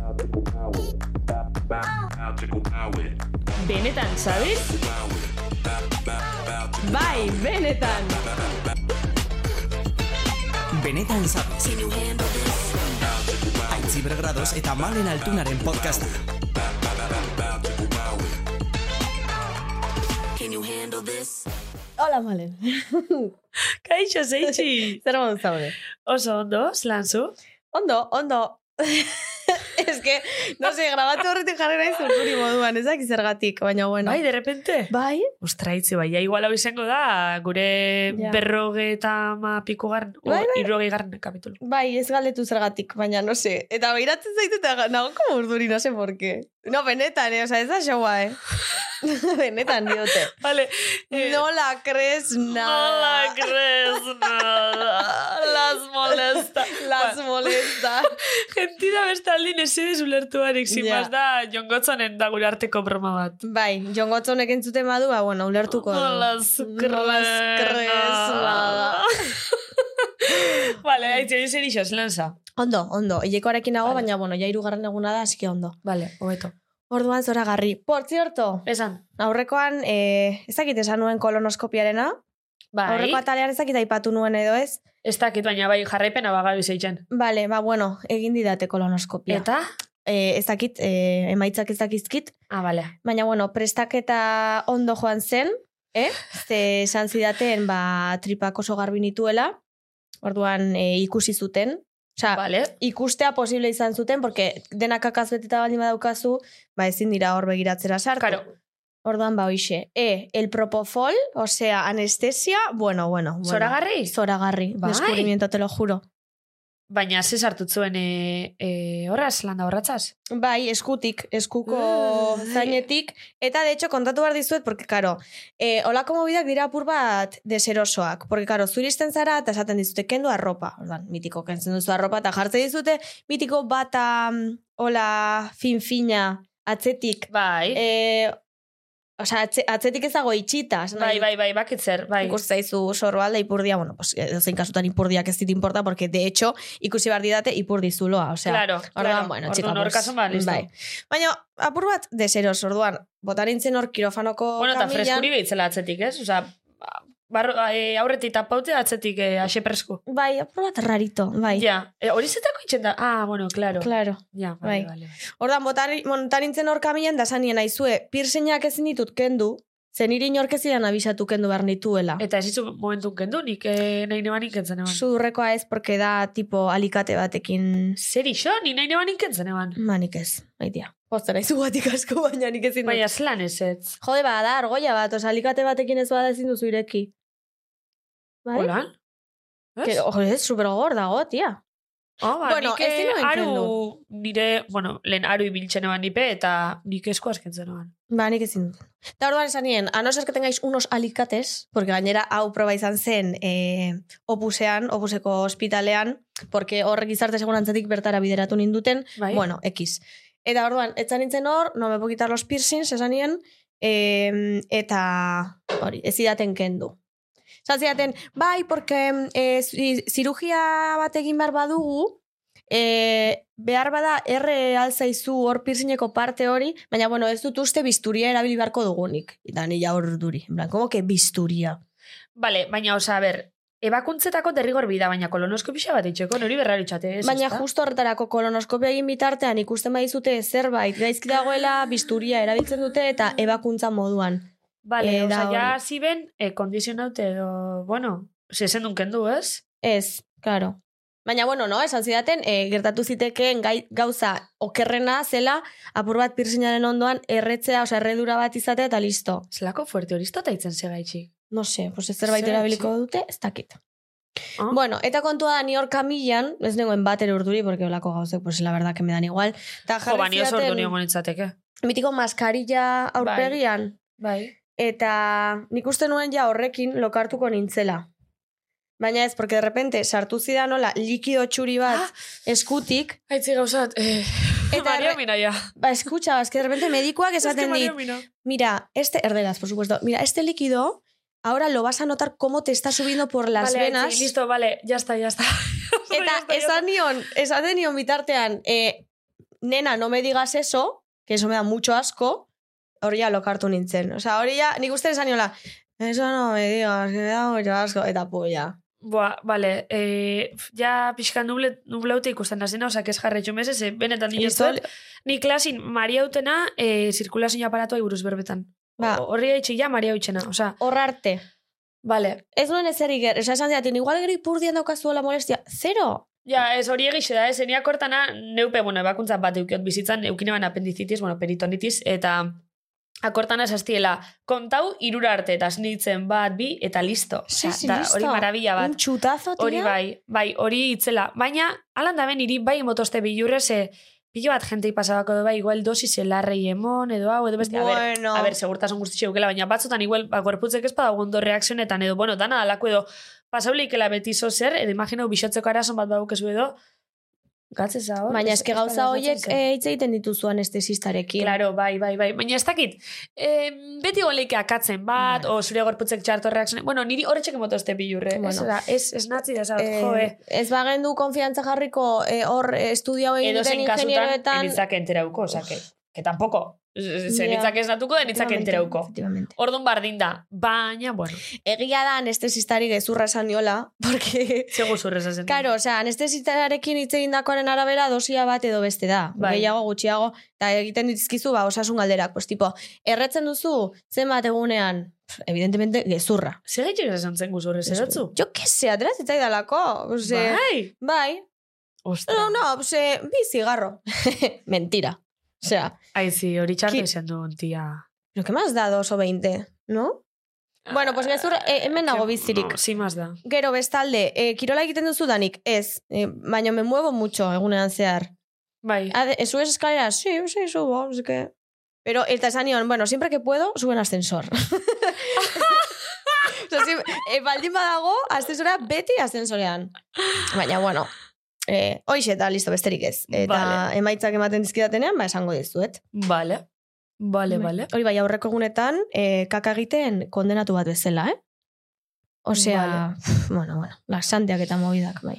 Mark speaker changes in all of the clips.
Speaker 1: Magical power. Ba- ba- Magical power.
Speaker 2: Benetan, ¿sabes?
Speaker 1: Power. Ba- ba- magical-
Speaker 2: Bai, benetan!
Speaker 3: Benetan zabez. Aitziber grados eta malen altunaren podcasta.
Speaker 1: Magical power.
Speaker 4: Hola, Malen.
Speaker 5: Kaixo, zeitxi!
Speaker 4: Zer modu zaude?
Speaker 5: Oso ondo, lanzu.
Speaker 4: Ondo, ondo. Ez que, no se, grabatu horretik jarri nahi zurkuri moduan, ezak izergatik, baina bueno.
Speaker 5: Bai, de repente?
Speaker 4: bai?
Speaker 5: Ostra, itzi, bai, ja, igual hau izango da, gure
Speaker 4: Ja.
Speaker 5: berroge eta ma piku garren, o,
Speaker 4: Bai,
Speaker 5: irroge garren kapitulu.
Speaker 4: Bai, ez galdetu zergatik, baina no se. Eta behiratzen zaitu eta nago como urduri, no se por qué. No, benetan, eh? Osa, ez da showa, eh? benetan diote.
Speaker 5: Vale.
Speaker 4: No la crees nada.
Speaker 5: Eh. la crees nada. Las molesta.
Speaker 4: Las molesta.
Speaker 5: Gentida beste aldin esedez ulertu barik, sin
Speaker 4: Ja.
Speaker 5: más da, Jon Gotzonen da gure arteko broma bat.
Speaker 4: Bai, Jon Gotzonek entzuten badu, ba, bueno, ulertuko. du.
Speaker 5: No las
Speaker 4: No las crees nada.
Speaker 5: vale, haitzi, hori zer iso, lanza.
Speaker 4: Ondo, ondo. Ilekoarekin nago,
Speaker 5: Vale.
Speaker 4: baina, bueno, ja irugarren eguna da, así que ondo.
Speaker 5: Vale, hobeto.
Speaker 4: Orduan zora garri. Por cierto,
Speaker 5: Esan.
Speaker 4: aurrekoan, eh, ez dakit esan nuen kolonoskopiarena,
Speaker 5: Bai.
Speaker 4: aurreko atalean ez dakit aipatu nuen edo ez.
Speaker 5: Ez dakit, baina bai jarraipena bagabi zeitzen.
Speaker 4: Vale, ba, bueno, egin didate kolonoskopia.
Speaker 5: Eta?
Speaker 4: Eh, ez dakit, eh, emaitzak ez dakizkit,
Speaker 5: Ah, bale.
Speaker 4: baina, bueno, prestaketa ondo joan zen, eh? Ze esan zidaten, ba, tripak oso garbi nituela, orduan eh, ikusi zuten, Osea,
Speaker 5: Bale.
Speaker 4: ikustea posible izan zuten, porque dena kakaz beteta baldin badaukazu, ba ezin dira hor begiratzera sartu.
Speaker 5: Karo.
Speaker 4: Orduan ba hoixe. E, el propofol, osea, anestesia, bueno, bueno. bueno.
Speaker 5: Zoragarri?
Speaker 4: Zoragarri,
Speaker 5: Bai.
Speaker 4: descubrimiento, te lo juro.
Speaker 5: Baina ze sartu zuen e, e, horraz, landa horratzaz?
Speaker 4: Bai, eskutik, eskuko
Speaker 5: Ah, bai.
Speaker 4: zainetik. Eta, de hecho, kontatu behar dizuet, porque, karo, e, olako mobidak dira apur bat deserosoak. Porque, karo, zuristen zara, eta esaten dizute, kendu arropa. Ordan, mitiko, kentzen duzu arropa, eta jartze dizute, mitiko bata, mm, hola, fin-fina, atzetik.
Speaker 5: Bai.
Speaker 4: E, Osa, atze, atzetik ezago itxita. esan nahi
Speaker 5: bai, bai, bai, bakitzer, bai.
Speaker 4: ikus zaizu sorbalda ipurdia, bueno, pues, edozein kasutan ipurdiak ez dit importa, porque de hecho, ikusi behar didate ipurdi zuloa, osea.
Speaker 5: claro,
Speaker 4: Orduan, bueno, txika,
Speaker 5: Orduan, hor
Speaker 4: pues,
Speaker 5: kasuan, ba, listo.
Speaker 4: Bai. Baina, apur bat, deseros, orduan, botan nintzen hor kirofanoko
Speaker 5: Bueno, eta
Speaker 4: kamilan.
Speaker 5: freskuri behitzela atzetik, ez? Osa, barro, e, aurretik tapaute atzetik e, axe presku.
Speaker 4: Bai, apur bat rarito, bai.
Speaker 5: Ja, e, hori zetako itxen da? Ah, bueno, claro.
Speaker 4: Claro.
Speaker 5: Ja, vale,
Speaker 4: Bai.
Speaker 5: vale.
Speaker 4: Ordan botan, botan nintzen hor kamilan, da sanien aizue, piercingak ezin ditut kendu, zen niri inork ez zidan abisatu kendu behar nituela.
Speaker 5: Eta ez ditzu momentun kendu, nik e, nahi nebanik entzen eban.
Speaker 4: Zurrekoa ez, porque da, tipo, alikate batekin...
Speaker 5: Zer iso, ni nahi nebanik entzen eban.
Speaker 4: Ba, nik ez, maitia. Pozten aizu batik asko, baina nik ezin dut.
Speaker 5: Baina zelan ez ez.
Speaker 4: Jode, ba, da, argoia bat, oza, alikate batekin ez bada ezin duzu ireki. Bai?
Speaker 5: Holan? Ez?
Speaker 4: Que, jode, super gogor dago, tia.
Speaker 5: Oh, ba,
Speaker 4: Bueno,
Speaker 5: nik
Speaker 4: ez
Speaker 5: eh,
Speaker 4: dinuen
Speaker 5: aru nire, bueno, lehen aru ibiltzen eban nipe, eta nik esku askentzen eban.
Speaker 4: Ba, nik ezin dut. Eta orduan esan nien, a no ser que tengáis unos alicates, porque gainera hau proba izan zen eh, opusean, opuseko ospitalean, porque horrek izarte segurantzatik bertara bideratu ninduten,
Speaker 5: Bai?
Speaker 4: bueno, X. Eta orduan, etzan nintzen hor, no me puedo quitar los piercings, esan nien, eh, eta hori, ez zidaten kendu. Esan zidaten, bai, porque eh, zi- zirugia bat egin behar badugu, E, behar bada erre alzaizu hor piercingeko parte hori, baina bueno, ez dut uste bisturia erabili beharko dugunik. Eta ni ja hor duri. En plan, como que bisturia?
Speaker 5: Vale, baina, osa, a ber, ebakuntzetako derrigor bida, baina kolonoskopixa bat itxeko, nori berrari txate, ez?
Speaker 4: baina
Speaker 5: ezta?
Speaker 4: justo horretarako kolonoskopia egin bitartean ikusten badizute zerbait gaizki dagoela bisturia erabiltzen dute eta ebakuntza moduan.
Speaker 5: Vale,
Speaker 4: eh, da
Speaker 5: osa, ja
Speaker 4: hori.
Speaker 5: ziben, e, kondizionaute edo, bueno, zezen duen kendu, ez?
Speaker 4: Ez, claro. Baina, bueno, no, esan zidaten, e, gertatu zitekeen gai, gauza okerrena zela apur bat piercingaren ondoan erretzea, osea, erredura bat izatea eta listo.
Speaker 5: Zelako fuerte hori iztota itzen segaitxik.
Speaker 4: No sé, pues ez zerbait
Speaker 5: Zer,
Speaker 4: erabiliko dute, ez dakit.
Speaker 5: Ah.
Speaker 4: Bueno, eta kontua da ni hor kamilan, ez nengoen bater urduri, porque holako gauzek, pues la verdad que me dan igual. Ta
Speaker 5: Jo,
Speaker 4: jarri
Speaker 5: bani oso ordu
Speaker 4: zidaten,
Speaker 5: nio gonitzateke.
Speaker 4: mitiko maskarilla aurpegian,
Speaker 5: Bai.
Speaker 4: Eta nik uste nuen ja horrekin lokartuko nintzela. Baina ez, porque de repente sartu zidan nola likido txuri bat
Speaker 5: Ah!
Speaker 4: eskutik,
Speaker 5: Aitzi gauzat, eh,
Speaker 4: Eta
Speaker 5: Maria
Speaker 4: erre-
Speaker 5: Mina, ja.
Speaker 4: ba, eskutxa, es que de repente medikuak
Speaker 5: Ez que
Speaker 4: esaten
Speaker 5: Maria
Speaker 4: dit,
Speaker 5: Mina.
Speaker 4: mira, este, erderaz, por supuesto, mira, este líquido, ahora lo vas a notar cómo te está subiendo por las
Speaker 5: Vale,
Speaker 4: venas.
Speaker 5: Aitzi, listo, vale, ya está, ya está. Ya está, ya
Speaker 4: Eta
Speaker 5: está, ya está.
Speaker 4: esan nion, esaten nion bitartean, e, nena, no me digas eso, que eso me da mucho asco, hori ja lokartu nintzen. Osea, hori ja, nik uste esan niola, eso no me digas, que me da mucho asco, eta puya.
Speaker 5: Boa, bale, e, f- ja pixka nuble, nublaute ikusten nazena, osak ez jarretxu meze, ze eh, benetan nire
Speaker 4: Listo.
Speaker 5: zuet, ni klasin Maria utena e, zirkulazio aparatua buruz berbetan.
Speaker 4: Ba.
Speaker 5: O- Horri haitxi ja Maria utxena, oza,
Speaker 4: Hor arte.
Speaker 5: bale.
Speaker 4: Ez nuen ezer iker, esan esan zidaten, igual gero ipurdian daukazuela molestia. Zero!
Speaker 5: Ja, ez hori egixe da, ez, enia kortana, neupe, bueno, ebakuntza bat eukiot bizitzan, eukine ban apendicitis, bueno, peritonitis, eta akortana esastiela, kontau irura arte, eta esnitzen bat, bi, eta listo.
Speaker 4: Sí,
Speaker 5: Osea,
Speaker 4: sí,
Speaker 5: da, Hori
Speaker 4: listo.
Speaker 5: marabila bat.
Speaker 4: Un chutazo, tía.
Speaker 5: Hori bai, bai, hori itzela. Baina, alan da ben, hiri bai motoste bilurre, ze pilo bat jentei pasabako du bai, igual dosi zelarrei emon, edo hau, edo beste, a ber,
Speaker 4: Bueno.
Speaker 5: a ber, segurtasun guzti zeukela, baina batzutan igual, ba, gorputzek ez badago ondo reakzionetan, edo, bueno, dana alako edo, pasaulikela beti zo zer, edo imaginau bisotzeko arason bat baukezu edo, gatzez hor.
Speaker 4: Baina
Speaker 5: ez-
Speaker 4: eske
Speaker 5: ez
Speaker 4: gauza
Speaker 5: dala
Speaker 4: horiek
Speaker 5: gertatzen zer.
Speaker 4: eh, hitz egiten dituzu anestesistarekin.
Speaker 5: Claro, bai, bai, bai. Baina ez dakit, eh, beti goleike akatzen bat, o zure gorputzek txarto reakzionetan, bueno, niri horretxek motoste bilurre.
Speaker 4: Bueno.
Speaker 5: Ez, eh, da, ez, ez natzi da, zaut, jo, eh.
Speaker 4: Eh, ez bagendu konfiantza jarriko eh, hor eh, estudio hau egin
Speaker 5: edo
Speaker 4: duten
Speaker 5: zein kasutan
Speaker 4: ingenieroetan...
Speaker 5: enitzak enterauko, o sea, que, que tampoco. Zer
Speaker 4: Ja.
Speaker 5: enitzak ez datuko, enitzak
Speaker 4: Efectivamente,
Speaker 5: enterauko.
Speaker 4: efectivamente.
Speaker 5: Orduan bardin da, baina, bueno,
Speaker 4: Egia da anestesistari gezurra esan niola, porque...
Speaker 5: segu zurrez ezen.
Speaker 4: Karo, osea, anestesistarekin hitz egindakoaren arabera dosia bat edo beste da.
Speaker 5: Bai.
Speaker 4: Gehiago gutxiago, eta egiten dizkizu, ba, osasun galderak, pues, tipo, erretzen duzu, zenbat egunean, Pff, evidentemente, gezurra.
Speaker 5: Zer gaitu esan zen guzurrez erotzu?
Speaker 4: Jo, que se, atera zitzaidalako. Ose,
Speaker 5: Bai!
Speaker 4: bai,
Speaker 5: Ostra.
Speaker 4: No, no, se, bi zigarro. Mentira. O sea,
Speaker 5: Aizi, hori txarto
Speaker 4: Ki-
Speaker 5: izan duen, tia.
Speaker 4: lo que más da dos o veinte, ¿no?
Speaker 5: Ah,
Speaker 4: Bueno, pues gezur, eh, hemen nago bizirik.
Speaker 5: No, si maz da.
Speaker 4: Gero bestalde, eh, kirola egiten duzu danik, ez, eh, baina me muevo mucho egunean zehar.
Speaker 5: Bai.
Speaker 4: Ade, eh, ¿Subes escalera? Sí, sí, subo, es que... Pero el tasanion, bueno, siempre que puedo, subo en ascensor. o sea, si, eh, baldin badago, ascensora beti ascensorean. Baina, bueno, eh, hoxe eta listo besterik ez. Eta
Speaker 5: Vale.
Speaker 4: emaitzak ematen dizkidatenean, ba, esango dizuet.
Speaker 5: Vale. Vale, vale.
Speaker 4: Hori bai, aurreko egunetan, eh, kaka egiten kondenatu bat bezala, eh? Osea, bueno, bueno, lasanteak eta mobidak, bai.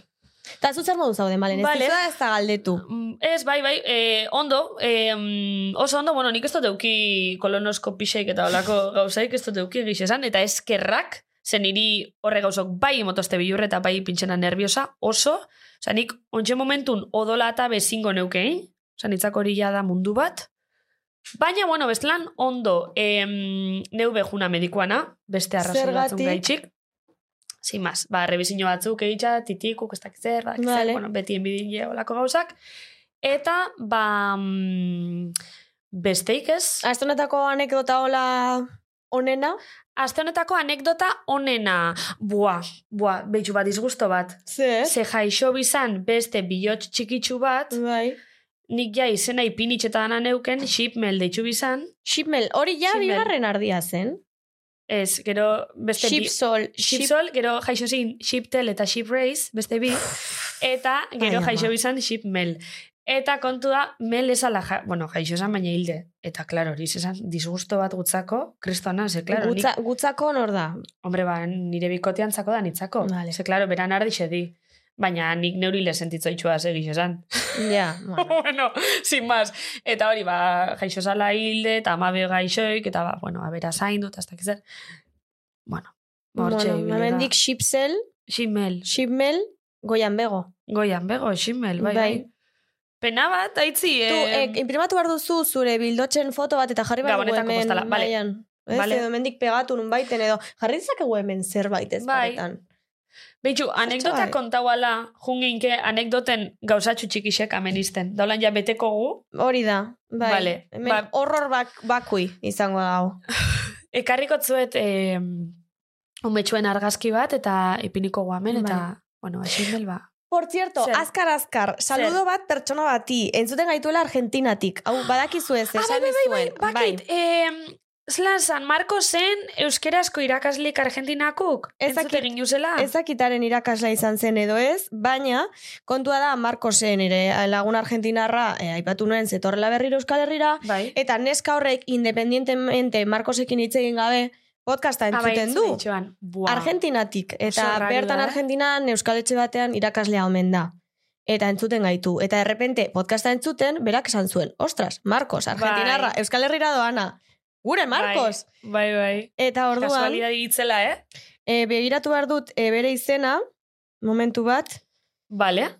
Speaker 4: Eta zu zer modu zaude, malen, ez
Speaker 5: Vale.
Speaker 4: vale. ez da galdetu.
Speaker 5: Mm, Ez, bai, bai, eh, ondo, eh, mm, oso ondo, bueno, nik ez dut euki kolonosko pixeik eta olako gauzaik ez dut euki egiz esan, eta eskerrak, zen niri horre gauzok bai motoste bilurre eta bai pintxena nerviosa, oso, oza, nik ontxe momentun odola eta bezingo neukein, oza, nitzak hori ja da mundu bat, Baina, bueno, bestelan, ondo, em, neu behuna medikuana, beste arrazoi batzun
Speaker 4: Zergatik?
Speaker 5: gaitxik. Sin más, ba, rebizinio batzuk egitza, titikuk, ez dakit zer, dakit
Speaker 4: Vale.
Speaker 5: zer, bueno, beti enbidile olako gauzak. Eta, ba, mm, besteik ez,
Speaker 4: Aste honetako anekdota hola onena,
Speaker 5: aste honetako anekdota onena, bua, bua, behitxu bat, disgusto bat.
Speaker 4: zer?
Speaker 5: Ze jaixo bizan beste bilotx txikitsu bat,
Speaker 4: Bai.
Speaker 5: nik ja izena ipinitxetana neuken, shipmel deitxu bizan,
Speaker 4: Shipmel, hori ja
Speaker 5: Shipmel.
Speaker 4: bigarren ardia zen.
Speaker 5: ez, gero beste... bi-
Speaker 4: Shipsol, ship...
Speaker 5: Shipsol, gero jaixo zin Shiptel eta Shiprace, beste bi, eta gero
Speaker 4: Ai, ama.
Speaker 5: jaixo izan Shipmel. Eta kontua, mel esala, ja, bueno, jaixo esan baina hilde. Eta, klaro, hori esan, disgusto bat gutzako, kristona, ze, klaro,
Speaker 4: Gutza, gutzako nor da.
Speaker 5: nik, hombre, ba, nire bikotean zako da nitzako.
Speaker 4: Vale.
Speaker 5: Ze, klaro, beran ardi di. Baina nik neurile sentitzoitxua segiz esan.
Speaker 4: Ja, bueno.
Speaker 5: bueno, sin más. Eta hori, ba, jaixo zala hilde, eta amabe gaixoik, eta, ba, bueno, abera zaindu, eta ez dakit zer. Bueno, ba, hortxe
Speaker 4: bueno,
Speaker 5: ibili da.
Speaker 4: hemendik shipsel,
Speaker 5: Ximel.
Speaker 4: shipmel, goian bego.
Speaker 5: Goian bego, ximel, bai,
Speaker 4: Bai.
Speaker 5: bai. Pena bat, aitzi,
Speaker 4: Tu, eh,
Speaker 5: eh,
Speaker 4: imprimatu behar duzu zure bildotxen foto bat eta jarri behar dugu
Speaker 5: Gabonetako
Speaker 4: hemen
Speaker 5: postala, vale.
Speaker 4: mailan. Ez,
Speaker 5: Vale.
Speaker 4: edo hemendik pegatu nun baiten edo. Jarri dezakegu hemen zerbait ez
Speaker 5: Bai.
Speaker 4: paretan.
Speaker 5: behitxu, anekdota
Speaker 4: bai.
Speaker 5: kontauala, jungeinke anekdoten gauzatxu txikisek amenisten. Daulan ja beteko gu,
Speaker 4: Hori da, bai.
Speaker 5: Vale,
Speaker 4: Hemen
Speaker 5: ba-
Speaker 4: horror bak, bakui izango da hau.
Speaker 5: ekarriko zuet, eh, umetxuen argazki bat, eta ipiniko guamen, eta,
Speaker 4: Bai.
Speaker 5: bueno, ximel ba.
Speaker 4: Por cierto,
Speaker 5: Zer?
Speaker 4: azkar, azkar, saludo bat pertsona bati, entzuten gaituela Argentinatik. Hau, badakizu ez,
Speaker 5: Ah,
Speaker 4: Bai. esan nizuen.
Speaker 5: bai, Bakit, eh, Zlan San Marcosen euskerazko irakaslik Argentinakuk?
Speaker 4: Ez
Speaker 5: Ez dakit.
Speaker 4: dakit.
Speaker 5: Entzut egin juzela?
Speaker 4: Ezakitaren irakasla izan zen edo ez, baina kontua da Marcosen ere eh, lagun argentinarra eh, aipatu nuen zetorrela berriro Euskal Herrira
Speaker 5: Bai.
Speaker 4: eta neska horrek independientemente Marcosekin hitz egin gabe podcasta
Speaker 5: Ah, bai,
Speaker 4: entzuten
Speaker 5: entzun
Speaker 4: du.
Speaker 5: nitxoan. Buah.
Speaker 4: Argentinatik eta
Speaker 5: Oso rarioa,
Speaker 4: bertan
Speaker 5: eh?
Speaker 4: Argentinan Euskal Etxe batean irakaslea omen da. eta entzuten gaitu. Eta errepente, podcasta entzuten, berak esan zuen, ostras, Marcos, Argentinarra,
Speaker 5: Bai.
Speaker 4: Euskal Herrira doana, gure Marcos!
Speaker 5: Bai, bai.
Speaker 4: Eta orduan,
Speaker 5: Kasualidade itzela, eh?
Speaker 4: e, begiratu behar dut e, bere izena, momentu bat,
Speaker 5: Bale.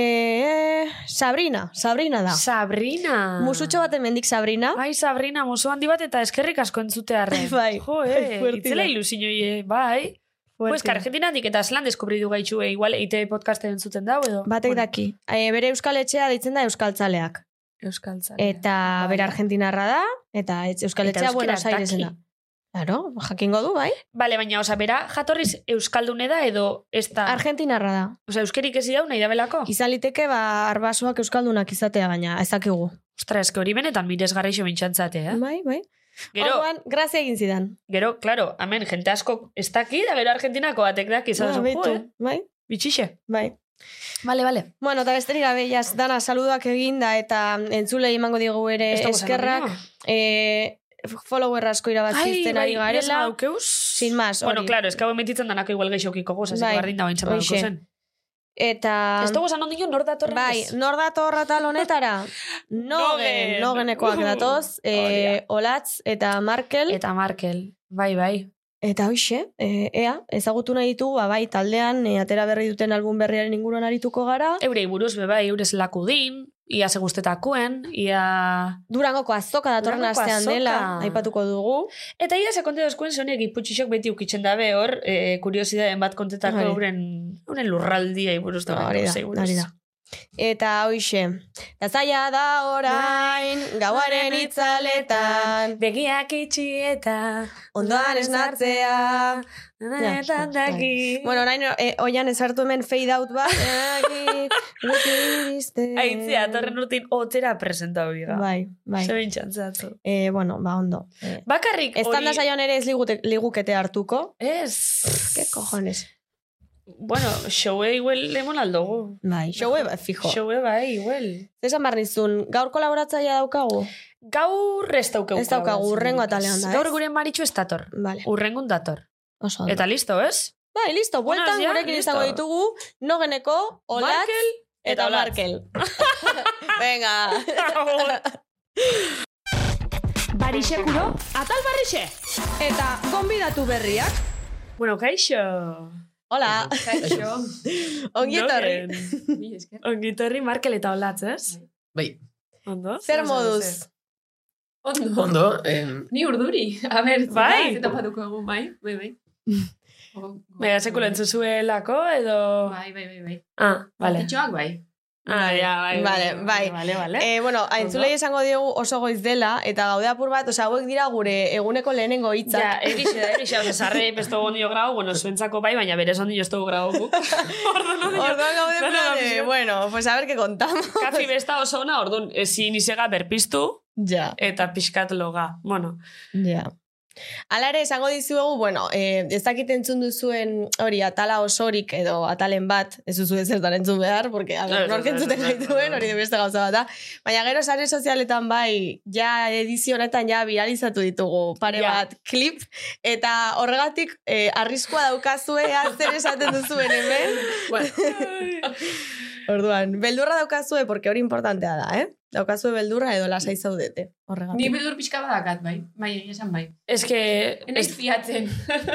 Speaker 4: e, Sabrina, Sabrina da.
Speaker 5: Sabrina.
Speaker 4: Musutxo baten mendik Sabrina.
Speaker 5: Bai, Sabrina, musu handi bat eta eskerrik asko entzutearren.
Speaker 4: Bai.
Speaker 5: Jo,
Speaker 4: Bai,
Speaker 5: eh,
Speaker 4: fuertila.
Speaker 5: itzela ilusiñoi, eh, bai. Pues,
Speaker 4: Fuertea.
Speaker 5: Argentinatik eta Aslan deskubridu gaitxu, eh, igual, eite podcasten entzuten da, edo?
Speaker 4: Batek daki. E, bere euskal etxea deitzen da euskaltzaleak.
Speaker 5: Euskal Zalea.
Speaker 4: Eta
Speaker 5: Bai.
Speaker 4: bere argentinarra da, eta etx- euskal
Speaker 5: Eta
Speaker 4: etxea
Speaker 5: euskaraz
Speaker 4: Buenos
Speaker 5: daki.
Speaker 4: Airesen da. Claro, jakingo du, bai?
Speaker 5: Bale, baina, oza, bera, jatorriz Euskaldune da edo ez da...
Speaker 4: Argentinarra da.
Speaker 5: Osa, euskerik ez idau nahi da belako?
Speaker 4: Izan liteke ba arbasoak euskaldunak izatea baina ez dakigu.
Speaker 5: Ostra, eske hori benetan miresgarri xo bintxantzate, eh?
Speaker 4: Bai, bai.
Speaker 5: Gero,
Speaker 4: Orduan, grazia egin zidan.
Speaker 5: gero, claro, amen, jente asko ez daki, da gero Argentinako batek daki,
Speaker 4: Ba,
Speaker 5: zaten
Speaker 4: beitu,
Speaker 5: jo, eh?
Speaker 4: Bai,
Speaker 5: Bitxixe.
Speaker 4: bai.
Speaker 5: Bale, bale.
Speaker 4: Bueno, eta besterik gabe, jaz, dana saludoak eginda eta entzulei emango digu ere eskerrak, e, follower asko irabazizten
Speaker 5: bai,
Speaker 4: ari garela. Sin más,
Speaker 5: Bueno,
Speaker 4: hori.
Speaker 5: claro, es que hau emetitzen danako igual geixokiko goz, ez
Speaker 4: Bai,
Speaker 5: bardin da bain zapaduko
Speaker 4: hoxe.
Speaker 5: zen.
Speaker 4: Eta...
Speaker 5: Ez dugu zan ondino nor datorren
Speaker 4: Bai,
Speaker 5: ez?
Speaker 4: nor dator atal honetara? Nogen,
Speaker 5: Nogen.
Speaker 4: nogenekoak
Speaker 5: Uhu.
Speaker 4: datoz, e, Olatz eta Markel.
Speaker 5: Eta Markel, bai, bai.
Speaker 4: Eta hoxe, e, ea, ezagutu nahi ditugu, ba, bai, taldean, e, atera berri duten album berriaren inguruan arituko gara.
Speaker 5: Eurei buruz, be bai, eurez lakudin, ia ze guztetakuen, ia...
Speaker 4: Durangoko azoka datorren
Speaker 5: Durangoko
Speaker 4: astean
Speaker 5: azoka.
Speaker 4: dela, aipatuko dugu.
Speaker 5: Eta ia ze konte dozkuen zonek iputxixok beti ukitzen dabe hor, e, kuriosidaden bat kontetako
Speaker 4: Hori.
Speaker 5: euren, euren lurraldia iburuz da.
Speaker 4: Hori da, hori da. Eta hoxe, da zaila da orain, gauaren itzaletan,
Speaker 5: Begiak itxi eta...
Speaker 4: ondoan esnatzea. Ja, ja,
Speaker 5: Netan daki...
Speaker 4: Bueno, orain, e, oian ezartu hemen fade out bat.
Speaker 5: Aitzia, torren urtin otera presenta biga.
Speaker 4: Bai, bai.
Speaker 5: Ze bintxantzatzu.
Speaker 4: Eh, bueno, ba, ondo. Eh,
Speaker 5: Bakarrik
Speaker 4: Estanda saioan ere ez ligute- ligukete hartuko.
Speaker 5: Ez.
Speaker 4: Ke cojones.
Speaker 5: Bueno, showe igual lemon aldogu.
Speaker 4: Bai, showe ba, fijo.
Speaker 5: Showe bai, igual.
Speaker 4: Zesan behar nizun, gaur kolaboratzaia daukagu?
Speaker 5: Gaur ez daukagu.
Speaker 4: Ez daukagu,
Speaker 5: kolaborazio,
Speaker 4: hurrengo
Speaker 5: Lucas.
Speaker 4: atalean da, ez?
Speaker 5: Gaur gure maritxu ez dator.
Speaker 4: Vale,
Speaker 5: Urrengun dator.
Speaker 4: oso ondo.
Speaker 5: Eta listo, ez?
Speaker 4: Bai, listo, bueltan
Speaker 5: Buenas, ja,
Speaker 4: gurekin
Speaker 5: listo.
Speaker 4: izango ditugu, nogeneko, olatz
Speaker 5: Markel
Speaker 4: eta,
Speaker 5: eta Olatz.
Speaker 4: Markel. Venga.
Speaker 2: Barixekuro, atal barrixe!
Speaker 4: Eta, gonbidatu berriak.
Speaker 5: bueno, kaixo.
Speaker 4: Hola,
Speaker 5: Kaixo.
Speaker 4: ongi etorri.
Speaker 5: Ongi etorri Markel eta Olatz, ez?
Speaker 6: Bai,
Speaker 5: Ondo?
Speaker 4: Zer moduz?
Speaker 7: Ondo.
Speaker 6: ondo, em,
Speaker 7: Ni urduri. A
Speaker 5: Bai.
Speaker 7: ber,
Speaker 5: Bai,
Speaker 7: bai. Zeta patuko egun, bai, bai, bai. Go- go-
Speaker 5: Mega sekulo entzuzuelako edo...
Speaker 7: Bai, bai, bai, bai.
Speaker 5: Ah, vale.
Speaker 7: Titxoak, bai.
Speaker 5: Ah, ja, bai.
Speaker 4: Vale, bai.
Speaker 5: Vale, vale.
Speaker 4: Eh, bueno, aintzulei esango diegu oso goiz dela, eta gaude apur bat, osea, hauek dira gure eguneko lehenengo hitzak.
Speaker 5: Ja, egixe da, egixe da, sarre besto ondio grau, bueno, zuentzako bai, baina berez ondio ez dugu grau gu. Orduan ondio,
Speaker 4: Orduan gaude en
Speaker 5: Dana
Speaker 4: plan de,
Speaker 5: gaude.
Speaker 4: bueno, ba, pues a ver qué contamos.
Speaker 5: kafi besta oso ona, orduan, eh, ezin izega berpiztu
Speaker 4: Ja,
Speaker 5: eta pixkat loga. Bueno,
Speaker 4: ja. Hala ere, esango dizuegu, bueno, eh, ez dakit entzun duzuen hori atala osorik edo atalen bat, ez duzu ezertan entzun behar, porque a
Speaker 5: Ez,
Speaker 4: ver,
Speaker 5: ez,
Speaker 4: nork
Speaker 5: ez,
Speaker 4: entzuten
Speaker 5: ez, ez,
Speaker 4: gaituen,
Speaker 5: ez.
Speaker 4: hori de beste gauza bat da. Baina gero sare sozialetan bai, ja edizio honetan ja viralizatu ditugu pare
Speaker 5: Ja.
Speaker 4: bat klip, eta horregatik eh, arriskua daukazue ea zer esaten duzuen hemen. Orduan, beldurra daukazue, porque hori importantea da, eh? Daukazue beldurra edo lasai zaudete.
Speaker 7: Ni
Speaker 4: Horregatik.
Speaker 7: bedur pixka badakat, bai. Bai, egia esan bai.
Speaker 5: ez que...
Speaker 7: Enaiz fiatzen.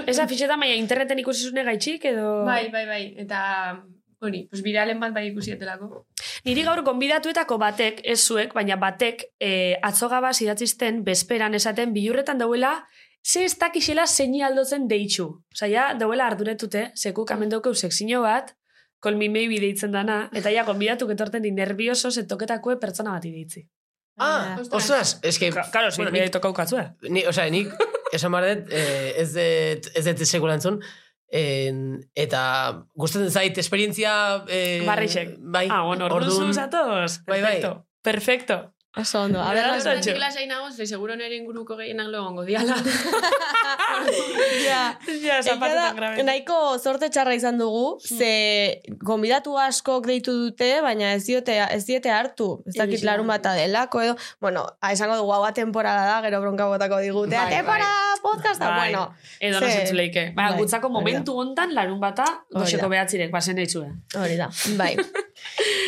Speaker 5: Ez afixetan, baina interneten ikusizune gaitxik edo...
Speaker 7: bai, bai, bai. Eta hori, pues viralen bat bai ikusietelako.
Speaker 5: Niri gaur gonbidatuetako batek, ez zuek, baina batek eh, atzogabaz idatzisten bezperan esaten bilurretan dauela ze ez dakixela zeini aldotzen deitxu. Osa, ja, dauela arduretute, sekuk amendoko sekzino bat, kolmi maybe deitzen dana, eta ja, gonbidatuk etorten di nervioso zetoketakue pertsona bati deitzi.
Speaker 6: ah,
Speaker 7: ostras.
Speaker 6: ostras, es que...
Speaker 5: Karo,
Speaker 6: bueno, nik,
Speaker 5: tokaukatzu, eh?
Speaker 6: ni, o sea, nik, esan behar dut, eh, ez dut, ez dut sekula entzun, en, eta gustatzen zait, esperientzia... Eh,
Speaker 5: Barrixek.
Speaker 6: Bai,
Speaker 5: Ah, bueno, orduzu
Speaker 6: orduan-
Speaker 5: zatoz.
Speaker 6: Bai, bai.
Speaker 5: Perfecto. Perfecto.
Speaker 4: Oso ondo. A
Speaker 5: Beldurra
Speaker 4: ber,
Speaker 5: Lasai,
Speaker 7: Hortik
Speaker 5: txo.
Speaker 7: lasai nago, ze seguro nire inguruko gehienak lo egongo diala.
Speaker 4: ja.
Speaker 5: Ja,
Speaker 4: Egia
Speaker 5: zapatutan
Speaker 4: da,
Speaker 5: grabe.
Speaker 4: nahiko zorte txarra izan dugu,
Speaker 5: Hmm.
Speaker 4: ze gonbidatu askok deitu dute, baina ez diote, ez diete hartu. Ez dakit
Speaker 7: Egia.
Speaker 4: larun bata delako edo, bueno, a, esango dugu hau temporada da, gero bronka botako digute.
Speaker 7: Bai, bai.
Speaker 4: Temporada, podcasta,
Speaker 5: Bai.
Speaker 4: bueno.
Speaker 5: Edo
Speaker 4: Ze-
Speaker 5: no zentzuleike. Ba,
Speaker 4: Bai,
Speaker 5: gutzako
Speaker 4: hori da.
Speaker 5: momentu hontan larun bata
Speaker 4: da.
Speaker 5: goxeko behatzirek, bazen eitzue.
Speaker 4: Hori da, bai.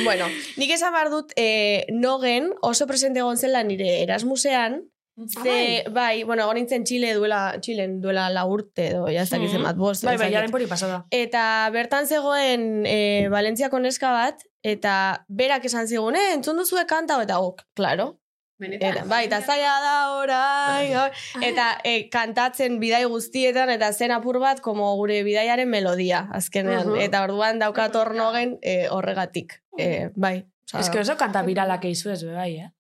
Speaker 4: bueno, nik esan behar dut, eh, nogen oso presente egon zela nire Erasmusean, ze, bai, bueno, egon nintzen Txile duela, Txilen duela la urte, edo, ja ez dakit
Speaker 5: Mhm.
Speaker 4: zenbat, bost,
Speaker 5: Bai,
Speaker 4: ez
Speaker 5: bai,
Speaker 4: dakit.
Speaker 5: jaren pori pasada.
Speaker 4: Eta bertan zegoen e, Valentziako neska bat, eta berak esan zigun, eh, entzun duzue kanta, hau?" eta ok, claro. Eta, bai, eta zaila da
Speaker 6: Bai.
Speaker 4: orain, hor. eta e, kantatzen bidai guztietan, eta zen apur bat, como gure bidaiaren melodia, azkenean.
Speaker 6: Ujú.
Speaker 4: Eta orduan daukat hor nogen e, horregatik, e, bai. Osa,
Speaker 5: Ez que oso kanta biralak eizu ez, be, bai, eh?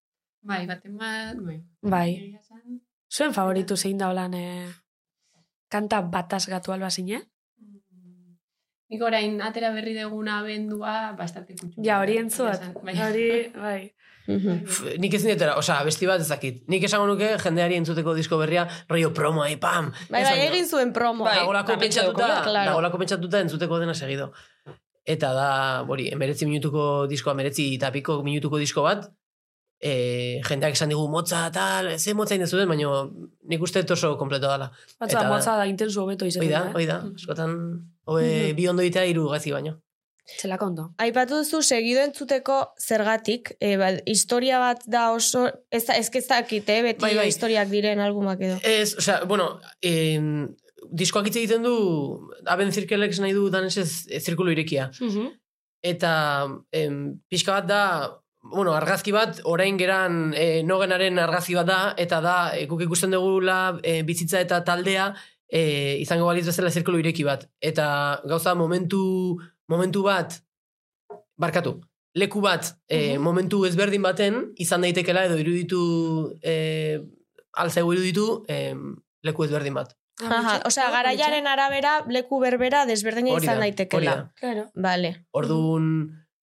Speaker 7: Bai, baten bat, bai.
Speaker 5: Bai.
Speaker 7: Egia esan,
Speaker 5: Zuen favoritu zein da holan, eh? Kanta bataz gatu alba zine?
Speaker 7: mm, Nik orain atera berri deguna abendua bastante kutsu.
Speaker 5: Ja, hori entzuat.
Speaker 7: Bai.
Speaker 5: Hori, bai.
Speaker 4: mhm.
Speaker 6: Pff, Nik ez dietera, osea, besti bat ezakit. Nik esango nuke jendeari entzuteko disko berria, rollo promoa, ipam.
Speaker 4: Bai, bai, ba, egin zuen promo.
Speaker 5: Bai,
Speaker 6: Dagolako
Speaker 5: eta
Speaker 6: Ba, pentsatuta,
Speaker 5: pentsatzeko,
Speaker 4: claro.
Speaker 6: dagolako pentsatuta entzuteko dena segido. Eta da, hori, emeretzi minutuko diskoa, emeretzi eta piko minutuko disko bat, e, jendeak esan digu motza, tal, ze motza indezu den, baina nik uste dut oso kompleto dela.
Speaker 5: Batza,
Speaker 6: Eta-
Speaker 5: motza da, intensu hobeto
Speaker 6: Hoi
Speaker 5: izaten
Speaker 6: da,
Speaker 5: da, eh?
Speaker 6: hoi da, askotan, hobe bi ondo ditea hiru gazi baino.
Speaker 5: Txelako ondo.
Speaker 4: Aipatu duzu segido entzuteko zergatik, e, ba, historia bat da oso, ez, da- ez que ez dakit, eh, beti
Speaker 6: Bai, bai.
Speaker 4: historiak diren albumak edo.
Speaker 6: Ez, osea, bueno, em, diskoak hitz egiten du, aben zirkelek nahi du danesez eh, zirkulu irekia. Eta em, pixka bat da, bueno, argazki bat, orain geran e, nogenaren argazki bat da, eta da, e, guk ikusten dugula e, bizitza eta taldea e, izango baliz bezala zirkulu ireki bat. Eta gauza momentu, momentu bat, barkatu, leku bat e,
Speaker 4: Mhm.
Speaker 6: momentu ezberdin baten izan daitekela edo iruditu, e, alzaigu iruditu e, leku ezberdin bat.
Speaker 4: Aha, osea, garaiaren arabera leku berbera desberdina
Speaker 6: Hori da,
Speaker 4: izan
Speaker 6: hori
Speaker 4: daitekeela.
Speaker 6: da.
Speaker 5: Claro.
Speaker 4: Vale.
Speaker 6: Orduan,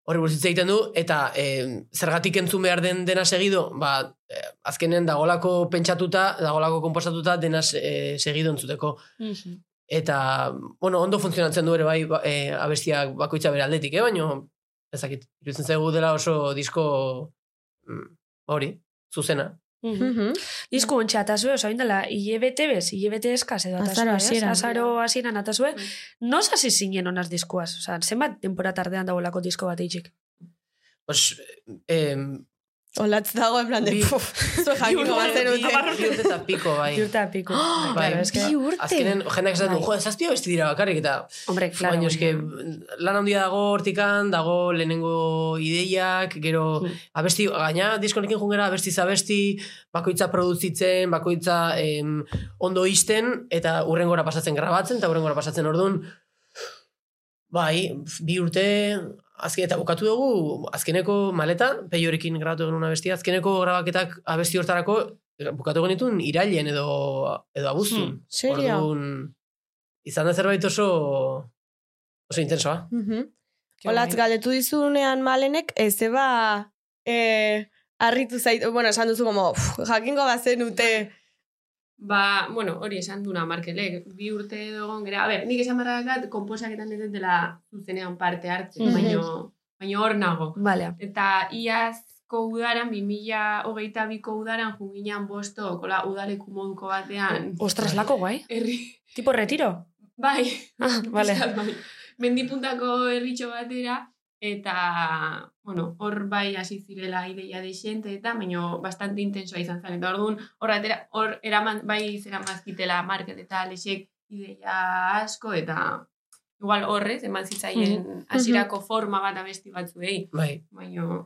Speaker 6: horri buruz hitz egiten du, eta eh, zergatik entzun behar den dena segido, ba, eh, azkenen dagolako pentsatuta, dagolako komposatuta dena se- eh, segido entzuteko. Mm-hmm. Eta, bueno, ondo funtzionatzen du ere bai ba- eh, abestiak bakoitza bere aldetik, eh? baino, ezakit, iruditzen zaigu dela oso disko mm, hori, zuzena.
Speaker 4: Mhm.
Speaker 5: Disku ontsa atazue, oso indela, hilebete bez, hilebete eskaz edo atazue,
Speaker 4: Azaro
Speaker 5: ez?
Speaker 4: hasieran.
Speaker 5: Azaro hasieran atazue.
Speaker 7: Bai.
Speaker 5: Nos hasi zinen onaz diskuaz, oza, zenbat denpora tardean dagoelako disko bat itxik.
Speaker 6: Os, eh,
Speaker 4: Olatz dago, en plan de,
Speaker 6: Bi-
Speaker 4: puf, zuen jakingo bazen
Speaker 6: bi- bi urte eta piko, bai.
Speaker 5: Iurta piku.
Speaker 6: Bai,
Speaker 5: Claro, eske-
Speaker 4: bi urte.
Speaker 6: Azkenen, jendeak esaten du,
Speaker 5: Bai.
Speaker 6: jo, zazpia besti dira bakarrik, eta
Speaker 5: Hombre, claro.
Speaker 6: Baina eske
Speaker 5: baina-
Speaker 6: lan handia dago hortikan, dago lehenengo ideiak, gero
Speaker 5: Mm.
Speaker 6: abesti, gaina diskonekin jungera abesti zabesti, bakoitza produzitzen, bakoitza em, ondo isten, eta urrengora pasatzen grabatzen, eta urrengora pasatzen ordun bai, bi urte, azken, eta bukatu dugu, azkeneko maleta, peiorekin grabatu genuen abestia, azkeneko grabaketak abesti hortarako, bukatu genitun irailen edo, edo abuztun.
Speaker 5: Hmm.
Speaker 4: Serio?
Speaker 6: Orduan, izan da zerbait oso oso intensoa.
Speaker 4: Mhm.
Speaker 6: bai.
Speaker 5: Ke
Speaker 4: Olatz
Speaker 5: guai.
Speaker 4: galdetu dizunean malenek, ez eba, eh, harritu zait, bueno, esan duzu como, "Uf, jakingo bazen ute.
Speaker 7: Ba, bueno, hori esan duna markelek, bi urte edo egon gera. A ber, nik esan barrakat, komposaketan ez dela zuzenean parte hartzen,
Speaker 5: Mhm.
Speaker 7: baino, baino hor nago.
Speaker 5: Vale.
Speaker 7: Eta iazko udaran, 2022ko udaran, junginan bosto, kola udaleku moduko batean.
Speaker 5: Ostras, lako guai.
Speaker 7: Herri,
Speaker 5: Tipo retiro.
Speaker 7: bai,
Speaker 5: Ah, vale.
Speaker 7: pixkat bai. Mendipuntako herritxo batera, eta, bueno, hor bai hasi zirela ideia de xente, eta baino bastante intensoa izan zen. Eta orduan, hor, atera, hor eraman, bai zera mazkitela market eta lexek ideia asko, eta igual horrez, eman
Speaker 5: Mm-hmm.
Speaker 7: zitzaien hasierako forma bat abesti batzuei,
Speaker 6: Bai.
Speaker 7: baino...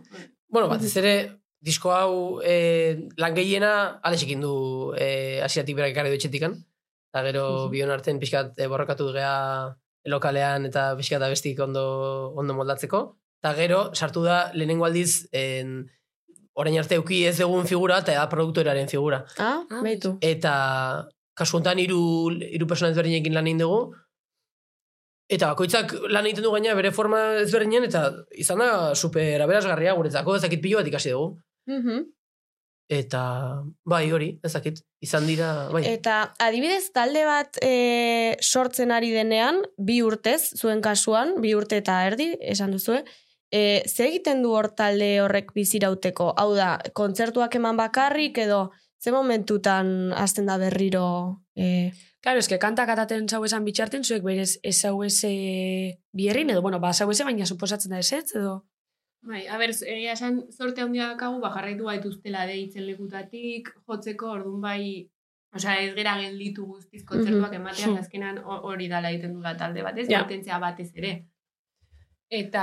Speaker 6: Bueno, batez ere, disko hau e, lan gehiena alexekin du e, asiatik berak ekarri du etxetikan. Eta gero bion artean pixkat e, borrokatu gea lokalean eta pixkat abestik ondo, ondo moldatzeko. Eta gero, sartu da lehenengo aldiz, en, orain arte euki ez dugun figura eta da produktorearen figura.
Speaker 4: Ah,
Speaker 5: Ah,
Speaker 4: beitu.
Speaker 6: Eta kasu honetan hiru hiru persona ezberdinekin lan egin dugu. Eta bakoitzak lan egiten du gaina bere forma ezberdinen eta izan da super aberasgarria guretzako ezakit pilo bat ikasi dugu.
Speaker 4: Mhm.
Speaker 6: Eta bai hori, ezakit, izan dira, bai.
Speaker 4: Eta adibidez talde bat eh, sortzen ari denean, bi urtez, zuen kasuan, bi urte eta erdi, esan duzue, e, ze egiten du hor talde horrek bizirauteko? Hau da, kontzertuak eman bakarrik edo ze momentutan hasten da berriro Eh,
Speaker 5: Claro, eske kantak ataten zau esan bitxarten, zuek berez ez zau eze bierrin, edo, bueno, ba, zau eze, baina suposatzen da esetz, edo...
Speaker 7: Bai, a ber, egia esan sorte handia dakagu, ba, jarraitu gaituztela deitzen lekutatik, jotzeko, ordun bai, osea, ez gera gelditu guztiz kontzertuak ematea,
Speaker 5: Mhm.
Speaker 7: mm azkenan ho- hori dala egiten dula talde batez,
Speaker 5: Ja.
Speaker 7: yeah. batez ere. Eta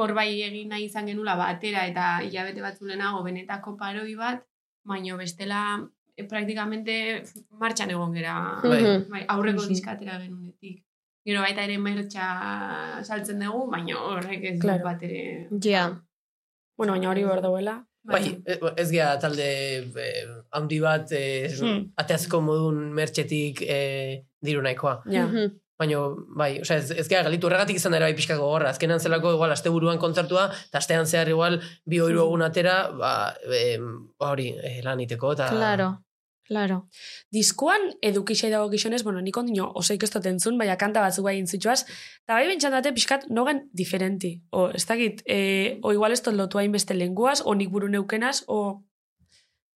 Speaker 7: hor bai egin nahi izan genula batera eta hilabete batzu lehenago benetako paroi bat, baino bestela eh, praktikamente martxan egon gera
Speaker 6: Bai.
Speaker 4: mhm.
Speaker 7: Bai, aurreko
Speaker 5: Mhm.
Speaker 7: diskatera genunetik. Gero baita ere mertxa saltzen dugu, baina horrek ez
Speaker 5: Claro.
Speaker 7: du bat ere...
Speaker 4: Ja.
Speaker 5: Bueno, baina hori behar dauela.
Speaker 6: Bai, e- ez gea talde eh, handi bat, eh,
Speaker 5: Hmm.
Speaker 6: ateazko modun mertxetik eh, diru nahikoa.
Speaker 5: Ja.
Speaker 4: Mhm.
Speaker 6: Baina, bai, osea, ez, ez gea galitu horregatik izan dara bai pixka gogorra. Azkenan zelako, igual, asteburuan kontzertua, eta astean zehar igual, bi oiru egun atera, ba, em, ba hori, eh, lan iteko, eta...
Speaker 4: Ah. Claro. Claro.
Speaker 5: Diskoan edukisei dago gizonez, bueno, nik ondino osoik ez dut entzun, baina kanta batzu bai entzutxoaz, eta bai bentsan date pixkat nogen diferenti. O, ez dakit, e, o igual ez dut lotu hain beste lenguaz, o nik buru neukenaz, o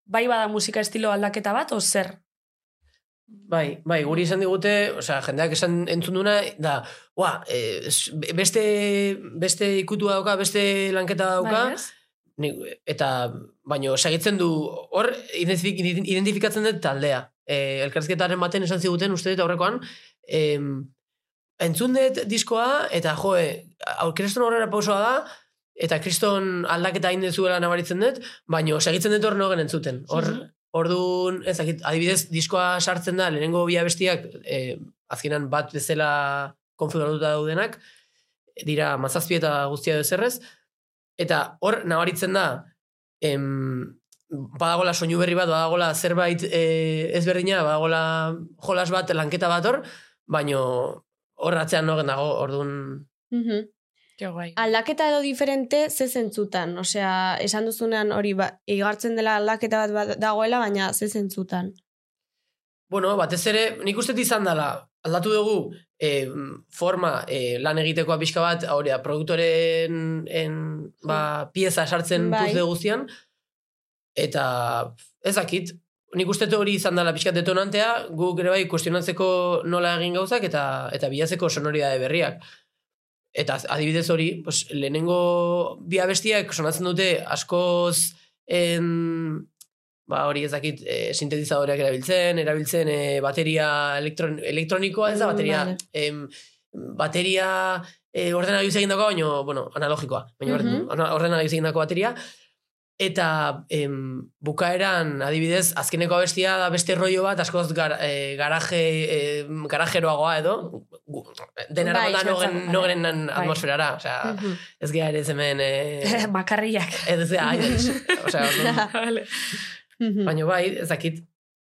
Speaker 5: bai bada musika estilo aldaketa bat, o zer?
Speaker 6: Bai, bai, guri izan digute, osea, jendeak esan entzun duna, da, ua, eh, s- beste, beste ikutua dauka, beste lanketa dauka,
Speaker 5: Bai, ez?
Speaker 6: Ni- eta baino segitzen du hor identifik- identifikatzen dut taldea. E, elkarrizketaren baten esan ziguten uste dut aurrekoan em, entzun dut diskoa eta jo, e, hau kriston aurrera pausoa da eta kriston aldaketa egin dezuela nabaritzen dut, baino segitzen dut hor nogen entzuten. Hor Orduan, ez dakit, adibidez, diskoa sartzen da, lehenengo bi abestiak, eh, azkenan bat bezala konfiguratuta daudenak, dira mazazpi eta guztia bezerrez, eta hor nabaritzen da, em, badagola soinu berri bat, badagola zerbait eh, ezberdina, badagola jolas bat, lanketa bat hor, baino hor atzean nogen dago, orduan...
Speaker 4: Mhm.
Speaker 5: Ke guai.
Speaker 4: Aldaketa edo diferente ze zentzutan, osea, esan duzunean hori ba, igartzen dela aldaketa bat bat dagoela, baina ze zentzutan.
Speaker 6: Bueno, batez ere, nik uste dut izan dela, aldatu dugu eh, forma eh, lan egitekoa pixka bat, hori da, produktoren en, ba, pieza sartzen
Speaker 4: Bai.
Speaker 6: puzle guztian, eta ez dakit, nik uste dut hori izan dela pixka bat detonantea, guk ere bai kuestionatzeko nola egin gauzak eta eta bilatzeko sonoridade berriak. Eta az- adibidez hori, pues, lehenengo bi abestiak sonatzen dute askoz en, ba hori ez dakit e, sintetizadoreak erabiltzen, erabiltzen eh, bateria elektron, elektronikoa, ez da
Speaker 4: Mm,
Speaker 6: bateria,
Speaker 4: vale.
Speaker 6: em, bateria e, ordenagaiuz egindakoa, baino, bueno, analogikoa, baino
Speaker 4: Mhm.
Speaker 6: ordenagaiuz egindako bateria, eta em, bukaeran, adibidez, azkeneko abestia da beste rollo bat, askoz gar, eh, garaje, em, garajeroagoa edo, gu- denara
Speaker 4: Bai,
Speaker 6: bota nogen,
Speaker 4: sortzen, bai.
Speaker 6: nogen atmosferara, osea,
Speaker 4: Mhm.
Speaker 6: ez geha ere ez hemen, eh,
Speaker 5: Makarriak.
Speaker 6: ez geha, aidex, osea, orduan.
Speaker 5: Vale.
Speaker 4: Mhm.
Speaker 6: baina bai, ez dakit,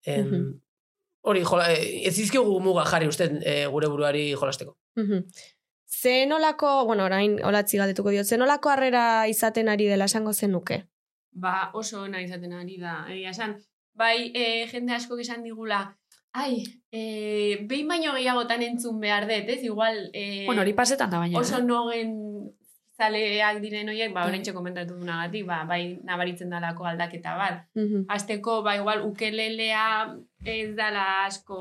Speaker 6: em, hori, jola, eh, ez izkiogu muga jarri uste eh, gure buruari jolasteko.
Speaker 4: Mhm. Ze nolako, bueno, orain olatzi galdetuko diot, ze nolako harrera izaten ari dela esango zenuke?
Speaker 7: Ba, oso ona izaten ari da. Egia esan, bai, e, jende askok esan digula, ai, e, behin baino gehiagotan entzun behar dut, ez? Igual, e,
Speaker 5: Bueno, hori pasetan da baina. eh?
Speaker 7: oso nogen zaleak diren horiek, ba,
Speaker 5: Bai.
Speaker 7: horrentxe komentatu dunagatik, ba, bai, nabaritzen dalako aldaketa bat.
Speaker 4: Mhm.
Speaker 7: Azteko, ba, igual, ukelelea ez dala asko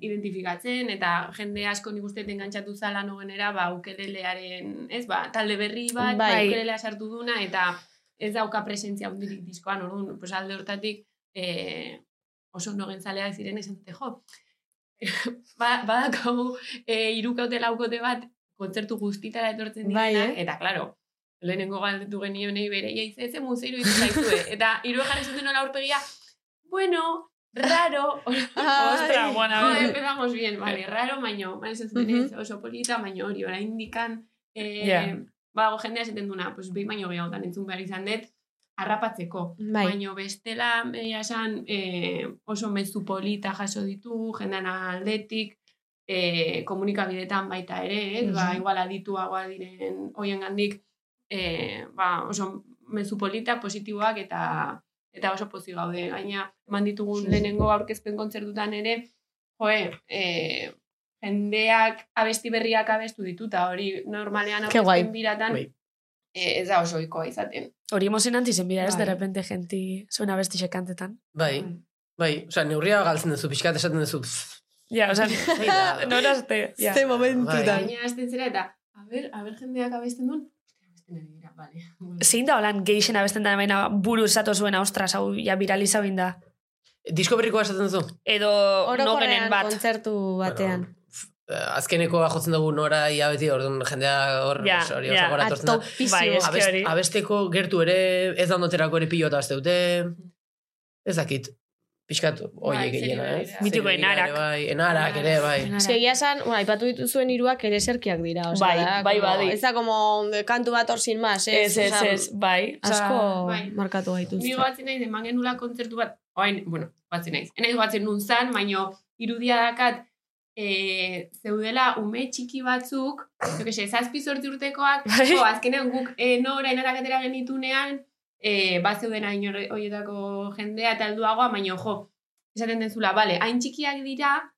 Speaker 7: identifikatzen, eta jende asko nik uste engantzatu zala nogenera, ba, ukelelearen, ez, ba, talde berri bat, ba,
Speaker 4: Bai.
Speaker 7: ukelelea sartu duna, eta ez dauka presentzia hundirik diskoan, orduan, pues, alde hortatik, eh, oso nogen zaleak ziren esan dute, jo, ba, badakagu e, irukaute laukote bat, kontzertu guztitara etortzen
Speaker 4: Bai,
Speaker 7: direnak,
Speaker 4: eh?
Speaker 7: eta, claro, lehenengo galdetu genionei bere, jaiz, ez muzeiru izaizue. Eta hiru jarri zuten nola aurpegia, bueno, raro,
Speaker 5: Ostra, buena,
Speaker 7: no,
Speaker 5: ber.
Speaker 7: empezamos bien,
Speaker 4: Eh.
Speaker 7: vale, raro, baino, baina ez zuten ez, oso polita, baino hori, orain indikan, eh,
Speaker 5: Ja.
Speaker 7: bago jendea esaten duna, pues, behin baino gehiagotan entzun behar izan dut, harrapatzeko.
Speaker 4: Bai.
Speaker 7: Baino bestela, egia esan, eh, oso mezu polita jaso ditu, jendan aldetik, eh, komunikabidetan baita ere, ez? ba,
Speaker 5: Mhm.
Speaker 7: igual adituagoa diren hoien gandik, eh, ba, oso mezu polita, positiboak eta eta oso pozi gaude. Gaina, eman ditugun lehenengo aurkezpen kontzertutan ere, joe, eh, jendeak abesti berriak abestu dituta, hori normalean
Speaker 4: Ke guai.
Speaker 7: aurkezpen biratan,
Speaker 6: Bai.
Speaker 7: eh, ez da oso oikoa izaten.
Speaker 5: Hori emozionanti zen bida, ez,
Speaker 7: Bai.
Speaker 5: de repente genti zuena besti kantetan.
Speaker 4: Bai.
Speaker 7: Mm.
Speaker 6: Bai, bai, osea, neurria galtzen duzu, pixkat esaten duzu, pff,
Speaker 5: Ja, oza, norazte. Ja.
Speaker 4: Ze
Speaker 6: Bai.
Speaker 4: momentutan.
Speaker 7: Baina azten zera eta, a ber, a ber jendeak abesten duen, Ostia, abesten ari dira, bale. Bueno.
Speaker 5: Zein da holan geixen abesten da baina buru zato zuen ostras, hau ja viraliza binda.
Speaker 6: Disko berrikoa esaten duzu?
Speaker 5: Edo no genen
Speaker 4: Orokorrean
Speaker 5: bat.
Speaker 4: kontzertu batean.
Speaker 6: Eh, azkenekoa jotzen dugu nora ia beti, orduan jendea hor
Speaker 5: Ja,
Speaker 6: hori
Speaker 5: ja.
Speaker 6: oso gora etortzen da.
Speaker 5: Bai,
Speaker 4: Atopizio.
Speaker 5: ez-
Speaker 6: Abest-
Speaker 5: hori.
Speaker 6: abesteko gertu ere, ez da noterako ere pilota azte dute, ez dakit, pixkat
Speaker 7: Bai,
Speaker 6: oiek gehiena,
Speaker 7: zeri
Speaker 6: ez?
Speaker 7: begira.
Speaker 5: Mitiko
Speaker 6: Zeri begira
Speaker 5: enarak.
Speaker 6: ere Bai, enarak ere, bai.
Speaker 4: Ez que egia esan, bueno, aipatu dituzuen hiruak ere serkiak dira. Osa,
Speaker 5: Bai,
Speaker 4: da,
Speaker 5: bai,
Speaker 4: como-
Speaker 5: badi.
Speaker 4: Ez da, como kantu bat hor sin más, ez?
Speaker 5: Ez, ez,
Speaker 4: Osea,
Speaker 5: ez, bai. Oza,
Speaker 4: Asko
Speaker 7: bai.
Speaker 4: markatu gaituzte.
Speaker 7: Ni batzen naiz, eman genula kontzertu bat, oain, bueno, batzen naiz. Enaiz batzen nun zan, baino irudia dakat, e, zeudela ume txiki batzuk, jo que se, zazpi sorti urtekoak,
Speaker 5: Bai.
Speaker 7: jo, azkenean guk e, nora inarakatera genitunean, e, bat zeudena inor horietako jendea eta helduagoa, baino jo, esaten denzula, bale, hain txikiak dira,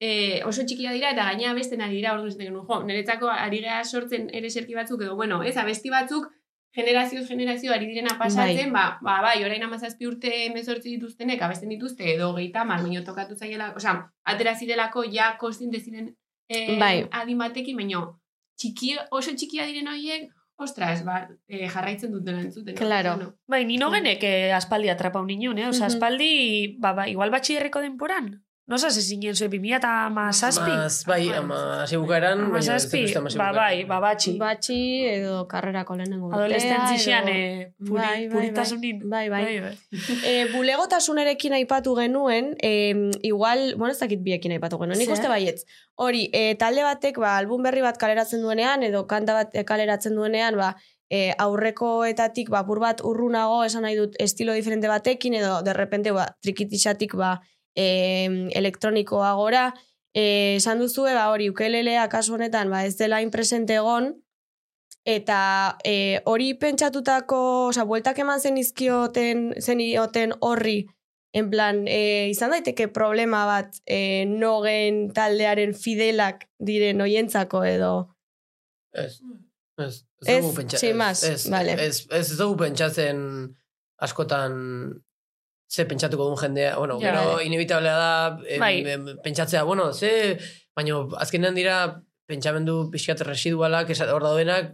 Speaker 7: e, oso txikia dira eta gaina abesten ari dira, ordu esaten genuen, jo, niretzako ari gara sortzen ere serki batzuk, edo, bueno, ez, abesti batzuk, generazioz generazio ari direna pasatzen, ba, ba, bai, orain amazazpi urte mezortzi dituztenek, abesten dituzte, edo geita, marmino tokatu zaiela, osea, atera zirelako ja kostin deziren e,
Speaker 4: Bai.
Speaker 7: adin batekin, baino, txiki, oso txikia diren horiek, ostras, ba, eh, jarraitzen dut dela entzuten.
Speaker 4: Claro.
Speaker 7: Bueno,
Speaker 5: Bai, nino genek eh, aspaldi atrapa un niño, eh? Osa,
Speaker 4: Mhm.
Speaker 5: aspaldi, ba, ba, igual batxillerreko denporan. No sa, zezinen zuen 2000 eta mazazpi.
Speaker 6: Mas, bai, ama
Speaker 4: Bai,
Speaker 6: zibukaeran, baina ez
Speaker 5: Mazazpi,
Speaker 6: dut uste ama
Speaker 5: ba,
Speaker 6: zibukaeran.
Speaker 5: bai, ba, batxi.
Speaker 4: Batxi edo karrerako lehenengo urtea,
Speaker 5: Adolescentzian,
Speaker 4: edo-
Speaker 5: eh, puri,
Speaker 4: Bai, bai, bai.
Speaker 5: puritasunin.
Speaker 4: Bai, bai.
Speaker 5: Bai, bai.
Speaker 4: E, bulegotasunerekin aipatu genuen, e, igual, bueno, ez dakit biekin aipatu genuen, nik
Speaker 5: Zer?
Speaker 4: uste baietz. Hori, e, talde batek, ba, album berri bat kaleratzen duenean, edo kanta bat eh, kaleratzen duenean, ba, e, aurrekoetatik, ba, bur bat urrunago, esan nahi dut, estilo diferente batekin, edo, derrepente, ba, trikitixatik, ba, e, elektronikoa gora, e, esan duzue, ba, hori, ukelelea kasu honetan, ba, ez dela inpresente egon, eta e, hori pentsatutako, oza, bueltak eman zen izkioten, zenioten horri, en plan, e, izan daiteke problema bat e, nogen taldearen fidelak diren oientzako edo.
Speaker 6: Ez.
Speaker 5: Mm.
Speaker 6: Ez,
Speaker 4: Ez,
Speaker 6: dugu pentsa-
Speaker 4: sin más,
Speaker 6: ez,
Speaker 4: vale.
Speaker 6: ez, ez, ez dugu pentsatzen askotan ze pentsatuko duen jendea, bueno,
Speaker 5: Ja,
Speaker 6: gero
Speaker 5: vale.
Speaker 6: inevitablea da em,
Speaker 5: Bai.
Speaker 6: em, pentsatzea, bueno, ze, baino azkenean dira pentsamendu pixkat residualak, esat hor daudenak,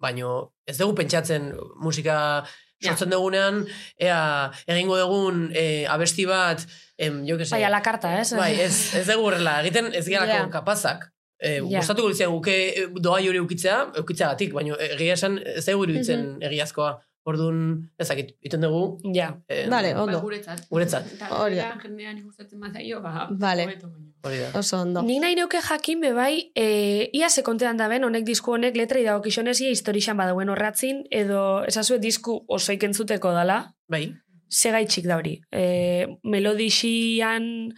Speaker 6: baino ez dugu pentsatzen musika
Speaker 7: Ja.
Speaker 6: sortzen dugunean, ea, egingo dugun e, abesti bat, em, jo que se,
Speaker 5: Bai, a la carta, ez?
Speaker 6: Bai, ez, ez dugu horrela, egiten ez gerako
Speaker 4: Ja.
Speaker 6: kapazak. E,
Speaker 5: Ja.
Speaker 6: Gustatuko litzea guke eh, doa hori eukitzea, eukitzeagatik, baina egia esan ez dugu iruditzen
Speaker 4: Mhm.
Speaker 6: egiazkoa. Orduan, ezakit, iten dugu.
Speaker 5: Ja.
Speaker 6: Eh,
Speaker 4: Vale,
Speaker 7: Bai,
Speaker 4: ondo,
Speaker 7: guretzat.
Speaker 6: Guretzat.
Speaker 7: Eta
Speaker 4: Hori da.
Speaker 7: jendean- jendean ikustatzen bazaio, ba,
Speaker 4: Vale.
Speaker 7: hobeto, baino.
Speaker 6: Hori da.
Speaker 4: oso ondo.
Speaker 5: Nik nahi neuke jakin be bai, e, ia ze kontean da ben, honek disku honek letrei dago kixonez, ia historixan badauen horratzin, edo esazue disku osoik entzuteko dala,
Speaker 6: Bai,
Speaker 5: ze gaitxik da hori. E, melodixian,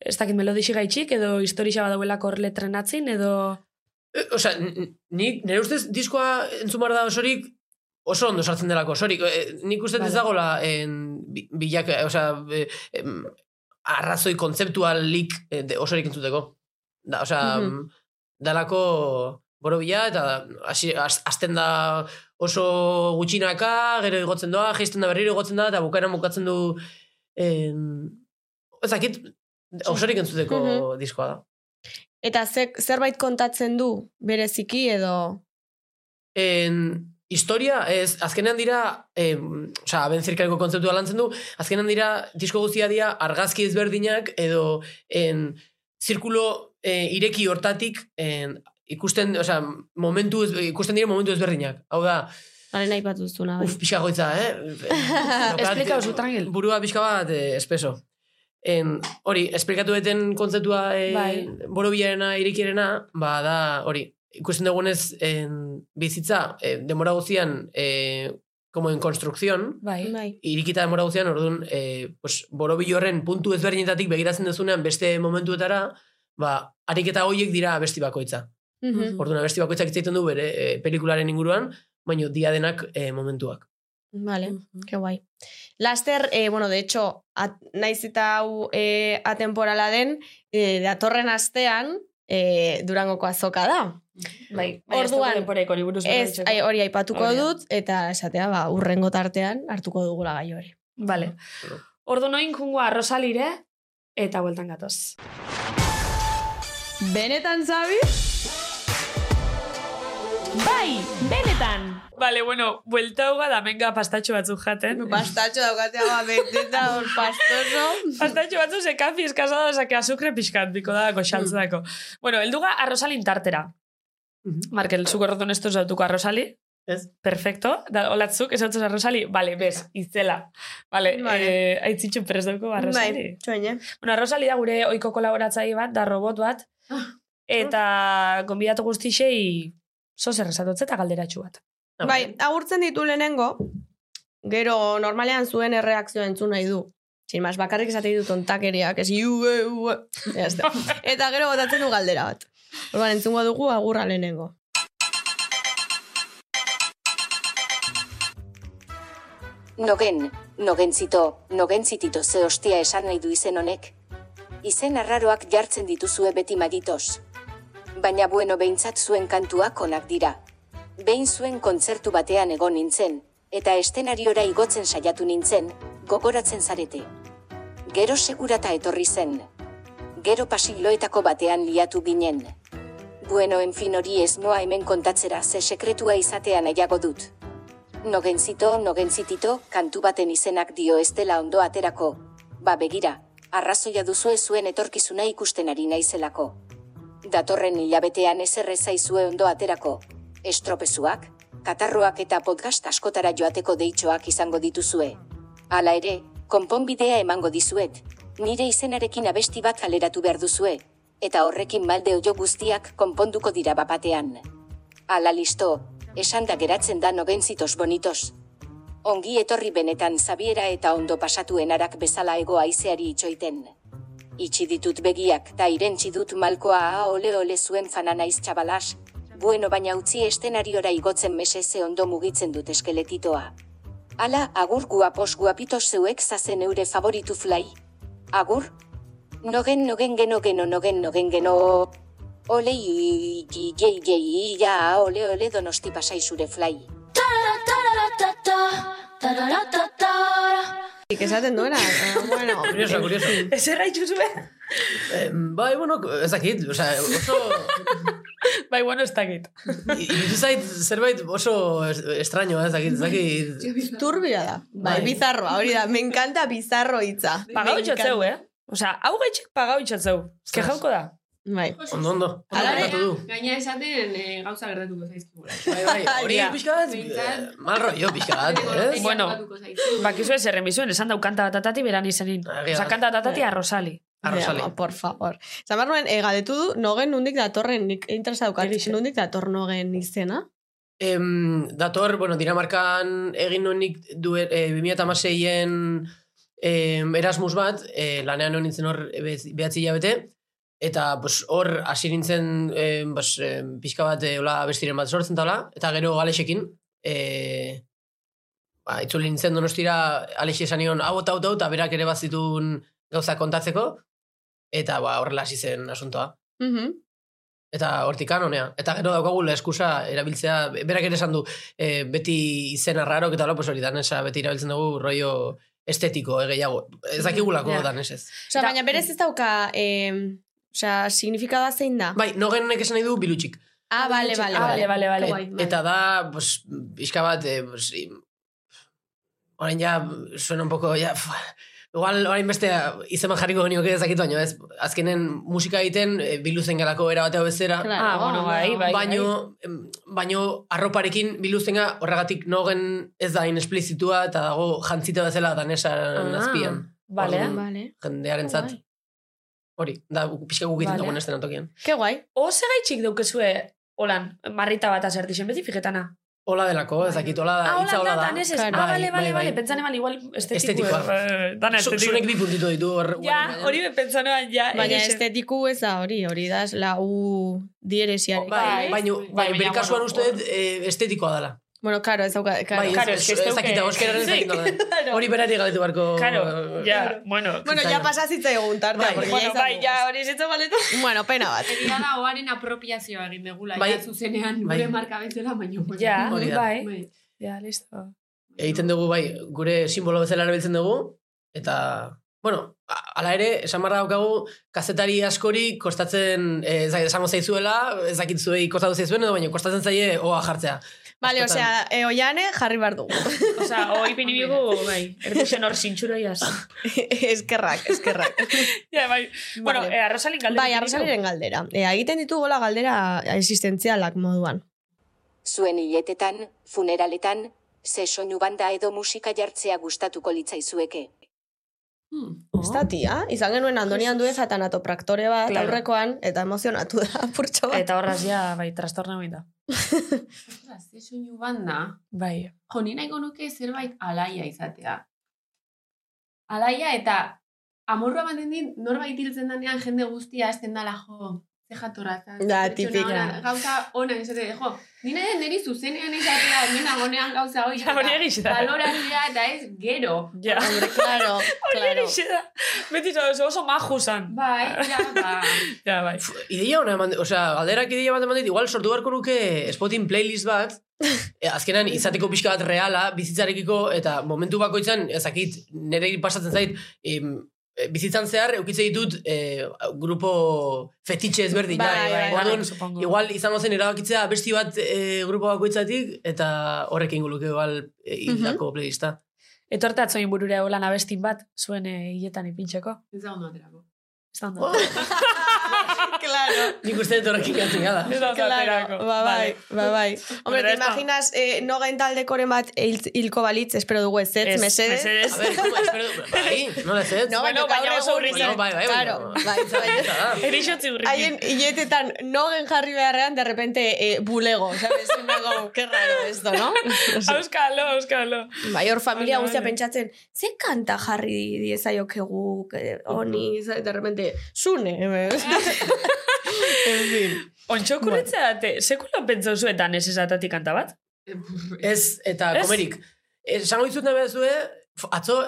Speaker 5: ez dakit melodixi gaitxik, edo historixa badauelako hor letren atzin, edo...
Speaker 6: E, Osa, n- n- nik, nire ustez, diskoa entzun behar da osorik, oso ondo sartzen delako osorik. E, nik ustez ez
Speaker 5: Vale.
Speaker 6: dagola en, bi- bilak, osa, e, em, arrazoi kontzeptualik e, de- osorik entzuteko. Da, osa,
Speaker 4: Mhm.
Speaker 6: dalako borobila, eta hasi- az- azten da oso gutxinaka, gero igotzen doa, jaisten da berriro igotzen da, eta bukaeran bukatzen du... En, ezakit, osorik entzuteko
Speaker 4: Mhm.
Speaker 6: diskoa da.
Speaker 4: Eta ze, zerbait kontatzen du bereziki edo...
Speaker 6: en, historia, ez, azkenean dira, em, oza, ben zirkareko kontzeptua lantzen du, azkenean dira, disko guztia dira, argazki ezberdinak, edo, en, zirkulo eh, ireki hortatik, en, ikusten, oza, momentu, ez, ikusten dira momentu ezberdinak. Hau da,
Speaker 4: Haren aipatu zuzuna, bai.
Speaker 6: uf, pixka goitza, eh? Daukat,
Speaker 5: Esplikauzu, Trangel.
Speaker 6: Burua pixka bat, eh, espeso. En, hori, esplikatu eten kontzeptua eh,
Speaker 5: Bai.
Speaker 6: borobilarena, irikirena, ba da, hori, ikusten dugunez en, bizitza, eh, demora guztian, eh, como en konstrukzion,
Speaker 5: Bai.
Speaker 4: Bai.
Speaker 6: irikita demora guztian, orduan, eh, pues, borobil horren puntu ezberdinetatik begiratzen dezunean beste momentuetara, ba, ariketa hoiek dira abesti bakoitza.
Speaker 4: Mhm.
Speaker 6: Orduan, abesti bakoitzak hitz egiten du bere eh, pelikularen inguruan, baino dia denak eh, momentuak.
Speaker 4: Vale, qué guai. Laster, eh, bueno, de hecho, at, naiz eta hau eh, atemporala den, eh, datorren astean, eh, durangoko azoka da.
Speaker 5: Bai,
Speaker 4: Orduan,
Speaker 5: Poreko, liburuz
Speaker 4: Ez, ai, hori aipatuko
Speaker 5: Hori da.
Speaker 4: dut, eta esatea, ba, urrengo tartean hartuko dugula gai hori.
Speaker 5: Vale. Ordu noin jungoa Rosalire, eta bueltan gatoz.
Speaker 2: Benetan zabi?
Speaker 5: Bai, benetan! Bale, bueno, buelta huga da menga pastatxo batzuk jaten.
Speaker 4: Pastatxo daukatea ba, beteta hor pastoso.
Speaker 5: Pastatxo batzu ze kafi eskasa da, zake azukre pixkat, biko da, goxaltzako. Bueno, elduga arrosalin tartera.
Speaker 6: Mhm.
Speaker 5: Markel, zuko erroton esto zautuko arrosali.
Speaker 6: Ez.
Speaker 5: Perfecto. Da, olatzuk, ez zautu arrosali. Bale, bez, itzela. Bale,
Speaker 4: Vale.
Speaker 5: eh, aitzitxu prez dauko arrosali.
Speaker 4: Bai, txoin, eh?
Speaker 5: Bueno, arrosali da gure oiko kolaboratzaile bat, da robot bat.
Speaker 6: Ah,
Speaker 5: Eta gonbidatu guztixei zozer esatotze eta galderatxu bat.
Speaker 6: Ah,
Speaker 4: Bai, agurtzen ditu lehenengo, gero normalean zuen erreakzioa entzun nahi du. Sin mas, bakarrik esate ditu tontakeriak, ez iue, iue. Ja, ez da. Eta gero botatzen du galdera bat. Orduan entzungo dugu agurra lehenengo.
Speaker 8: Nogen, nogentzito, nogentzitito ze ostia esan nahi du izen honek. Izen arraroak jartzen dituzue beti maritos. Baina bueno behintzat zuen kantuak onak dira. Behin zuen kontzertu batean egon nintzen, eta estenariora igotzen saiatu nintzen, gogoratzen zarete. Gero segurata etorri zen. Gero pasiloetako batean liatu ginen. Bueno, enfin hori ez noa hemen kontatzera ze sekretua izatea nahiago dut. Nogentzito, nogentzitito, kantu baten izenak dio ez dela ondo aterako. Ba begira, arrazoia duzue zuen etorkizuna ikusten ari naizelako. Datorren hilabetean ez errezaizue ondo aterako. Estropezuak, katarroak eta podcast askotara joateko deitxoak izango dituzue. Hala ere, konponbidea emango dizuet, nire izenarekin abesti bat kaleratu behar duzue, eta horrekin malde oio guztiak konponduko dira bapatean. Ala listo, esan da geratzen da nogentzitos bonitos. Ongi etorri benetan zabiera eta ondo pasatuen arak bezala ego aizeari itxoiten. Itxi ditut begiak ta irentzi dut malkoa aha ole ole zuen fana naiz txabalas, bueno baina utzi estenariora igotzen meseze ondo mugitzen dut eskeletitoa. Ala, agur guapos guapito zeuek zazen eure favoritu fly. Agur? Nogen nogen geno geno nogen nogen geno... Ole i- i- jei jei ia ole ole donosti pasai zure fly.
Speaker 4: Ik esaten duena, eh, bueno.
Speaker 6: Kurioso, kurioso.
Speaker 5: Ez erra itxuzue?
Speaker 6: Eh, bai, bueno, ez dakit, oza, oso...
Speaker 5: Bai, bueno, ez dakit.
Speaker 6: Iritsi zait zerbait oso es- estrañoa, ez dakit, ez dakit...
Speaker 4: Turbia da. Bai,
Speaker 6: Bai.
Speaker 4: bizarroa, hori da. Me encanta bizarro hitza.
Speaker 5: Pagau
Speaker 4: Me
Speaker 5: itxotzeu,
Speaker 4: encanta.
Speaker 5: eh? Osea, hau gaitxik pagau itxotzeu. Ezke
Speaker 6: Ostras.
Speaker 5: jauko da.
Speaker 4: Bai.
Speaker 6: Ondo, ondo. Ondo
Speaker 4: Ala ere-
Speaker 6: kontatu du.
Speaker 7: Gaina esaten eh, gauza gertatuko zaizkigula.
Speaker 6: Bai, bai, hori
Speaker 4: Ja.
Speaker 6: pixka bat,
Speaker 7: Behintzat.
Speaker 6: eh, mal rollo pizka bat, ez?
Speaker 5: Bueno.
Speaker 7: Gertatuko zaizkigu.
Speaker 5: Bakizu ez erremizuen, esan dau kanta batatati beran izenin.
Speaker 6: Egia
Speaker 5: Osa,
Speaker 6: da.
Speaker 5: kanta batatati arrosali.
Speaker 6: Arrosali.
Speaker 4: Ama, por favor. Zan behar nuen, eh, galdetu du, nogen nundik datorren, nik interesa daukat,
Speaker 5: Horixe.
Speaker 4: nundik dator nogen izena?
Speaker 6: Em, dator, bueno, Dinamarkan egin nonik du, e, 2006en em, Erasmus bat, e, lanean hon nintzen hor e, bez- behatzi hilabete, eta pues, hor hasi nintzen em, pues, em, pixka bat e, hola bestiren bat sortzen tala, eta gero Alexekin, e, ba, itzuli nintzen donostira Alexi esan nion, hau eta hau eta hau", eta berak ere bazitun gauza kontatzeko, eta ba, horrela hasi zen asuntoa.
Speaker 4: Mhm.
Speaker 6: Eta hortikan honea. Eta gero daukagu la eskusa erabiltzea, berak ere esan du, e, beti izena rarok eta hola, pues hori danesa, beti erabiltzen dugu rollo estetiko, eh, gehiago. Ez dakigulako
Speaker 5: Ja.
Speaker 6: yeah. danesez.
Speaker 4: Osea,
Speaker 5: Da-
Speaker 4: baina berez ez dauka, eh, osea, signifikada zein da?
Speaker 6: Bai, nogenek esan nahi du bilutxik.
Speaker 4: Ah, bale, bale,
Speaker 5: Ah, bale, bale, bale.
Speaker 4: Guai, bai.
Speaker 6: Eta da, pues, pixka bat, eh, pues, i- orain ja, suena un poco, ja, pf, igual orain beste izeman jarriko genioke ez dakit baino, ez, azkenen musika egiten e, bildu zen galako erabatea bezera,
Speaker 4: Claro.
Speaker 5: Ah, bueno, bai, bai.
Speaker 6: baino, em, baino arroparekin biluztenga horregatik nogen ez da inesplizitua eta dago jantzita bezala danesa
Speaker 5: Ah,
Speaker 6: azpian.
Speaker 5: Vale,
Speaker 6: Orduan,
Speaker 4: Vale.
Speaker 6: Jendearen zat.
Speaker 4: Guai.
Speaker 6: Hori, da gu- pixka gukitzen
Speaker 5: Vale.
Speaker 6: dugun esten antokian.
Speaker 4: Ke guai.
Speaker 5: Ose gaitxik daukezue, holan, marrita bat azertixen, beti fijetana.
Speaker 6: Hola delako, ez dakit, hola da,
Speaker 5: Ah,
Speaker 6: hitza
Speaker 5: hola, da,
Speaker 6: hola Ah, da.
Speaker 5: dan ez ez.
Speaker 6: Bai,
Speaker 5: Ah, bale, bale,
Speaker 6: bai,
Speaker 5: bale,
Speaker 6: bai.
Speaker 5: pentsan eman igual estetiko.
Speaker 6: Estetikoa.
Speaker 5: eh, Dana
Speaker 6: Zu- Zunek
Speaker 5: estetiko.
Speaker 6: bi puntitu ditu hor.
Speaker 5: Ja,
Speaker 6: guarekin,
Speaker 5: hori bai. be pentsanoan, ja.
Speaker 4: Baina
Speaker 5: egixe.
Speaker 4: estetiku ez da hori, hori da, es la u dieresiarekin.
Speaker 6: Bai,
Speaker 5: Bai,
Speaker 6: baino,
Speaker 5: bai,
Speaker 6: bai,
Speaker 5: baina,
Speaker 6: bere kasuan
Speaker 5: bueno,
Speaker 6: uste dut eh, estetikoa dela.
Speaker 4: Bueno, karo, ez dauka, karo.
Speaker 6: Bai,
Speaker 5: Claro,
Speaker 6: ez,
Speaker 5: es que
Speaker 6: ez,
Speaker 5: ez
Speaker 6: ez dakit,
Speaker 5: dauke-
Speaker 6: euskeraren ez
Speaker 5: Sí,
Speaker 6: dakit nola.
Speaker 5: claro.
Speaker 6: Hori berari galdetu barko.
Speaker 5: Claro, ja, bueno.
Speaker 4: Bueno,
Speaker 6: Zaila.
Speaker 4: ja pasazitzaiogun tartea,
Speaker 6: Bai.
Speaker 4: porque
Speaker 5: Bueno,
Speaker 4: ya
Speaker 5: bai,
Speaker 4: izan
Speaker 5: ja, hori zitzu galetu.
Speaker 4: dugu. Bueno, pena bat.
Speaker 7: Egia da, oaren apropiazioa egin degula,
Speaker 6: Bai.
Speaker 7: ja, zuzenean
Speaker 6: Bai.
Speaker 7: gure marka bezala, baino. bueno.
Speaker 5: Ja,
Speaker 6: Hori da.
Speaker 5: bai.
Speaker 7: Bai.
Speaker 5: Ja, listo.
Speaker 6: Egiten dugu, bai, gure simbolo bezala erabiltzen dugu, eta Bueno, a- ala ere, esan barra daukagu, kazetari askori kostatzen, eh, ez dakit, esango zaizuela, ez dakit zuei kostatu zaizuen, edo baina kostatzen zaie oa jartzea.
Speaker 4: Bale,
Speaker 6: Askotan.
Speaker 4: osea, e, oiane jarri behar dugu.
Speaker 5: Osa, hoi pinibigu, bai, erduzen hor zintxura iaz.
Speaker 4: eskerrak, eskerrak.
Speaker 5: Ja, bai. Bueno, eh, arrasalin galdera.
Speaker 4: bai, arrasaliren galdera. E, egiten ditugola galdera existentzialak moduan.
Speaker 8: Zuen hiletetan, funeraletan, ze soinu banda edo musika jartzea gustatuko litzaizueke.
Speaker 7: Hmm.
Speaker 5: Oh.
Speaker 4: Ez da, tia? Izan genuen Andoni Andueza eta natopraktorea bat
Speaker 5: Claro.
Speaker 4: aurrekoan, eta emozionatu da, purtxo bat.
Speaker 5: Eta horraz ja, bai, trastorna hori da.
Speaker 7: Ostras, ze soinu banda.
Speaker 5: Bai.
Speaker 7: Jo, ni nahiko nuke zerbait alaia izatea. Alaia eta amorrua ematen dit, norbait hiltzen danean jende guztia hasten dala, jo, ze jatorraza. ze
Speaker 4: Da,
Speaker 7: pertsona
Speaker 4: tipika.
Speaker 7: ona, Gauza ona izate, jo, nina den niri zuzenean izatea, nena gonean gauza hori.
Speaker 5: Ja, hori egiz da.
Speaker 7: Balorazioa eta ez gero.
Speaker 5: Ja.
Speaker 4: Hombre, claro, claro.
Speaker 5: Hori da. Beti oso, oso maju zan.
Speaker 7: Bai, ja, ba.
Speaker 5: Ja, bai.
Speaker 6: Ideia hona eman, osea, galderak ideia bat eman dit, igual sortu beharko nuke Spotin playlist bat, eh, azkenan izateko pixka bat reala, bizitzarekiko, eta momentu bakoitzan, ezakit, nire pasatzen zait, em, eh, bizitzan zehar, eukitze ditut eh, grupo fetitxe ezberdin.
Speaker 4: Bai, bai, bai.
Speaker 6: Orduan,
Speaker 5: supongo.
Speaker 6: Igual izango zen erabakitzea besti bat e, grupo bakoitzatik eta horrekin guluke igual e, hildako playlista.
Speaker 5: Etorta atzoin burura holan abestin bat, zuen eh, hiletan ipintxeko.
Speaker 7: Ez da ondo aterako.
Speaker 5: Ez da ondo.
Speaker 6: Oh,
Speaker 4: claro.
Speaker 6: nik uste dut horrekin gatzen gara.
Speaker 5: Ez da ondo
Speaker 4: Claro,
Speaker 5: aterako.
Speaker 4: ba, bai,
Speaker 5: Vale.
Speaker 4: ba, bai. Hombre,
Speaker 5: Pero
Speaker 4: te
Speaker 5: esto-
Speaker 4: imaginas, eh, no gain taldekoren bat hil- hilko balitz, espero dugu ez ez,
Speaker 5: Ez,
Speaker 4: mesedez.
Speaker 6: A ber, como, espero, bai, nola ez ez?
Speaker 4: No,
Speaker 5: Bueno,
Speaker 4: baina
Speaker 5: baina
Speaker 4: gaur
Speaker 5: oso
Speaker 4: egun-
Speaker 5: urritan.
Speaker 6: Bueno, bai, bai,
Speaker 4: Claro,
Speaker 6: baina-
Speaker 4: bai, bai.
Speaker 6: Eta da.
Speaker 5: Erixotzi urrikin.
Speaker 4: Haien hiletetan nogen jarri beharrean, de repente, eh, bulego, ¿sabes? Y me hago, qué raro esto, ¿no?
Speaker 5: Auskalo, auskalo.
Speaker 4: Bai, hor familia
Speaker 5: Vale,
Speaker 4: guztia
Speaker 5: vale.
Speaker 4: pentsatzen, ze kanta jarri diezaiokegu, eh, honi, ze- de repente, zune. eh. en fin.
Speaker 5: Ontxo kurritzea date, sekulan pentsau zuetan ez esatatik kanta bat?
Speaker 6: Ez, eta
Speaker 5: Ez?
Speaker 6: komerik. Esango izut nabe zue, atzo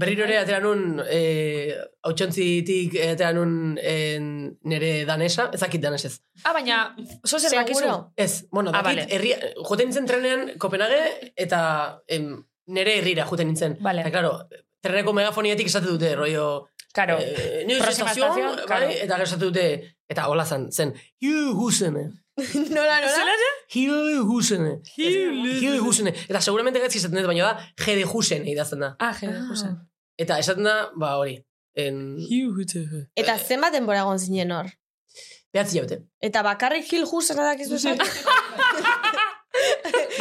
Speaker 6: berriro ere atera nun e, hautsantzitik atera nun e, nire danesa, ezakit danesez.
Speaker 5: Ah, baina, oso zer dakizu?
Speaker 4: Seguro.
Speaker 6: Ez, bueno,
Speaker 5: Ah,
Speaker 6: dakit,
Speaker 5: vale.
Speaker 6: herri, joten nintzen trenean Kopenhage eta em, nere herrira joten nintzen.
Speaker 5: Vale.
Speaker 6: Eta, claro, treneko megafoniatik esate dute, rollo...
Speaker 5: Karo,
Speaker 6: eh, news
Speaker 5: próxima
Speaker 6: estación,
Speaker 5: estación,
Speaker 6: bai,
Speaker 5: claro.
Speaker 6: Eta gero esate dute, eta hola zan, zen, hiu husene,
Speaker 4: Nola, nola?
Speaker 6: hiu husene, hiu husene. Eta seguramente gaitzik esaten dut, baina ba, da, jede husen idazten da.
Speaker 5: Ah, jera, ah.
Speaker 6: Eta esaten da, ba hori, en,
Speaker 4: Eta zenbat denbora egon zinen hor?
Speaker 6: behatzi jaute.
Speaker 4: Eta bakarrik hil juz dakizu zen.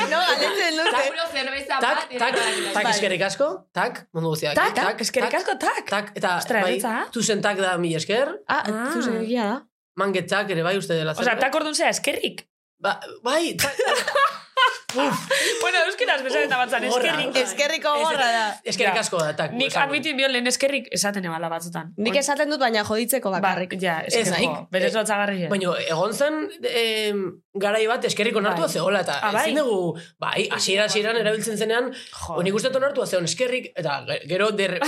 Speaker 4: no, galetzen dute.
Speaker 7: Seguro zerbeza
Speaker 5: Ah,
Speaker 6: Tak,
Speaker 7: Ba, bat.
Speaker 6: tak,
Speaker 7: eta-
Speaker 6: tak,
Speaker 4: Bai.
Speaker 6: eskerrik asko, tak, mundu guztiak.
Speaker 5: Tak, eskerrik asko, tak.
Speaker 6: Tak, eta
Speaker 5: Ostra,
Speaker 6: bai,
Speaker 5: ezetza.
Speaker 6: zuzen tak da mi esker,
Speaker 4: Ah,
Speaker 5: Ah.
Speaker 4: zuzen egia da.
Speaker 6: mangetak ere bai uste dela
Speaker 5: Osa, tak orduan zea, eskerrik.
Speaker 6: Ba, bai, tak,
Speaker 5: Bueno, euskeraz besan eta batzan,
Speaker 6: Gorra.
Speaker 5: eskerrik.
Speaker 4: Eskerriko gorra da.
Speaker 6: eskerrik
Speaker 5: Ja.
Speaker 6: asko da, tak.
Speaker 5: Nik
Speaker 6: esango.
Speaker 5: admitin bion lehen eskerrik esaten ebala batzutan.
Speaker 4: Nik
Speaker 5: On-
Speaker 4: esaten dut, baina joditzeko bakarrik.
Speaker 5: Ba, ja, eskerrik.
Speaker 6: nik-
Speaker 5: Berez lotzagarri.
Speaker 6: Baina egon zen eh, garai bat eskerriko onartua
Speaker 5: Bai.
Speaker 6: zehola, eta
Speaker 5: Ah, bai.
Speaker 6: ezin dugu, bai, hasiera hasieran erabiltzen zenean,
Speaker 5: Jo.
Speaker 6: honik uste onartua zeon eskerrik, eta ge- gero derre,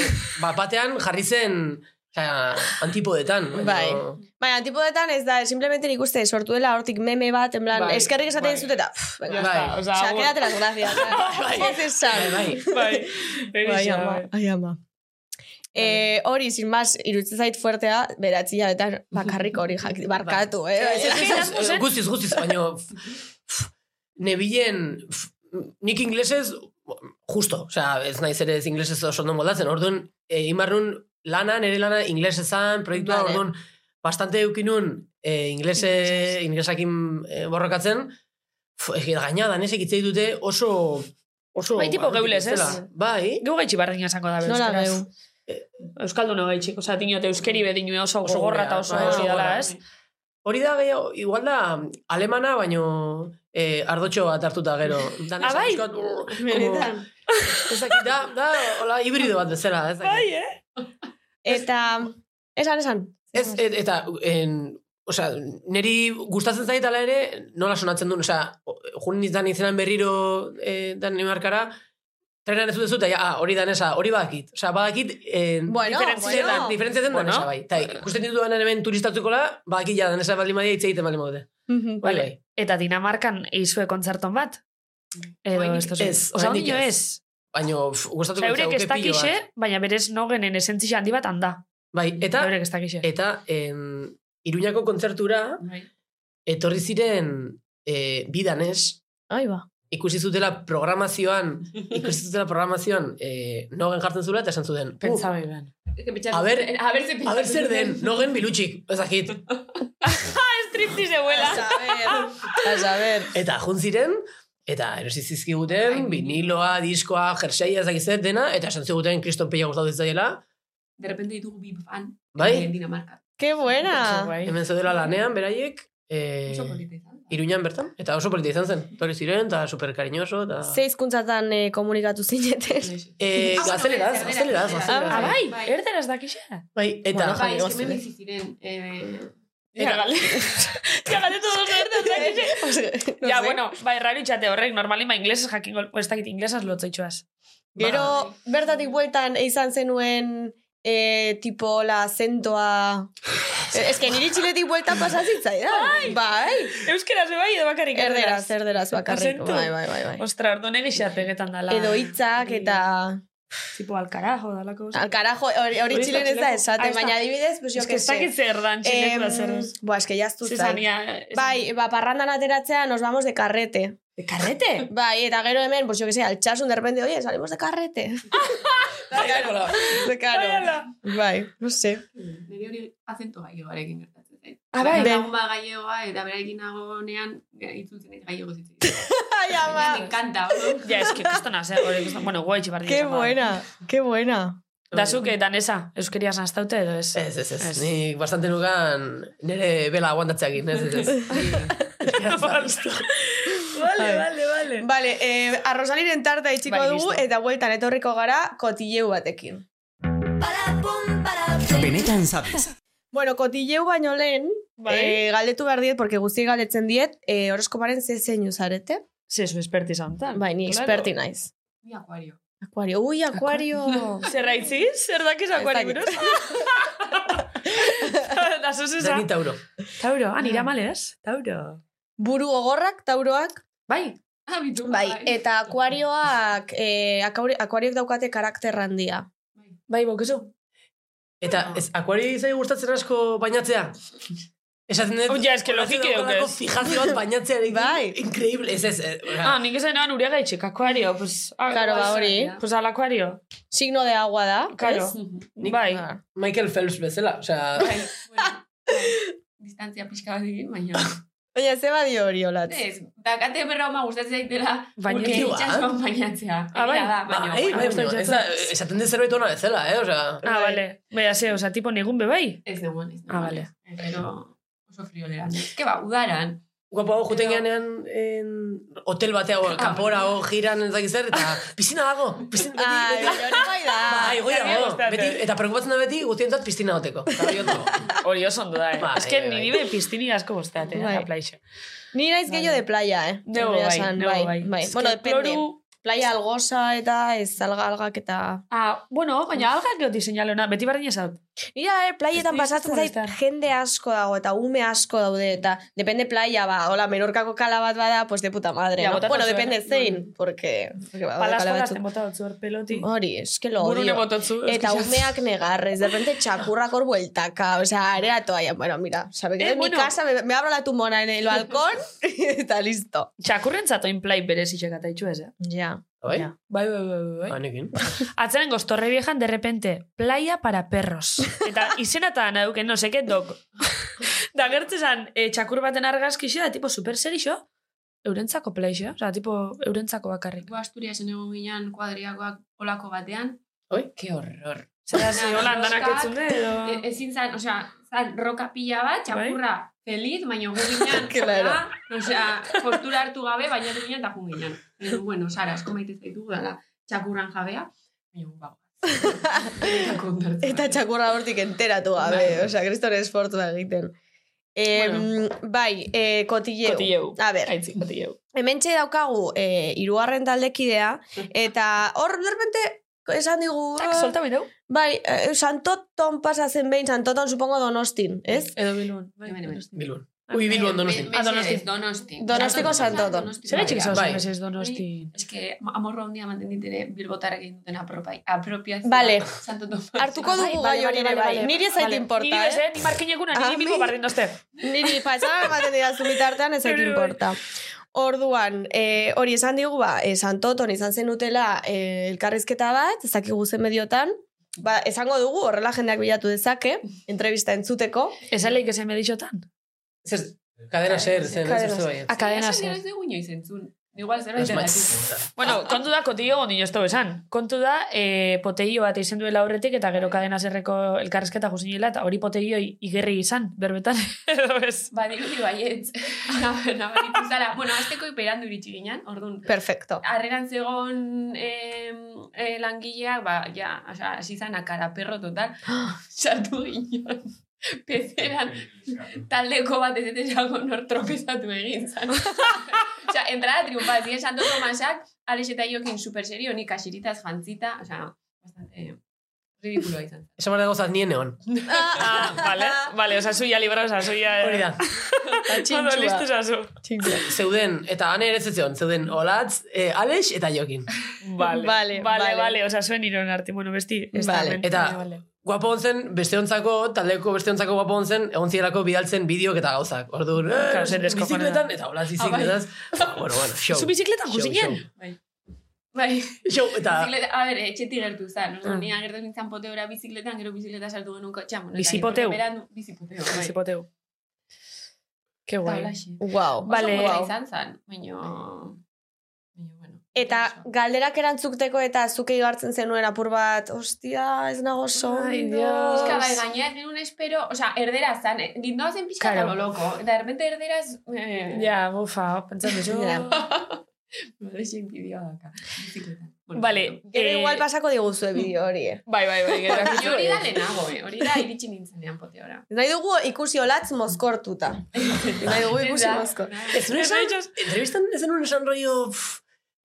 Speaker 6: bat batean jarri zen osea, antipodetan. baina-
Speaker 4: Bai. Baina, tipodetan ez da, simplemente nik uste sortu dela hortik meme bat, en plan,
Speaker 5: Bai,
Speaker 4: eskerrik esaten
Speaker 5: bai.
Speaker 4: dizut eta, pff, venga.
Speaker 6: Bai.
Speaker 5: Osa,
Speaker 4: O sea, quédate las gracias. Ez esan.
Speaker 6: Bai.
Speaker 5: Bai,
Speaker 4: Bai,
Speaker 5: erixa,
Speaker 4: ama,
Speaker 5: bai.
Speaker 4: ai, ama. Eh, hori, sin más, irutzen zait fuertea, beratzi jabetan bakarrik hori jak- barkatu, eh?
Speaker 6: Ez, ez, ez, ez,
Speaker 5: Erasmusen?
Speaker 6: Guztiz, guztiz, baina f- nebilen f- nik inglesez justo, osea, ez naiz ere ez inglesez oso ondo moldatzen, orduan e, imarrun lana, nere lana inglesezan proiektua,
Speaker 4: Vale.
Speaker 6: orduan bastante eukinun e, inglese, inglesakin e, borrokatzen, f- ez, gaina danesek hitz dute oso oso
Speaker 5: Bai, tipo
Speaker 6: barrutik
Speaker 5: geules, ez?
Speaker 6: bezala. Bai,
Speaker 5: Geu gaitxi bardina esango da,
Speaker 4: Nola
Speaker 5: euskaraz.
Speaker 4: geu?
Speaker 5: Eh, Euskalduna gaitxik, osa, dinot euskeri bedinue oso, oso
Speaker 6: Oso
Speaker 5: gorra eta
Speaker 6: gurea,
Speaker 5: oso
Speaker 6: bai,
Speaker 5: hori
Speaker 6: oso
Speaker 5: dela,
Speaker 6: gorra.
Speaker 5: ez?
Speaker 6: hori da gehiago, igual da mm, alemana, baino e, ardotxo bat hartuta gero. Danesa,
Speaker 5: Ah, bai?
Speaker 6: pixkat, brr, oh, como-
Speaker 4: Benetan.
Speaker 6: Ez dakit, da, da, hola, hibrido bat bezala, ez dakit.
Speaker 5: eh?
Speaker 4: Eta, esan, esan.
Speaker 6: Ez, et, eta, en, osea, neri gustatzen zait ala ere, nola sonatzen duen, osea, junin izan izenan berriro eh, Danimarkara, trenan ez dut ez dut, ja, ah, hori danesa, hori badakit. Osea, badakit, en,
Speaker 4: Bueno,
Speaker 6: diferentzia
Speaker 4: bueno.
Speaker 6: diferentzia den
Speaker 5: Bueno.
Speaker 6: danesa bai. Eta ikusten ditu hemen hemen turistatzukola, badakit ja danesa baldin badia hitz egiten baldin badute.
Speaker 4: Mhm.
Speaker 6: Bai,
Speaker 5: Vale.
Speaker 6: bai.
Speaker 5: Eta Dinamarkan eizue kontzerton bat? Edo,
Speaker 7: Oraindik
Speaker 5: ez,
Speaker 6: ez,
Speaker 5: Osa,
Speaker 6: oraindik
Speaker 5: ondino
Speaker 6: ez.
Speaker 5: ez.
Speaker 6: Baina, pf, gustatuko
Speaker 5: Osea, eurek ez
Speaker 6: litzaizuke pilo bat.
Speaker 5: dakixe, baina berez nogenen esentzia handi bat handa.
Speaker 6: Bai, eta,
Speaker 5: Eurek ez dakixe.
Speaker 6: eta em, Iruñako kontzertura,
Speaker 7: Bai.
Speaker 6: etorri ziren e, bidanez,
Speaker 4: Ai, ba.
Speaker 6: ikusi zutela programazioan, ikusi zutela programazioan e, nogen jartzen zula eta esan zuten.
Speaker 9: Pentsaba iban.
Speaker 6: A ber-
Speaker 7: eh, a ber, ze
Speaker 6: Uh, a ber zer den, nogen bilutxik, ezakit.
Speaker 5: Striptease eguela.
Speaker 9: A saber.
Speaker 6: Eta jun ziren, eta erosi zizkiguten, biniloa, diskoa, jerseia, ezakizet, dena, eta esan ziguten kriston pila gustatu ditzaiela,
Speaker 7: De repente ditugu bi fan.
Speaker 6: Bai.
Speaker 7: eh, Dinamarka.
Speaker 4: Ke buena.
Speaker 6: hemen zeudela lanean, beraiek, e,
Speaker 7: Oso polita izan da.
Speaker 6: Iruñan bertan, eta oso polita izan zen. Etorri ziren, eta super kariñoso, eta...
Speaker 4: Ze hizkuntzatan eh, komunikatu
Speaker 7: Bai,
Speaker 4: zineten.
Speaker 6: E,
Speaker 7: Ah, bueno,
Speaker 6: gazteleraz,
Speaker 7: erderaz,
Speaker 6: gazteleraz,
Speaker 7: erderaz.
Speaker 6: gazteleraz.
Speaker 5: Ah, bai,
Speaker 7: Bai.
Speaker 5: erderaz dakixe.
Speaker 6: Bai, eta...
Speaker 9: Bueno, Bai,
Speaker 7: Bai, es que me
Speaker 9: gazteleraz.
Speaker 7: bizi ziren. Eh,
Speaker 5: Ja, gale. Ja, gale todo erderaz dakixe. Ja, bueno, bai, raro itxate horrek, normalin ba inglesas jakingo, ez dakit inglesas lotzaitxoaz.
Speaker 4: Gero, bertatik bueltan eh, izan zenuen eh, tipo la azentoa... Ez que niri txiletik bueltan pasatzitza, da? Bai.
Speaker 5: Euskera ze bai, edo bakarrik
Speaker 4: Erderaz, erderaz bakarrik.
Speaker 5: Azentu.
Speaker 4: Bai, bai, bai, bai.
Speaker 5: Ostra, ordu negi xapegetan dala.
Speaker 4: Edo hitzak eta...
Speaker 5: Tipo, al carajo, dalako.
Speaker 4: Al carajo, hori, Bai. Ah, hori
Speaker 5: Hori
Speaker 4: txilen ez
Speaker 5: txileko.
Speaker 4: da
Speaker 5: Ah,
Speaker 4: esaten,
Speaker 5: ez da.
Speaker 4: baina adibidez, pues jo
Speaker 5: Ez que
Speaker 4: que
Speaker 5: ez dakit
Speaker 4: sé.
Speaker 5: zer dan, txileko da zer.
Speaker 4: Em, Boa, eske jaztu zait.
Speaker 5: Zizania.
Speaker 4: Bai, ba, parrandan ateratzea, nos vamos de carrete.
Speaker 5: Karrete?
Speaker 4: Bai, eta gero hemen, pues jo que sé, altxasun de repente, oye, salimos de carrete.
Speaker 6: Bai,
Speaker 4: Claro. Bai, no sé.
Speaker 7: nire hori azento gaiegoarekin gertatzen zait.
Speaker 4: Ah, bai, bai.
Speaker 7: Lagun bat gaiegoa eta berarekin nagonean eh, itzultzen ez gaiego zitzen.
Speaker 4: Ai, ama.
Speaker 7: Me encanta, bro.
Speaker 5: Ja, eski, kustona, zer, hori kustona. Bueno, guai txibardi.
Speaker 4: Qué buena, qué buena.
Speaker 5: Dazuk, eh, danesa, euskeriaz naztaute edo ez?
Speaker 6: Ez, ez, ez.
Speaker 5: Ez.
Speaker 6: Nik bastante nukan nire bela aguantatzeakin, ez, ez, ez.
Speaker 5: Vale, vale, vale.
Speaker 4: Vale, eh, a Rosaliren tarta itxiko
Speaker 5: Bai,
Speaker 4: dugu,
Speaker 5: listo.
Speaker 4: eta bueltan etorriko gara kotilleu batekin.
Speaker 3: Benetan sabes.
Speaker 4: Bueno, kotilleu baino lehen,
Speaker 5: Bai.
Speaker 4: eh, galdetu behar diet, porque guzti galdetzen diet, eh, horoskoparen ze zeinu zarete.
Speaker 5: Zezu esperti zantan.
Speaker 4: Bai, ni experti naiz.
Speaker 7: Ni akuario.
Speaker 4: Akuario. Ui, akuario.
Speaker 5: Zer raitzi? Zer dakiz akuari
Speaker 4: Ez dakit.
Speaker 5: buruz? Dazu
Speaker 6: Dani
Speaker 5: zuzan.
Speaker 6: Tauro.
Speaker 5: Tauro, ah, nira malez? Tauro.
Speaker 4: Buru ogorrak, tauroak.
Speaker 5: Bai.
Speaker 7: Ah, bitu,
Speaker 4: Bai, eta akuarioak, eh, akauri- akuarioak daukate karakter handia.
Speaker 5: Bai, bokezu.
Speaker 6: Eta ez, akuari zai gustatzen asko bainatzea? Esaten dut...
Speaker 5: Oh, ja, eske logike
Speaker 6: batzuk
Speaker 5: dauka ez.
Speaker 6: daukalako Fijazio bat bainatzearekin.
Speaker 4: Bai.
Speaker 6: Increíble, ez, eh, ez. ez
Speaker 5: Ah, nik esan eban urea gaitxik, akuario. Pues, ah,
Speaker 4: Claro, ba, hori.
Speaker 5: Pues al akuario.
Speaker 4: Signo de agua da.
Speaker 5: Claro.
Speaker 4: ez?
Speaker 6: Nik-
Speaker 5: Bai.
Speaker 4: Ah.
Speaker 6: Michael Phelps bezala, osea...
Speaker 7: Bai, bueno, bai. distantzia pixka bat egin, baina...
Speaker 4: Baina, ze badio hori olatz.
Speaker 7: Ez, dakate berra homa gustatzen zaitela,
Speaker 5: Baina-
Speaker 7: baina
Speaker 6: Bai.
Speaker 7: itxasuan bainatzea.
Speaker 5: Ah, bai.
Speaker 7: Egia da,
Speaker 6: Bai,
Speaker 7: baina...
Speaker 6: bai,
Speaker 7: bueno,
Speaker 6: bai, ez da, esaten dut zerbait ona bezala, eh, osea...
Speaker 5: Ah, vale. Bea, ze, oza, tipo negun be bai?
Speaker 7: Ez negoen, ez
Speaker 5: Ah,
Speaker 7: negoen.
Speaker 5: bale.
Speaker 7: Eh, Pero oso frioleran. Que ba, udaran.
Speaker 6: Guapo, juten
Speaker 7: Pero-
Speaker 6: geanean en, hotel batea, o, kanpora, o, giran, ez dakit zer, eta pizina dago, pizina beti,
Speaker 4: Ai,
Speaker 6: beti,
Speaker 4: hori bai da.
Speaker 6: Bai, goia,
Speaker 5: Gainera
Speaker 6: bo,
Speaker 5: gustatzen.
Speaker 6: beti, eta preocupatzen da beti guztientzat piztina oteko. Eta hori ondo.
Speaker 5: Hori oso ondo da, eh?
Speaker 6: Bai,
Speaker 5: Ez que
Speaker 6: bai.
Speaker 5: niri be piztini asko bosteate,
Speaker 4: Bai.
Speaker 5: la plaixa.
Speaker 4: Ni naiz gehiago de playa, eh.
Speaker 5: Debo
Speaker 4: Egia
Speaker 5: bai,
Speaker 4: esan,
Speaker 5: debo bai.
Speaker 4: bai.
Speaker 5: Ez
Speaker 4: Bueno,
Speaker 5: que
Speaker 4: depende.
Speaker 5: kloru-
Speaker 4: Playa algosa eta ez alga algak eta...
Speaker 5: Ah, bueno, baina algak geoti seinalona, beti berdin esaut.
Speaker 4: Nira, eh, playetan
Speaker 5: Ez dizut
Speaker 4: pasatzen zait
Speaker 5: molestar.
Speaker 4: jende asko dago eta ume asko daude eta depende playa, ba, hola, menorkako kala bat bada, pues de puta madre,
Speaker 5: Ja,
Speaker 4: no?
Speaker 5: botatzen
Speaker 4: Bueno,
Speaker 5: zuen,
Speaker 4: depende
Speaker 5: eh?
Speaker 4: zein, porque... porque ba, daude
Speaker 5: Palazko
Speaker 4: kala
Speaker 5: gazten
Speaker 4: batzuk.
Speaker 5: bota dut zuer peloti.
Speaker 4: Hori, es que lo
Speaker 5: Burune
Speaker 4: odio.
Speaker 5: bototzu. ez
Speaker 4: Eta
Speaker 5: que-
Speaker 4: umeak negarrez, de repente txakurrak hor bueltaka, o sea, area toalla, bueno, mira, sabe que
Speaker 5: Eh,
Speaker 4: en
Speaker 5: bueno.
Speaker 4: mi casa me, me abro la tumona en el balcón eta listo.
Speaker 5: Txakurrentzat oinplai berez itxekata itxu ez, eh?
Speaker 4: Ja.
Speaker 6: Bai?
Speaker 4: Ja.
Speaker 5: Bai, bai, bai, bai, bai.
Speaker 6: Anekin.
Speaker 5: Atzaren goztorre viejan, de repente, playa para perros. Eta izena eta dana duken, no seke, dok. da gertzen zan, eh, txakur baten argazkixo, da tipo super serixo, eurentzako plaixo, oza, tipo eurentzako bakarrik.
Speaker 7: Gu Asturiasen egon ginen kuadriakoak olako batean.
Speaker 6: Oi, ke horror.
Speaker 5: Zera, zi, holan danak
Speaker 7: Roskak,
Speaker 5: etzune,
Speaker 7: E,
Speaker 5: edo...
Speaker 7: ezin zan, osea, zan roka pila
Speaker 5: Bai.
Speaker 7: bat, txakurra, feliz, baina gu ginen,
Speaker 4: Claro.
Speaker 7: jona, osea, postura hartu gabe, baina ginen eta jun ginen. E, bueno, Sara, asko maite zaitu, dala, txakurran jabea, baina gu bago.
Speaker 4: Eta txakurra hortik enteratu gabe, o sea, kriston esfortzu da egiten. Eh, Bai, eh, kotilleu.
Speaker 5: Kotilleu.
Speaker 4: A ber,
Speaker 5: Aitzi, bati jau.
Speaker 4: hementxe daukagu eh, irugarren taldekidea, eta hor, de repente, esan digu...
Speaker 5: Tak,
Speaker 4: eh,
Speaker 5: solta bideu.
Speaker 4: Bai, eh, santoton pasatzen behin, santoton supongo donostin, ez?
Speaker 5: Edo bai. bilun.
Speaker 7: Hemen, hemen.
Speaker 6: Bilun. Ui, bilbo donosti.
Speaker 5: Ah, Donosti.
Speaker 7: Donosti. Donosti.
Speaker 4: Donostiko santo don.
Speaker 5: Zer etxik
Speaker 6: Bai.
Speaker 5: zauzen ez donosti.
Speaker 7: Es que amorro handia manten ditene bilbotarrak egin duten apropai, apropiazioa.
Speaker 4: Vale.
Speaker 7: Santo Tomas.
Speaker 4: Hartuko
Speaker 5: Ah,
Speaker 2: Bai,
Speaker 4: dugu
Speaker 2: bale,
Speaker 4: gai hori
Speaker 2: bale,
Speaker 4: ere
Speaker 2: bale,
Speaker 4: bai.
Speaker 2: bale.
Speaker 4: Niri ez zait
Speaker 2: Bale.
Speaker 5: Niri
Speaker 4: importa,
Speaker 5: bez,
Speaker 4: eh?
Speaker 5: eh? Ni markinekuna,
Speaker 4: A
Speaker 5: niri bilbo
Speaker 4: mi-
Speaker 5: barrin dozte.
Speaker 4: Niri paisana ematen didazu bitartean ez zait
Speaker 5: Bai, bai.
Speaker 4: importa. Orduan, eh, hori esan digu, ba, eh, Santoton izan zenutela eh, elkarrizketa bat, ez dakigu zen mediotan, ba, esango dugu, horrela jendeak bilatu dezake, entrevista entzuteko.
Speaker 5: Esaleik esen medixotan.
Speaker 6: Zer, kadena zer, zen, ez
Speaker 4: Kadena
Speaker 6: ez bai.
Speaker 5: A kadena
Speaker 7: Esan dira
Speaker 5: zer.
Speaker 7: Ez dugu inoiz entzun. Igual zerbait
Speaker 6: Ez, bai.
Speaker 7: gertatu.
Speaker 4: Ah.
Speaker 5: Bueno, kontu da, kotillo gondi joztu esan. Kontu da, eh, poteio bat izen duela aurretik eta gero kadena zerreko elkarrezketa juzinela eta hori poteioi igerri izan, berbetan. Edo ez.
Speaker 7: Ba, dirudi baietz. Nabaritu zala. Ah, Bueno, azteko iperandu iritsi ginen, orduan.
Speaker 4: Perfecto.
Speaker 7: Arreran zegon eh, eh, langileak, ba, ja, oza, hasi zan akara perro total. Sartu ginen. Pezeran taldeko bat ez ete jago nor tropezatu egin zan. Osa, entrada triunfaz, dien Santo Tomasak, Alex eta Iokin super serio, nik asiritas jantzita, osa, bastante ridiculoa izan.
Speaker 6: Esan behar dago zat nien egon.
Speaker 5: Ah, vale, vale, osa suya libra, osa suya...
Speaker 6: Hori da.
Speaker 5: eh. Ondo, listo, osa zu.
Speaker 6: Zeuden, eta ane ere ez zion, zeuden olatz, eh, Alex eta Jokin.
Speaker 5: Vale,
Speaker 4: Vale,
Speaker 5: vale, vale,
Speaker 4: vale.
Speaker 5: vale. osa zuen iron arte, bueno, besti. ez da
Speaker 4: Vale,
Speaker 5: hemen.
Speaker 6: eta-
Speaker 5: Vale, vale.
Speaker 6: Guapo onzen, besteontzako, taldeko besteontzako guapo onzen, egon zirelako bidaltzen bideok eta gauzak. Orduan, eh,
Speaker 5: Claro, zer deskojonea.
Speaker 6: bizikletan, eta olatz bizikletaz. bueno, bueno, show.
Speaker 5: Zu bizikletan jo
Speaker 6: Show,
Speaker 5: zinen?
Speaker 6: show.
Speaker 7: Bai.
Speaker 6: Show, eta...
Speaker 7: Bizikleta, a ber, etxetik gertu zan. Oso, ni agertu nintzen poteora bizikletan, gero bizikleta sartu genuen kotxan. Bueno,
Speaker 5: Bizipoteu.
Speaker 7: Bizipoteu, bai. Bizipoteu.
Speaker 5: Zipoteu. Ke guai.
Speaker 4: Wow.
Speaker 5: bai. Vale.
Speaker 7: Vale. Oso gora izan zan, baina... Baina, bueno.
Speaker 4: Eta
Speaker 7: oso.
Speaker 4: galderak erantzuteko eta zukei hartzen zenuen apur bat, ostia, ez nago ondo.
Speaker 5: Ai, Dios.
Speaker 7: Pizka bai gainea egin un espero, o sea, erdera zan, eh, gindoa zen pixka
Speaker 5: Claro.
Speaker 7: claro. loko, eta erbente erderaz... Eh,
Speaker 5: Ja, bufa, pentsan duzu.
Speaker 4: Ja.
Speaker 7: Madre xin bidea daka. Bizikletan. Bueno,
Speaker 5: Vale.
Speaker 4: Gero
Speaker 5: eh,
Speaker 4: igual pasako diguzue bideo hori, eh?
Speaker 5: Bai, bai, bai. gero
Speaker 7: Baina
Speaker 5: akizu,
Speaker 7: hori da
Speaker 5: eh.
Speaker 7: lehenago, eh? hori da iritsi nintzenean poteora.
Speaker 4: Nahi dugu ikusi olatz mozkortuta. Nahi dugu ikusi
Speaker 7: Ez da,
Speaker 4: mozkort.
Speaker 6: Ez nuen esan, entrevistan ez nuen esan rollo... pff,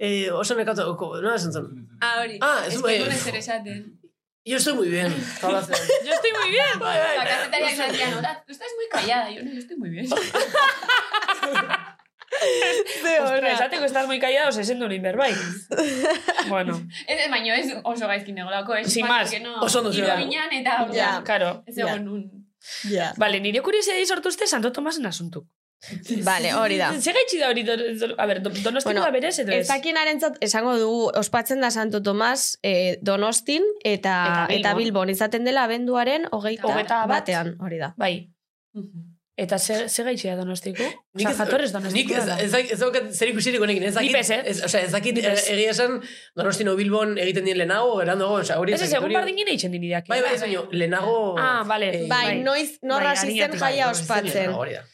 Speaker 6: Eh, oso nekatu, no esan zen.
Speaker 7: Ah, hori.
Speaker 6: Ah, ez
Speaker 7: ez
Speaker 6: bai.
Speaker 7: duen ezer esaten.
Speaker 6: Yo estoy muy bien. Hola, zen.
Speaker 5: Yo estoy muy bien.
Speaker 6: Bai,
Speaker 7: La
Speaker 6: bai.
Speaker 7: cafetería que decía, no, tú estás muy callada. Yo no, yo estoy muy bien.
Speaker 5: Ostra, esateko estás muy callado, se sendu nin berbai. Bueno,
Speaker 7: Ez, baino ez oso gaizkin negolako, ez?
Speaker 5: Sin
Speaker 7: Bat,
Speaker 5: más.
Speaker 7: que no,
Speaker 6: Oso ondo
Speaker 7: hilo
Speaker 6: zela.
Speaker 7: ginen eta hor,
Speaker 4: Ja.
Speaker 5: claro.
Speaker 7: ez
Speaker 4: Ja.
Speaker 7: egon un...
Speaker 4: Ja.
Speaker 5: Vale, nire kuriosidadi sortu uste Santo Tomasen asuntuk.
Speaker 4: Vale, hori da.
Speaker 5: Ze gaitxi da hori, do- do- a ver, do- donostiko
Speaker 4: Bueno,
Speaker 5: da berez, edo ez?
Speaker 4: Ez dakiinarentzat esango dugu ospatzen da Santo Tomas eh, Donostin eta
Speaker 5: Eta Bilbon.
Speaker 4: eta Bilbon izaten dela abenduaren hogeita,
Speaker 5: Hogeita bat.
Speaker 4: batean, hori da.
Speaker 5: Bai. Eta ze, ze gaitxi da donostiko?
Speaker 6: Nik
Speaker 5: Osa,
Speaker 6: ez-
Speaker 5: jatorrez
Speaker 6: Nik
Speaker 5: donostiko
Speaker 6: ez,
Speaker 5: da.
Speaker 6: ez, dak- ez daukat zer ikusirik honekin, ez dakit.
Speaker 5: Ni pez, eh?
Speaker 6: ez, osea, ez dakit,
Speaker 5: Ni pez.
Speaker 6: er- egia esan, donostino Bilbon egiten dien lehenago, berandago, osea, hori
Speaker 5: Ez ez, egun
Speaker 6: hori-
Speaker 5: bardin gine itxen dini
Speaker 6: Bai, bai, ez baino, lehenago...
Speaker 5: Ah, vale.
Speaker 4: Bai,
Speaker 6: eh,
Speaker 5: Bai.
Speaker 4: noiz
Speaker 5: Bai,
Speaker 4: norra hasi zen
Speaker 5: adinatu, bai,
Speaker 4: jaia
Speaker 6: noiz zen
Speaker 4: ospatzen.
Speaker 6: lehenago, hori da.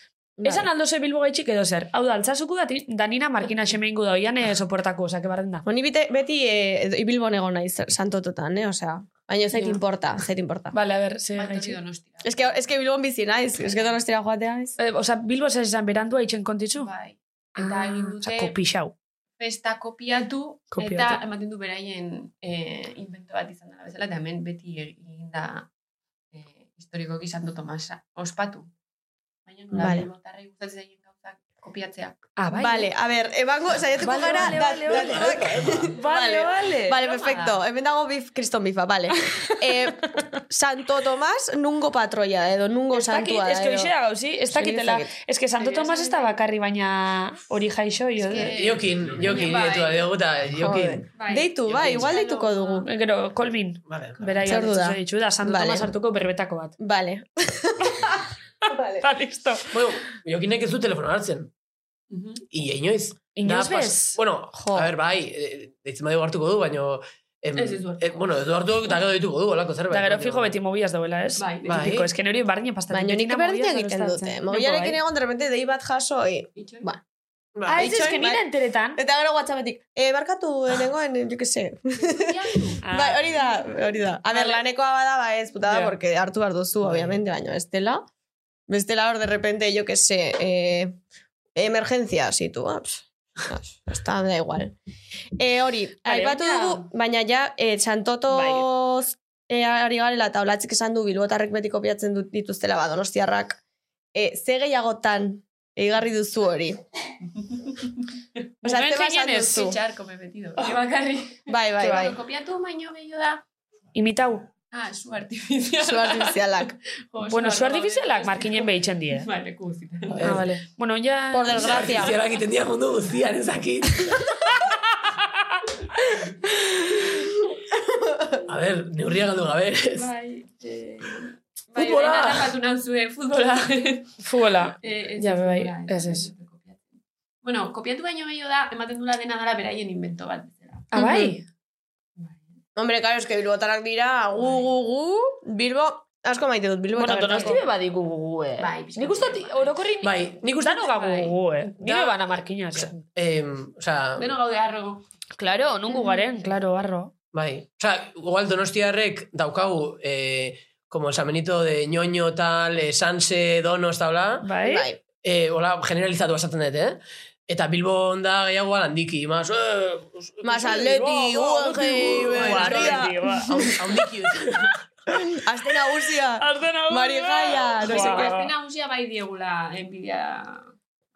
Speaker 5: Esan aldo ze bilbo gaitxik edo zer. Hau da, altzazuku da, danina markina xemeingu da, oian eh, soportako, osake barren da.
Speaker 4: Honi bite, beti eh, edo- Bilbon egon naiz Santototan, eh, osea, baina zait
Speaker 5: Ja.
Speaker 4: importa, zait importa.
Speaker 5: Vale, a ver, ze gaitxi.
Speaker 7: Batorri donostia.
Speaker 4: Es que, es que Bilbon bizi naiz, es que Donostira joatea naiz.
Speaker 5: Eh, osa, Bilbo ez izan berandua itxen kontitzu?
Speaker 7: Bai.
Speaker 5: Ah,
Speaker 4: Ah,
Speaker 7: Eta egin
Speaker 5: Osa,
Speaker 7: dute
Speaker 5: kopixau.
Speaker 7: festa kopiatu,
Speaker 5: Kopiatu.
Speaker 7: eta ematen du beraien eh, invento bat izan dela bezala, eta hemen beti egin da eh, historikoki Santo Tomasa ospatu. Baina nola
Speaker 4: Vale.
Speaker 7: vale. botarrei gustatzen zaien gauzak kopiatzea.
Speaker 5: Ah, bai.
Speaker 4: Vale, a ber, ebango, saiatuko
Speaker 5: Vale,
Speaker 4: gara
Speaker 5: vale,
Speaker 4: dat-
Speaker 5: vale, vale.
Speaker 4: datuak.
Speaker 5: Vale, vale.
Speaker 4: Vale, Ba,
Speaker 7: Broma
Speaker 4: perfecto. Hemen dago bif, kriston bifa, vale. eh, Santo Tomas nungo patroia, edo nungo
Speaker 5: Ez dakit,
Speaker 4: santua.
Speaker 5: ez que hoxe da gauzi, ez dakitela.
Speaker 4: Ez dakit.
Speaker 5: Ez que Santo
Speaker 7: Egia
Speaker 5: Tomas ez da
Speaker 7: esan.
Speaker 5: bakarri, baina hori jaixo, jo.
Speaker 7: que-
Speaker 6: Jokin, jokin,
Speaker 7: Bai.
Speaker 6: ditu da, dugu eta jokin.
Speaker 4: Joder. Deitu, bai, igual deituko dugu.
Speaker 5: eh, Gero, Kolbin,
Speaker 6: Vale, vale.
Speaker 5: beraia
Speaker 4: Zer du da?
Speaker 5: hartu ditzu da, Santo
Speaker 4: Vale.
Speaker 5: Tomas hartuko berbetako bat.
Speaker 4: Vale. vale.
Speaker 5: Eta listo.
Speaker 6: Bueno, jokinek ez du telefono hartzen. Ia inoiz.
Speaker 5: Inoiz
Speaker 6: Da, pas-
Speaker 5: bez?
Speaker 6: Bueno,
Speaker 5: Jo.
Speaker 6: a ber, bai, eh, deitzen badu hartuko du, baino... Em,
Speaker 7: Ez, ez du hartuko.
Speaker 6: eh, bueno, ez du hartuko eta gero dituko du, olako zerbait.
Speaker 5: Eta gero
Speaker 6: baino-
Speaker 5: fijo beti mobiaz dauela, ez?
Speaker 7: Bai,
Speaker 6: Bai.
Speaker 5: Tipiko, ez que nori bardin pastatzen.
Speaker 4: Baina nik berdin egiten dute.
Speaker 5: bai.
Speaker 4: Mobilarekin egon, de repente, dei bat jaso, eh. Ba.
Speaker 6: Ba,
Speaker 5: Ah, ez ez que nire enteretan.
Speaker 4: Eta gero whatsappetik, eh, barkatu, eh, nengoen, jo que se.
Speaker 5: Ah,
Speaker 4: Bai, hori da, hori da. A ber,
Speaker 5: Vale.
Speaker 4: lanekoa bada, ba ez, putada,
Speaker 5: Ja.
Speaker 4: porque hartu behar duzu,
Speaker 6: Bai.
Speaker 4: obviamente, baina bestela. Bestela hor, de repente, jo que se, eh, emergencia, si tú, ah, pss, ah, pss, Está, da igual. Eh, hori, aipatu
Speaker 5: ja.
Speaker 4: dugu, baina ja, eh,
Speaker 5: Bai.
Speaker 4: santotoz eh, ari garela, eta olatzik esan du, bilbotarrek beti kopiatzen dut dituztela, ba, donostiarrak, e, ze gehiagotan eigarri duzu hori. Osa,
Speaker 5: Bumen
Speaker 4: ze basan
Speaker 5: gehien ez,
Speaker 4: bai, duzu.
Speaker 7: Charco me he metido. Que bakarri.
Speaker 4: Bai, bai, bai.
Speaker 7: Kopiatu baino gehiago da.
Speaker 5: Imitau.
Speaker 7: Ah, su artificial.
Speaker 4: Zu artifizialak.
Speaker 7: Jo,
Speaker 5: Bueno,
Speaker 7: arlo
Speaker 5: zu artifizialak
Speaker 7: daude.
Speaker 5: markinen behitzen die. eh?
Speaker 7: Vale, kuzita.
Speaker 5: Ah, vale. Bueno, ja...
Speaker 4: Bai. Por desgracia.
Speaker 6: Ziara egiten dira mundu guztian ezakit. A ber, neurria galdu gabe. ez?
Speaker 7: Bai, eh... Futbola!
Speaker 6: Futbola!
Speaker 7: Bai, bai, nauzue, futbola.
Speaker 5: Fuela.
Speaker 7: Eh, ez
Speaker 5: Ja,
Speaker 7: ez
Speaker 5: bai,
Speaker 7: futbola,
Speaker 5: ez, ez.
Speaker 7: kopiatu. Bueno, kopiatu baino gehiago da, ematen dula dena dara beraien invento bat. bezala.
Speaker 5: Ah, bai?
Speaker 4: Hombre, karo, eske bilbotarak dira, gu, gu, gu, bilbo, asko maite dut, bilbo
Speaker 5: Bueno,
Speaker 4: eta
Speaker 5: donosti be badigu gugu, eh.
Speaker 7: Bai, pixka
Speaker 5: Nik uste
Speaker 7: bat, bai.
Speaker 5: orokorri...
Speaker 6: Bai, nik uste...
Speaker 5: Dano gagu
Speaker 7: bai.
Speaker 5: gugu, eh. Nire
Speaker 6: Da-
Speaker 5: bana markinaz. eh.
Speaker 6: Eh, oza,
Speaker 7: Beno gaude harro.
Speaker 5: Claro,
Speaker 4: Mm.
Speaker 5: nungu garen, claro, arro.
Speaker 6: bai. Oza, igual donostiarrek daukagu, eh, como el samenito de ñoño, tal, eh, sanse, donos, eta hola.
Speaker 5: Bai?
Speaker 4: Bai,
Speaker 6: eh, hola, generalizatu basatzen dut, eh? Eta Bilbo da gehiago handiki, mas... Eh,
Speaker 4: Mas atleti, UNG,
Speaker 5: Bai,
Speaker 4: Guardia.
Speaker 6: Handiki.
Speaker 4: aste nagusia.
Speaker 5: Bai.
Speaker 4: Mari Gaia, no
Speaker 7: Pues
Speaker 4: sé
Speaker 7: wow.
Speaker 4: qué.
Speaker 7: azte nagusia bai diegula enbidia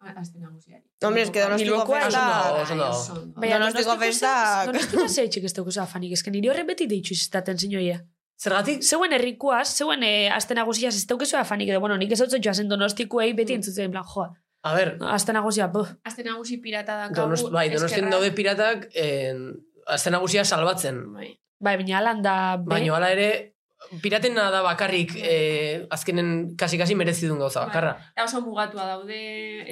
Speaker 7: azte nagusiari.
Speaker 4: Hombre, es que donostiko
Speaker 5: Bilbokoa
Speaker 4: festa...
Speaker 6: oso ondo dago.
Speaker 7: Ai, ondo.
Speaker 4: Baina Donostiko festak.
Speaker 5: Donostiko zeitxik ez dugu zafanik, esken nire horre beti deitxu izaten zinoia.
Speaker 6: Zergatik,
Speaker 5: Zeuen herrikuaz, zeuen eh, aste nagusiaz ez daukezu afanik edo, bueno, nik ez dutzen joazen donostikuei beti
Speaker 4: Mm.
Speaker 5: entzutzen, en plan, joa,
Speaker 6: a ber,
Speaker 5: aste nagusia, buh.
Speaker 7: Azte nagusi pirata da
Speaker 6: donost, bai, donostien daude piratak, eh, azte nagusia salbatzen.
Speaker 7: Bai.
Speaker 5: Bai, baina alan da... be-
Speaker 4: Bai.
Speaker 6: Baina hala ere, piratena da bakarrik, eh, azkenen kasi-kasi merezidun gauza
Speaker 4: Bai.
Speaker 6: bakarra.
Speaker 7: Eta oso mugatua daude,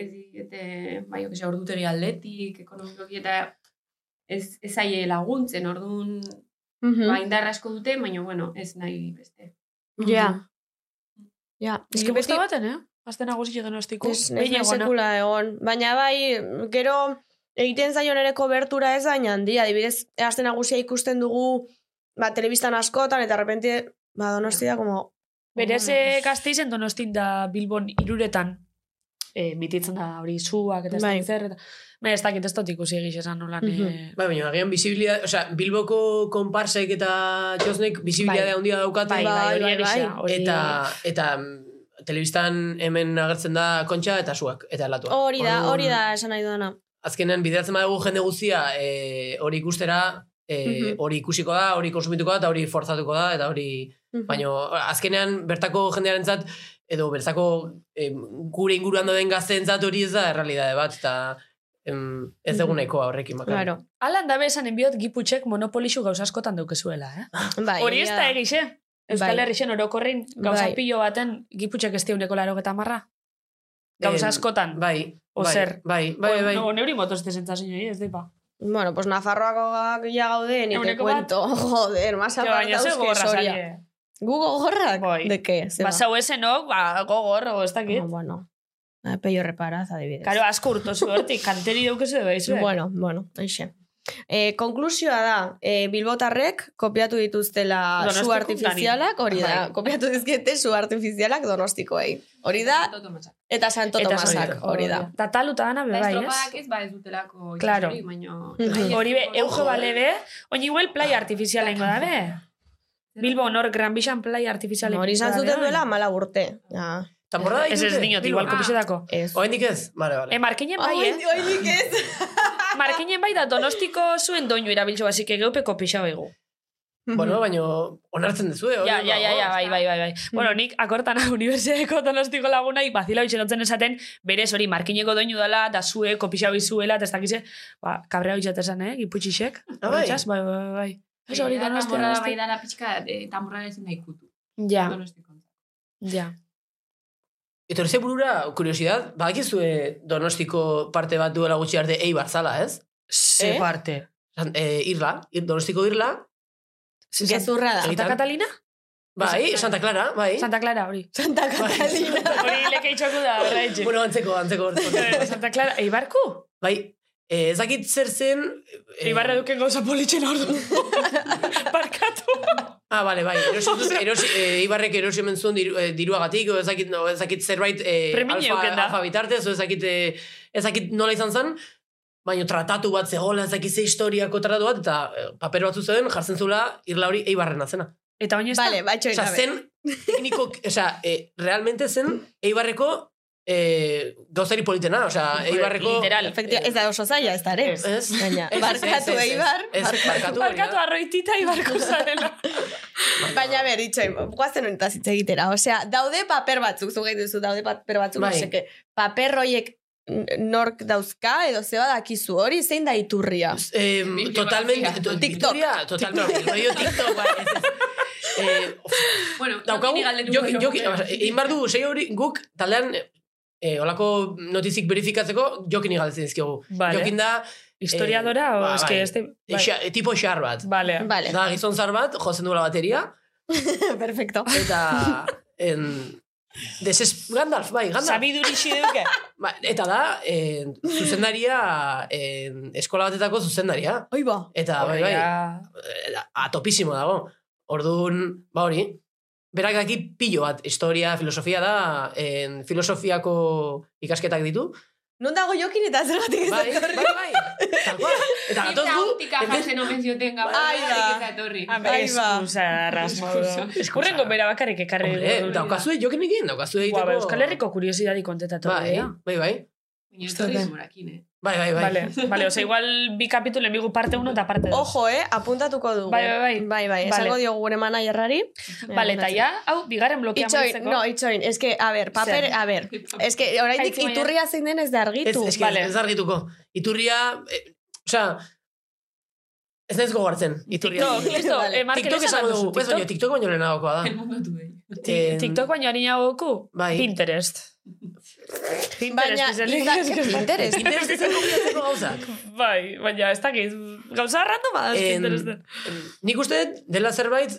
Speaker 7: ez diete, bai, jo, que se, ordutegi atletik, ekonomikoki, eta ez, ez aie laguntzen, orduan,
Speaker 5: Mm.
Speaker 4: Mhm.
Speaker 5: Bai.
Speaker 7: ba, indarra asko dute, baina, bueno, ez nahi beste.
Speaker 4: Ja. Ja.
Speaker 5: Ez
Speaker 4: Ni
Speaker 5: que
Speaker 4: beti-
Speaker 5: gusta baten, eh? Aste nagusia donostiko.
Speaker 4: Ez, ez
Speaker 5: Behin eh?
Speaker 4: naiz
Speaker 5: egona.
Speaker 4: sekula egon. Baina bai, gero egiten zaion ere kobertura ez baina handia. Adibidez, aste nagusia ikusten dugu ba, telebistan askotan eta repente ba, donosti da, como...
Speaker 5: Berez eh, gazteizen donostin da Bilbon iruretan eh, mititzen da hori zuak eta ez
Speaker 4: Bai.
Speaker 5: dakit zer. Eta... Baina ez dakit ez dut ikusi egiz esan nolan. Mm
Speaker 4: Mhm.
Speaker 6: Bai, baina agian bizibilidad, o sea, Bilboko konparsek eta txosnek bizibilidade
Speaker 5: Bai.
Speaker 6: handia daukate.
Speaker 5: Bai, bai, hori
Speaker 4: Bai, bai,
Speaker 5: egisa.
Speaker 4: bai.
Speaker 5: Hori...
Speaker 6: Eta, eta mm, telebistan hemen agertzen da kontxa eta suak, eta latua.
Speaker 4: Hori da, hori da, esan nahi dudana.
Speaker 6: Azkenean bideratzen badugu jende guztia eh, hori ikustera, eh,
Speaker 4: Mhm.
Speaker 6: hori ikusiko da, hori konsumituko da, eta hori forzatuko da, eta hori...
Speaker 4: Mhm.
Speaker 6: Baina azkenean bertako jendearentzat edo bertako em, gure inguruan dauden gazteentzat hori ez da errealidade bat, eta em, ez
Speaker 4: Mhm.
Speaker 6: eguneko horrekin bakarrik.
Speaker 4: Claro.
Speaker 5: Alan dabe esan enbiot giputxek monopolixu gauz askotan daukezuela, eh?
Speaker 4: Bai,
Speaker 5: Hori ez da
Speaker 4: ja.
Speaker 5: egiz, eh? Euskal
Speaker 4: Bai.
Speaker 5: Herrixen orokorrin gauza
Speaker 4: Bai.
Speaker 5: pilo baten giputxek ez diuneko laro eta marra.
Speaker 6: Em,
Speaker 5: Gauza askotan.
Speaker 6: Bai,
Speaker 5: Ozer.
Speaker 6: bai, bai, bai, bai.
Speaker 5: O, no, neuri motoste zentzazio, ez depa.
Speaker 4: Bueno, pues Nafarroako ja gaude, ni te
Speaker 5: Ehuneko bat.
Speaker 4: cuento. Joder, más
Speaker 5: Ke Baina
Speaker 4: apartados
Speaker 5: ze
Speaker 4: que
Speaker 5: gorra
Speaker 4: Soria.
Speaker 5: zaie.
Speaker 4: Gu gogorrak?
Speaker 5: eh. Bai.
Speaker 4: De qué? Se
Speaker 5: Basau esenok, ba, gogor, o ez dakit.
Speaker 4: Bueno, bueno. Ah, Pello reparaz, adibidez.
Speaker 5: Karo, asko urto zuertik, kanteri daukezu de baizu. eh?
Speaker 4: Bueno, bueno, eixe. E, konklusioa da, e, bilbotarrek kopiatu dituztela
Speaker 5: Donostiko
Speaker 4: su artifizialak, hori da,
Speaker 5: Bai.
Speaker 4: kopiatu dizkiete su artifizialak donostikoei. Hori da,
Speaker 7: Santo Tomasak.
Speaker 4: eta Santo Tomasak, hori da. Bai,
Speaker 5: Da taluta dana
Speaker 7: Eta
Speaker 5: bebai,
Speaker 7: estropadak
Speaker 5: Bai, ez?
Speaker 7: ez, ba, ez dutelako
Speaker 5: Claro. Mm-hmm.
Speaker 7: itsasorik, baino...
Speaker 5: Hori be, euge bale be, oin igual playa artifiziala ingo da be.
Speaker 4: Bai.
Speaker 5: Bilbo honor, Gran Bixan playa artifiziala
Speaker 4: Hori izan zuten duela bai, mala urte. Ja,
Speaker 6: Tamborra da
Speaker 5: Ez ez
Speaker 6: dituzte?
Speaker 5: dinot,
Speaker 6: Bilbon?
Speaker 5: igual kopizetako.
Speaker 4: ez.
Speaker 6: Oaindik Ah. ez? Bale, bale.
Speaker 5: E, markinen bai,
Speaker 4: Ah. Ai,
Speaker 5: eh?
Speaker 4: oinik ez.
Speaker 5: Markinen bai da donostiko zuen doinu erabiltzu, así que geupe kopixau egu.
Speaker 6: Bueno, baino onartzen duzu, eh? hori
Speaker 5: Ja, ja, ja,
Speaker 6: dago.
Speaker 5: ja, bai, bai, bai, bai.
Speaker 4: Mm.
Speaker 5: Bueno, nik akortan unibertsiadeko donostiko lagunai bazila bitxen otzen esaten, berez hori markineko doinu dala, da zue, kopixau izuela, eta ez dakize, ba, kabrea bitxat esan, eh, giputxixek.
Speaker 6: Ah, bai?
Speaker 5: Horretxaz, bai, bai, bai. Ez hori
Speaker 7: da
Speaker 5: donosti,
Speaker 7: tamborra bai
Speaker 5: donosti.
Speaker 7: dara pixka, eh, tamborra ezin da ikutu.
Speaker 5: Ja,
Speaker 7: Donostiko.
Speaker 5: ja.
Speaker 6: Etorri ze burura, kuriosidad, badakizue donostiko parte bat duela gutxi arte eibar zala, ez?
Speaker 5: Ze
Speaker 6: Eh?
Speaker 5: parte.
Speaker 6: San- eh, irla, ir, donostiko irla,
Speaker 4: Gezurra da.
Speaker 5: Santa
Speaker 6: Egitan.
Speaker 5: Catalina?
Speaker 6: bai, Santa Clara, bai.
Speaker 5: Santa Clara, hori.
Speaker 4: Santa Catalina.
Speaker 5: Hori leke itxoku da, horreitxe.
Speaker 6: Bueno, antzeko, antzeko. antzeko.
Speaker 5: Eh, Santa Clara, Eibarku?
Speaker 6: bai, eh, ez dakit zer zen... Eh,
Speaker 5: Eibarra duken gauza politxen hor. Parkatu.
Speaker 6: Ah, bale, bai, erosi, dut- erosi, eh, Eibarrek erosi omen zuen diru, eh, diruagatik, o ez dakit, no, ez dakit zerbait eh,
Speaker 5: Premiña
Speaker 6: alfa,
Speaker 5: euken da.
Speaker 6: alfa bitartez, o ez dakit, eh, ez dakit nola izan zen, baino tratatu bat zegoela, ez dakit ze historiako tratatu bat, eta eh, paper batzu zeuden jartzen zula irla hori Eibarren azena.
Speaker 5: Eta baina ez da.
Speaker 4: Vale, ba, batxo
Speaker 6: Osa,
Speaker 4: ikabe.
Speaker 6: zen tekniko, osa, eh, realmente zen Eibarreko e, gauzari politena,
Speaker 5: Ah,
Speaker 6: osea, eibarreko...
Speaker 5: Literal.
Speaker 4: Efektia, ez da oso zaila, ez da, ere.
Speaker 5: Eh, Ez.
Speaker 6: Ez?
Speaker 4: Baina,
Speaker 6: Ez, ez,
Speaker 4: barkatu,
Speaker 6: ez, ez, ez.
Speaker 4: Eibar,
Speaker 6: Ez, barkatu,
Speaker 5: Barkatu arroitita ibarko zarela.
Speaker 4: Baina, ber, itxai, guazen honetaz hitz egitera. Osea, daude paper batzuk, zu gehi duzu, daude paper batzuk,
Speaker 6: Bai.
Speaker 4: bai. oseke, paper hoiek n- nork dauzka, edo zeba dakizu hori, zein da iturria.
Speaker 6: Eh,
Speaker 7: Bibliografia.
Speaker 6: totalmente... to-
Speaker 4: TikTok.
Speaker 6: Biblia, Totalmente. rollo TikTok, bai. ez, ez. Eh,
Speaker 7: Bueno,
Speaker 6: daukagu,
Speaker 7: jokini galdetuko
Speaker 6: joki,
Speaker 7: diogu.
Speaker 6: joki, oza, egin behar dugu, sei hori guk, taldean, eh, olako notizik berifikatzeko, jokin igaltzen dizkiogu.
Speaker 5: Vale.
Speaker 6: Jokin da,
Speaker 5: Historiadora,
Speaker 6: Eh,
Speaker 5: o
Speaker 6: ba,
Speaker 5: eske
Speaker 6: bai.
Speaker 5: este...
Speaker 6: eh, xa- eh, tipo xar bat.
Speaker 5: Vale.
Speaker 4: Vale,
Speaker 6: Da, gizon zar bat, jozen duela bateria,
Speaker 4: perfecto.
Speaker 6: eta... en, deses, Gandalf, bai, Gandalf.
Speaker 5: Sabidurixi deuke.
Speaker 6: Ba, eta da, eh, zuzendaria, eh, eskola batetako zuzendaria.
Speaker 4: Oi ba.
Speaker 6: Eta,
Speaker 5: Ah,
Speaker 6: bai, bai, eh, atopisimo dago. Orduan, ba hori, berak daki pilo bat, historia, filosofia da, en, filosofiako ikasketak ditu.
Speaker 4: Non dago jokin eta zergatik ez
Speaker 6: Bai,
Speaker 4: dut
Speaker 6: bai, bai, tal cual. Eta gatoz
Speaker 7: Zibra
Speaker 6: gu,
Speaker 7: optika
Speaker 6: ente-
Speaker 7: jartzen omen zioten gaur.
Speaker 4: Ai, da.
Speaker 7: Eta etorri.
Speaker 4: Bai, ba.
Speaker 5: Ah, Eskusa, Rasmodo.
Speaker 6: Eskusa.
Speaker 5: Hurrengo bera bakarrik ekarri.
Speaker 6: Hombre, eh,
Speaker 5: dugu.
Speaker 6: daukazue jokinekin, daukazue
Speaker 5: Guau,
Speaker 6: egiteko...
Speaker 5: ba, Euskal Herriko kuriosidadi kontentatu.
Speaker 6: Bai,
Speaker 5: dira.
Speaker 6: bai, bai.
Speaker 7: Baina ez da ritmorakin, eh?
Speaker 6: Bai, bai, bai.
Speaker 5: Vale, vale, osea, igual bi kapitulo enbigu parte 1 eta parte 2.
Speaker 4: Ojo, eh, apuntatuko dugu.
Speaker 5: Bai, bai, bai.
Speaker 4: Bai, bai,
Speaker 5: Vale.
Speaker 4: esango diogu gure manaierrari.
Speaker 5: Vale, eta ja, hau, bigarren blokean
Speaker 4: Itxoin, no, itxoin, es que, a ver, paper,
Speaker 5: Zer?
Speaker 4: a ver, es que oraindik
Speaker 5: Jaitsi baina-
Speaker 4: iturria zein den ez da
Speaker 6: Ez,
Speaker 4: argitu.
Speaker 6: eski,
Speaker 5: vale.
Speaker 6: ez argituko. Iturria, eh, osea, ez naiz gogartzen, iturria.
Speaker 5: TikTok, listo,
Speaker 4: Vale.
Speaker 5: eh, Markel,
Speaker 6: TikTok
Speaker 5: esan
Speaker 6: esango
Speaker 5: duzu,
Speaker 6: dugu, ez baino,
Speaker 5: TikTok.
Speaker 6: TikTok baino lehenagokoa da.
Speaker 7: El mundo tuve.
Speaker 6: En-
Speaker 5: TikTok baino harinagoku?
Speaker 6: Bai.
Speaker 5: Pinterest.
Speaker 4: Baina,
Speaker 5: Pinterest izan
Speaker 4: izan-
Speaker 5: litezke.
Speaker 4: Pinterest.
Speaker 6: Pinterest ez dago bilatzeko gauzak.
Speaker 5: Bai, baina ez dakit, gauza randoma da
Speaker 6: En-
Speaker 5: Pinteresten.
Speaker 6: Nik uste dut, dela zerbait,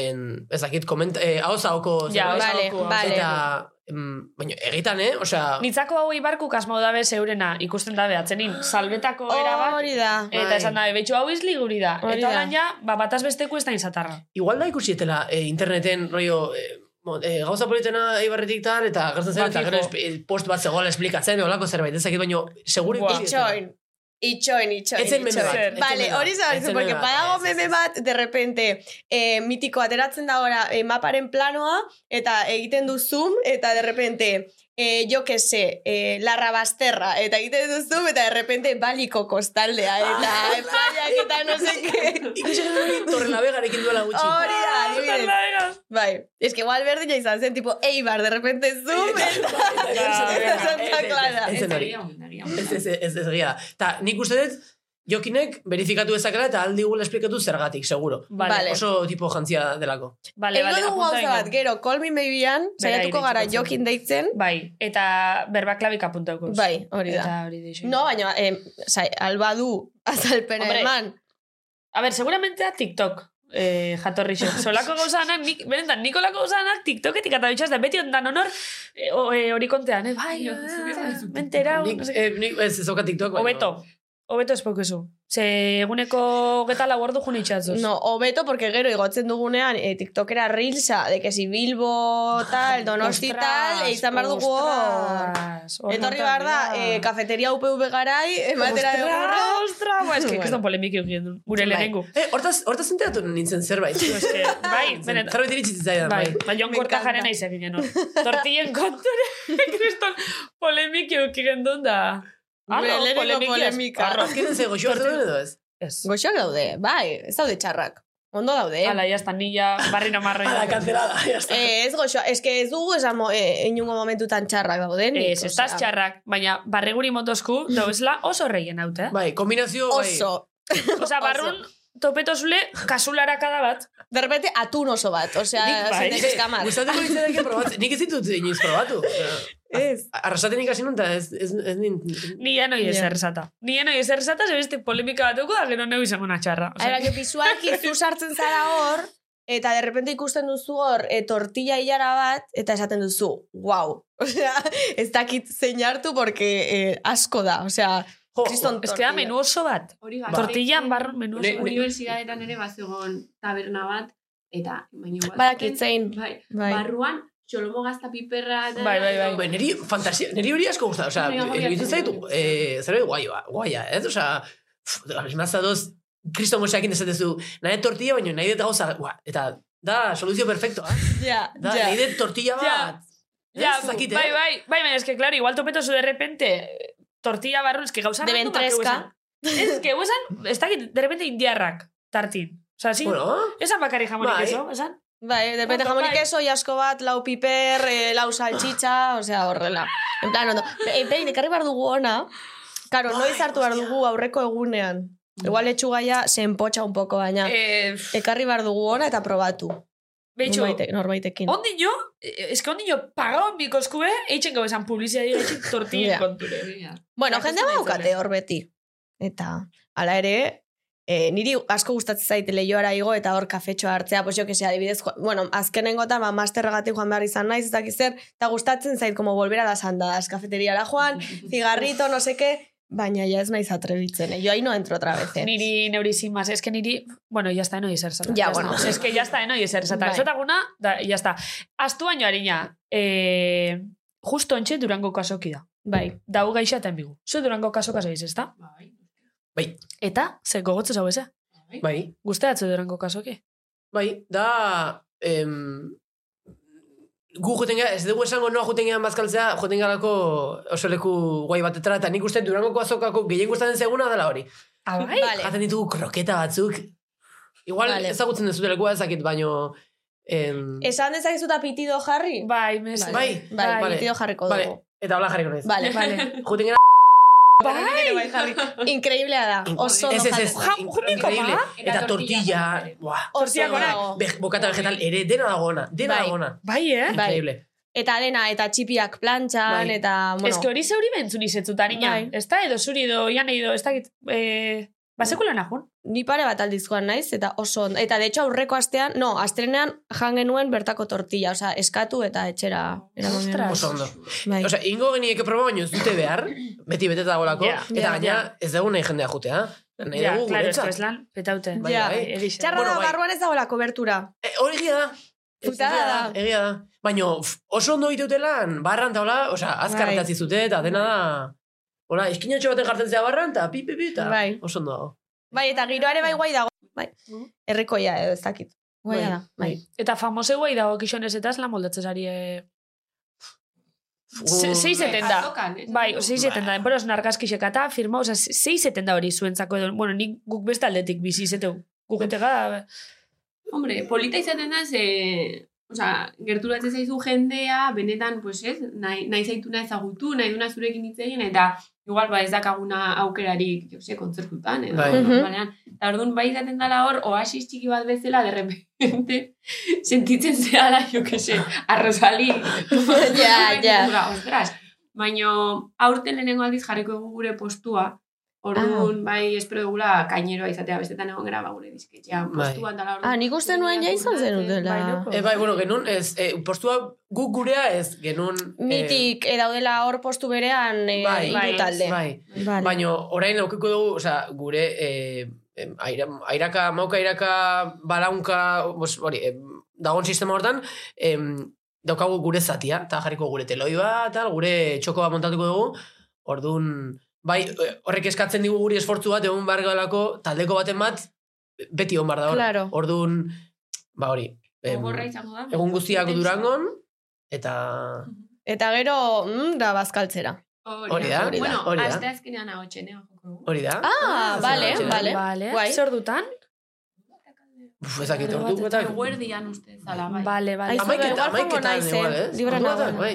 Speaker 6: en, ez dakit, komenta, eh, hau zaoko
Speaker 5: Ja,
Speaker 6: zerbait.
Speaker 4: vale,
Speaker 5: hau-
Speaker 4: vale.
Speaker 6: Eta, mm, baina, egitan, eh? Osea,
Speaker 5: Nitzako hau ibarku kasmo dabe zeurena ikusten dabe atzenin, salbetako erabat,
Speaker 4: Hori da.
Speaker 5: eta
Speaker 6: Bai.
Speaker 5: esan dabe, betxo hau izli guri da.
Speaker 4: Hori
Speaker 5: Eta
Speaker 4: da.
Speaker 5: orain ja, ba, bataz besteko ez da inzatarra.
Speaker 6: igual da ikusietela eh, interneten, rollo, eh, mo- eh, gauza politena eibarretik tal, eta gertzen zen,
Speaker 5: Ba,
Speaker 6: eta gero
Speaker 5: fijo.
Speaker 6: espe- eh, post bat zegoela esplikatzen, olako zerbait, ez dakit, baino, segure
Speaker 5: Buah.
Speaker 6: ikusi dutela.
Speaker 4: Itxoin. Itxoin, itxoin,
Speaker 6: Ez zen meme bat, ez zen
Speaker 4: Vale,
Speaker 6: meme bat,
Speaker 4: hori
Speaker 6: ez
Speaker 4: zabaltzen,
Speaker 6: zen
Speaker 4: porque
Speaker 6: meme bat,
Speaker 4: badago
Speaker 6: ez, ez,
Speaker 4: meme
Speaker 6: ez.
Speaker 4: bat, de repente, eh, mitiko ateratzen da ora eh, maparen planoa, eta egiten du zoom, eta de repente, eh, jo que se, eh, larra basterra, eta egiten du zoom, eta de repente baliko kostaldea, eta epaiak, eta no sé que...
Speaker 6: Ikusi genuen hori Torrelavagarekin duela gutxi.
Speaker 4: Hori da, adibidez. Bai, es que igual berdina izan zen, tipo, Eibar, de repente zoom, eta...
Speaker 6: Ez, ez, ez,
Speaker 4: Santa Clara.
Speaker 6: Ez zen hori.
Speaker 7: Egia hori, egia
Speaker 6: Ez,
Speaker 7: hori.
Speaker 6: ez, ez, ez, egia da. Ta, nik uste dut, jokinek verifikatu ezakela eta aldi gula esplikatu zergatik, seguro.
Speaker 4: Vale.
Speaker 6: Oso tipo jantzia delako.
Speaker 5: Vale,
Speaker 4: Ego
Speaker 5: vale,
Speaker 4: dugu
Speaker 5: apunta
Speaker 4: gauza bat,
Speaker 5: ingo.
Speaker 4: gero, call me maybean, saiatuko
Speaker 5: irekitzen
Speaker 4: gara
Speaker 5: duzu.
Speaker 4: jokin deitzen,
Speaker 5: Bai, eta berbaklabik apuntako.
Speaker 4: Bai, hori da.
Speaker 5: Eta hori deixo.
Speaker 4: No, baina, eh, sai, alba du azalpena
Speaker 5: Hombre.
Speaker 4: eman.
Speaker 5: A ber, seguramente da TikTok. Eh, jatorri xo. Solako gauzanak, nik, benetan, nikolako gauzanak TikToketik eta bitxaz da beti ondan honor eh, o- eh, hori kontean, eh, bai,
Speaker 7: Nik, zuk esan
Speaker 5: eh,
Speaker 7: duzu.
Speaker 5: me enterau,
Speaker 6: Nik,
Speaker 5: no sé qué.
Speaker 6: eh, nik ez ez daukat TikTok. baina-
Speaker 5: Hobeto, hobeto espokezu. Ze eguneko geta lau ordu june itxatzuz.
Speaker 4: No, hobeto, porque gero igotzen dugunean eh, TikTokera Reelsa, de que si Bilbo tal, Donosti tal, e izan behar dugu hor. Etorri behar da, eh, kafeteria UPV garai, eh, ematera de burro.
Speaker 5: Ostra, ba, eske,
Speaker 4: Bueno. Bai.
Speaker 5: kiston polemik eukien duen. Gure lehenengo.
Speaker 6: Eh, hortaz, hortaz enteratu nintzen zerbait.
Speaker 5: Eske, bai, benetan.
Speaker 6: Zerbait iritsi zitzaidan,
Speaker 5: Bai,
Speaker 6: bai.
Speaker 5: ba, Jon
Speaker 4: Me
Speaker 5: Korta
Speaker 4: encanta.
Speaker 5: jaren aize ginen hor. Tortillen kontora, kriston polemik eukigen duen da.
Speaker 4: Gure lehenengo polemika.
Speaker 5: Arro.
Speaker 6: Azkenen ze goxo hartu duen edo ez?
Speaker 5: Ez.
Speaker 4: Goxoak daude, bai, ez daude txarrak. Ondo daude, eh?
Speaker 5: Ala, jazta, nila, barri namarra.
Speaker 6: Ala, kancelada, ya está.
Speaker 4: Eh, ez goxoa, ez que ez dugu esan mo, eh, inungo momentutan txarrak daudenik.
Speaker 5: Eh, Ez, ez
Speaker 4: osea.
Speaker 5: txarrak, baina barreguri motosku, dauzela oso reien haute. Eh?
Speaker 6: Bai, kombinazio, bai.
Speaker 4: Ba, Oso.
Speaker 5: Osa, barrun, topetozule, kasularakada bat.
Speaker 4: De repente, atun oso bat, osea,
Speaker 5: Nik bai.
Speaker 4: zentek eskamar.
Speaker 6: Eh, Gustatuko litzateke probatzen. Nik ez ditut inoiz probatu.
Speaker 4: Ez.
Speaker 6: Arrasaten ikasi nun, eta ez, ez, ez nin...
Speaker 5: Ni ya noi
Speaker 4: Ja.
Speaker 5: ezer zata. Ni ya noi ezer zata, zebeste polemika batuko, da gero neu izango una txarra. Osea,
Speaker 4: Ara, que pisuaki zu sartzen zara hor, eta de repente ikusten duzu hor e, tortilla hilara bat, eta esaten duzu, wow. Osea, ez dakit zein hartu, porque eh, asko da, osea,
Speaker 6: Jo,
Speaker 4: kriston
Speaker 5: Ez que da
Speaker 4: tortilla. Ba.
Speaker 5: menu oso bat.
Speaker 7: Hori gazteizen-
Speaker 5: Tortillan barrun menu oso
Speaker 6: Ne-
Speaker 5: bat.
Speaker 7: Unibertsitateetan ere bazegon taberna bat, eta baina igual.
Speaker 4: Badakit zein.
Speaker 7: Bai,
Speaker 4: Bai.
Speaker 7: barruan, xolomo gazta piperra. da-
Speaker 5: Bai, bai, bai.
Speaker 7: edo-
Speaker 6: Ba, neri fantasia, neri hori asko gusta, osea,
Speaker 7: Niri asko
Speaker 6: iruditzen
Speaker 7: gustatzen
Speaker 6: zaitu, eh, zerbait guaioa, guaia, ez, osea, pff, mazta doz, kristo moseakin dezatezu, nahi dut tortilla, baina nahi dut gauza, gua, eta da, soluzio perfectoa,
Speaker 4: Ja,
Speaker 6: da,
Speaker 4: ja.
Speaker 6: nahi dut tortilla bat,
Speaker 4: Ja.
Speaker 5: Ja,
Speaker 6: Ez
Speaker 5: bai,
Speaker 6: dakit, eh?
Speaker 5: bai, bai, baina eske, claro, igual topeto zu de repente eh, tortilla barru, eske gauza
Speaker 4: Deben
Speaker 5: randomak
Speaker 4: treska.
Speaker 5: hau esan. Ez, que hau esan, ez dakit, de repente indiarrak tartin. Osa, zin,
Speaker 6: Bueno,
Speaker 5: esan bakarri jamonik
Speaker 6: Bai.
Speaker 5: eso, esan?
Speaker 4: Bai, depende
Speaker 5: Ondo,
Speaker 4: jamonik
Speaker 5: bai.
Speaker 4: eso, jasko bat, lau piper, eh, lau saltxitxa, osea, horrela. En plan, ondo. E, Behin, ekarri behar dugu ona, karo,
Speaker 6: Bai,
Speaker 4: noiz hartu behar
Speaker 6: hostia.
Speaker 4: dugu aurreko egunean. Igual etxugaia senpotxa un poco, baina
Speaker 5: Eh,
Speaker 4: ekarri behar dugu ona eta probatu.
Speaker 5: Beitxo,
Speaker 4: Norbaitek- norbaitekin.
Speaker 5: ondino, eh, eske ondino pagao miko eskube, eitzen gau esan publizia dira, eitzen tortilla
Speaker 4: Ja.
Speaker 5: konture.
Speaker 4: Bueno,
Speaker 5: Eta
Speaker 4: jendea
Speaker 5: ez da
Speaker 4: baukate
Speaker 5: entzule.
Speaker 4: hor beti. Eta, hala ere, eh, niri asko gustatzen zait leioara igo eta hor kafetxoa hartzea, pues jo que sea, adibidez, jo- bueno, azkenengotan ba masterregatik joan behar izan naiz, ez dakit zer, eta gustatzen zait como volver a las andadas, kafeteriara joan, cigarrito, no sé qué, baina ja ez naiz atrebitzen, eh? yo ahí no entro otra vez. Eh?
Speaker 5: Niri neuri zimas, eske niri, bueno, ya está, eno izer zata.
Speaker 4: Ja, bueno.
Speaker 5: Está. Eske ya está, eno izer zata.
Speaker 4: Bai.
Speaker 5: Bai. Zotaguna, da, ya está. Aztu baino harina, eh, justo ontxe durango kasoki da.
Speaker 4: Bai.
Speaker 5: Dau gaixa eta enbigu. Zu durango kaso kaso iz, ezta?
Speaker 7: Bai,
Speaker 5: Eta, ze gogotze zau eze?
Speaker 6: bai,
Speaker 5: Guzteatze durango kasoki?
Speaker 6: bai, da... Em, gu joten gara, ez dugu esango noa joten gara bazkaltzea, joten garako oso leku guai batetara, eta nik uste durangoko azokako gehien gustatzen zeguna dela hori.
Speaker 5: Abai?
Speaker 4: Vale.
Speaker 6: Jaten ditugu kroketa batzuk. Igual
Speaker 4: Vale.
Speaker 6: ezagutzen dezute lekua ezakit, baino... Em,
Speaker 4: Esan dezakezu eta pitido jarri?
Speaker 5: Bai, mes.
Speaker 6: Bai,
Speaker 4: Bai,
Speaker 6: vale.
Speaker 4: pitido jarriko
Speaker 6: vale,
Speaker 4: dugu.
Speaker 6: eta hola jarriko naiz.
Speaker 4: Vale, vale.
Speaker 6: Joten gara...
Speaker 4: bai. Inkreiblea da, oso
Speaker 6: ez,
Speaker 4: ondo
Speaker 6: ez, ez,
Speaker 4: jarri-
Speaker 5: Ja, jumiko,
Speaker 6: increíble.
Speaker 5: ba?
Speaker 6: Eta
Speaker 7: Eta
Speaker 6: tortilla,
Speaker 7: tortilla.
Speaker 6: buah.
Speaker 4: Oso
Speaker 5: Zortziak
Speaker 4: ondo
Speaker 5: ona.
Speaker 4: dago.
Speaker 6: Be- Bokata vegetal ere, dena dago ona, dena
Speaker 4: Bai.
Speaker 6: dago ona.
Speaker 5: Bai, eh?
Speaker 4: Bai.
Speaker 6: Increíble.
Speaker 4: Eta dena, eta txipiak plantxan,
Speaker 6: Bai.
Speaker 4: eta, bueno.
Speaker 5: Eske hori zeuri bentzun izetzuta, nina.
Speaker 4: Bai.
Speaker 5: Ez da, edo zuri edo, ian edo, ez dakit, eh, basekulan ahun?
Speaker 4: Ni pare bat aldiz joan naiz, eta oso ondo. Eta de hecho aurreko astean, no, astrenean jan genuen bertako tortilla, osea, eskatu eta etxera. eraman
Speaker 5: Ostras.
Speaker 4: genuen.
Speaker 6: Oso ondo.
Speaker 4: Bai.
Speaker 6: Osea, ingo genieke proba baino ez dute behar, beti beteta dagoelako,
Speaker 5: Ja.
Speaker 6: eta
Speaker 4: Ja,
Speaker 6: gaina ez dugu nahi jendea jutea. Nahi
Speaker 5: Ja,
Speaker 6: dugu
Speaker 5: claro, esto
Speaker 6: guretzat.
Speaker 5: es lan, petaute.
Speaker 6: Bai,
Speaker 4: Ja.
Speaker 6: bai.
Speaker 5: Erixe.
Speaker 4: Txarra
Speaker 6: Bueno,
Speaker 4: da,
Speaker 6: bai.
Speaker 4: barruan ez dagoela kobertura.
Speaker 6: E, Hori egia da.
Speaker 4: Putada
Speaker 6: Egia
Speaker 4: da.
Speaker 6: Egia da. Baina pf, oso ondo ditutelan, barran eta hola, osea, azkar
Speaker 4: Bai.
Speaker 6: atzi zute, eta dena da... Hola, eskinatxo baten jartzen zea barran, eta pi, pi, pi, eta
Speaker 4: Bai.
Speaker 6: oso ondo dago.
Speaker 4: Bai, eta giroare
Speaker 6: Ah.
Speaker 4: bai guai dago. Bai.
Speaker 6: Mm.
Speaker 4: Herrikoia edo ez dakit. Guaia da. Bai.
Speaker 5: Eta famose guai dago kixonez eta lan moldatzen zari... eh,
Speaker 6: Gu-
Speaker 5: ze- Sei setenta.
Speaker 7: Azokan, ez?
Speaker 5: Bai, 670 da, enporos nargaskixekata, firma, oza, 670 hori zuentzako edo, bueno, nik guk beste aldetik bizi izeteu. Guk entega,
Speaker 7: Hombre, polita izaten da, ze... Osa, gerturatzen zaizu jendea, benetan, pues ez, nahi, nahi zaituna ezagutu, nahi duna zurekin hitz egin, eta igual ba ez dakaguna aukerarik, jo se, kontzertutan, edo,
Speaker 6: Bai.
Speaker 4: Mhm.
Speaker 7: normalean. Eta orduan bai izaten dela hor, oasis txiki bat bezala, de repente, sentitzen zehala, jo que se, arrozali.
Speaker 4: Ja, ja.
Speaker 7: Ostras, baino, aurten lehenengo aldiz jarriko dugu gure postua, Orduan, bai, espero dugula kaineroa izatea, bestetan egon gara, ba, gure disketxean
Speaker 6: Bai.
Speaker 7: postuan dala orduan.
Speaker 4: Ah, nik uste nuen ja izan zen
Speaker 5: bai,
Speaker 4: utela.
Speaker 5: noko.
Speaker 6: E, bai, bueno, genuen, ez, e, postua guk gurea ez, genuen... eh,
Speaker 4: Mitik, eh, daudela hor postu berean eh,
Speaker 6: Bai.
Speaker 4: hiru
Speaker 5: Bai.
Speaker 4: talde.
Speaker 6: Bai,
Speaker 4: Vale.
Speaker 6: Baina orain aukiko dugu, osea, gure eh, em, aira, airaka, mauka, airaka, balaunka, bos, hori, em, dagoen sistema hortan, em, daukagu gure zatia, eta jarriko gure teloi bat, tal, gure txoko bat montatuko dugu, orduan, bai, eh, horrek eskatzen digu guri esfortzu bat, egun behar galako, taldeko baten bat, beti hon behar da hor.
Speaker 4: Claro.
Speaker 6: Orduan, ba hori, em,
Speaker 7: Gogorra izango da.
Speaker 6: egun guztiak durangon, eta...
Speaker 4: Eta gero, mm, da bazkaltzera.
Speaker 6: Hori da, hori da,
Speaker 7: Bueno,
Speaker 6: hori da.
Speaker 7: aste azkenean hau txenea joko dugu.
Speaker 6: Hori da?
Speaker 4: Ah, vale,
Speaker 6: zer,
Speaker 4: vale.
Speaker 5: Vale,
Speaker 4: Guai.
Speaker 5: Zer dutan?
Speaker 6: Uf, ezakit,
Speaker 5: Ordu
Speaker 6: ordu,
Speaker 5: batetan,
Speaker 6: ordu,
Speaker 7: Eguerdian ustez, ala, bai.
Speaker 5: Vale,
Speaker 4: Ai,
Speaker 5: vale.
Speaker 4: zu-
Speaker 6: Amaiketa,
Speaker 4: igual joango
Speaker 6: amaiketan
Speaker 4: naiz,
Speaker 6: igual,
Speaker 4: eh?
Speaker 6: ez?
Speaker 4: Libre
Speaker 6: Ordu batean,
Speaker 4: nago.
Speaker 6: bai.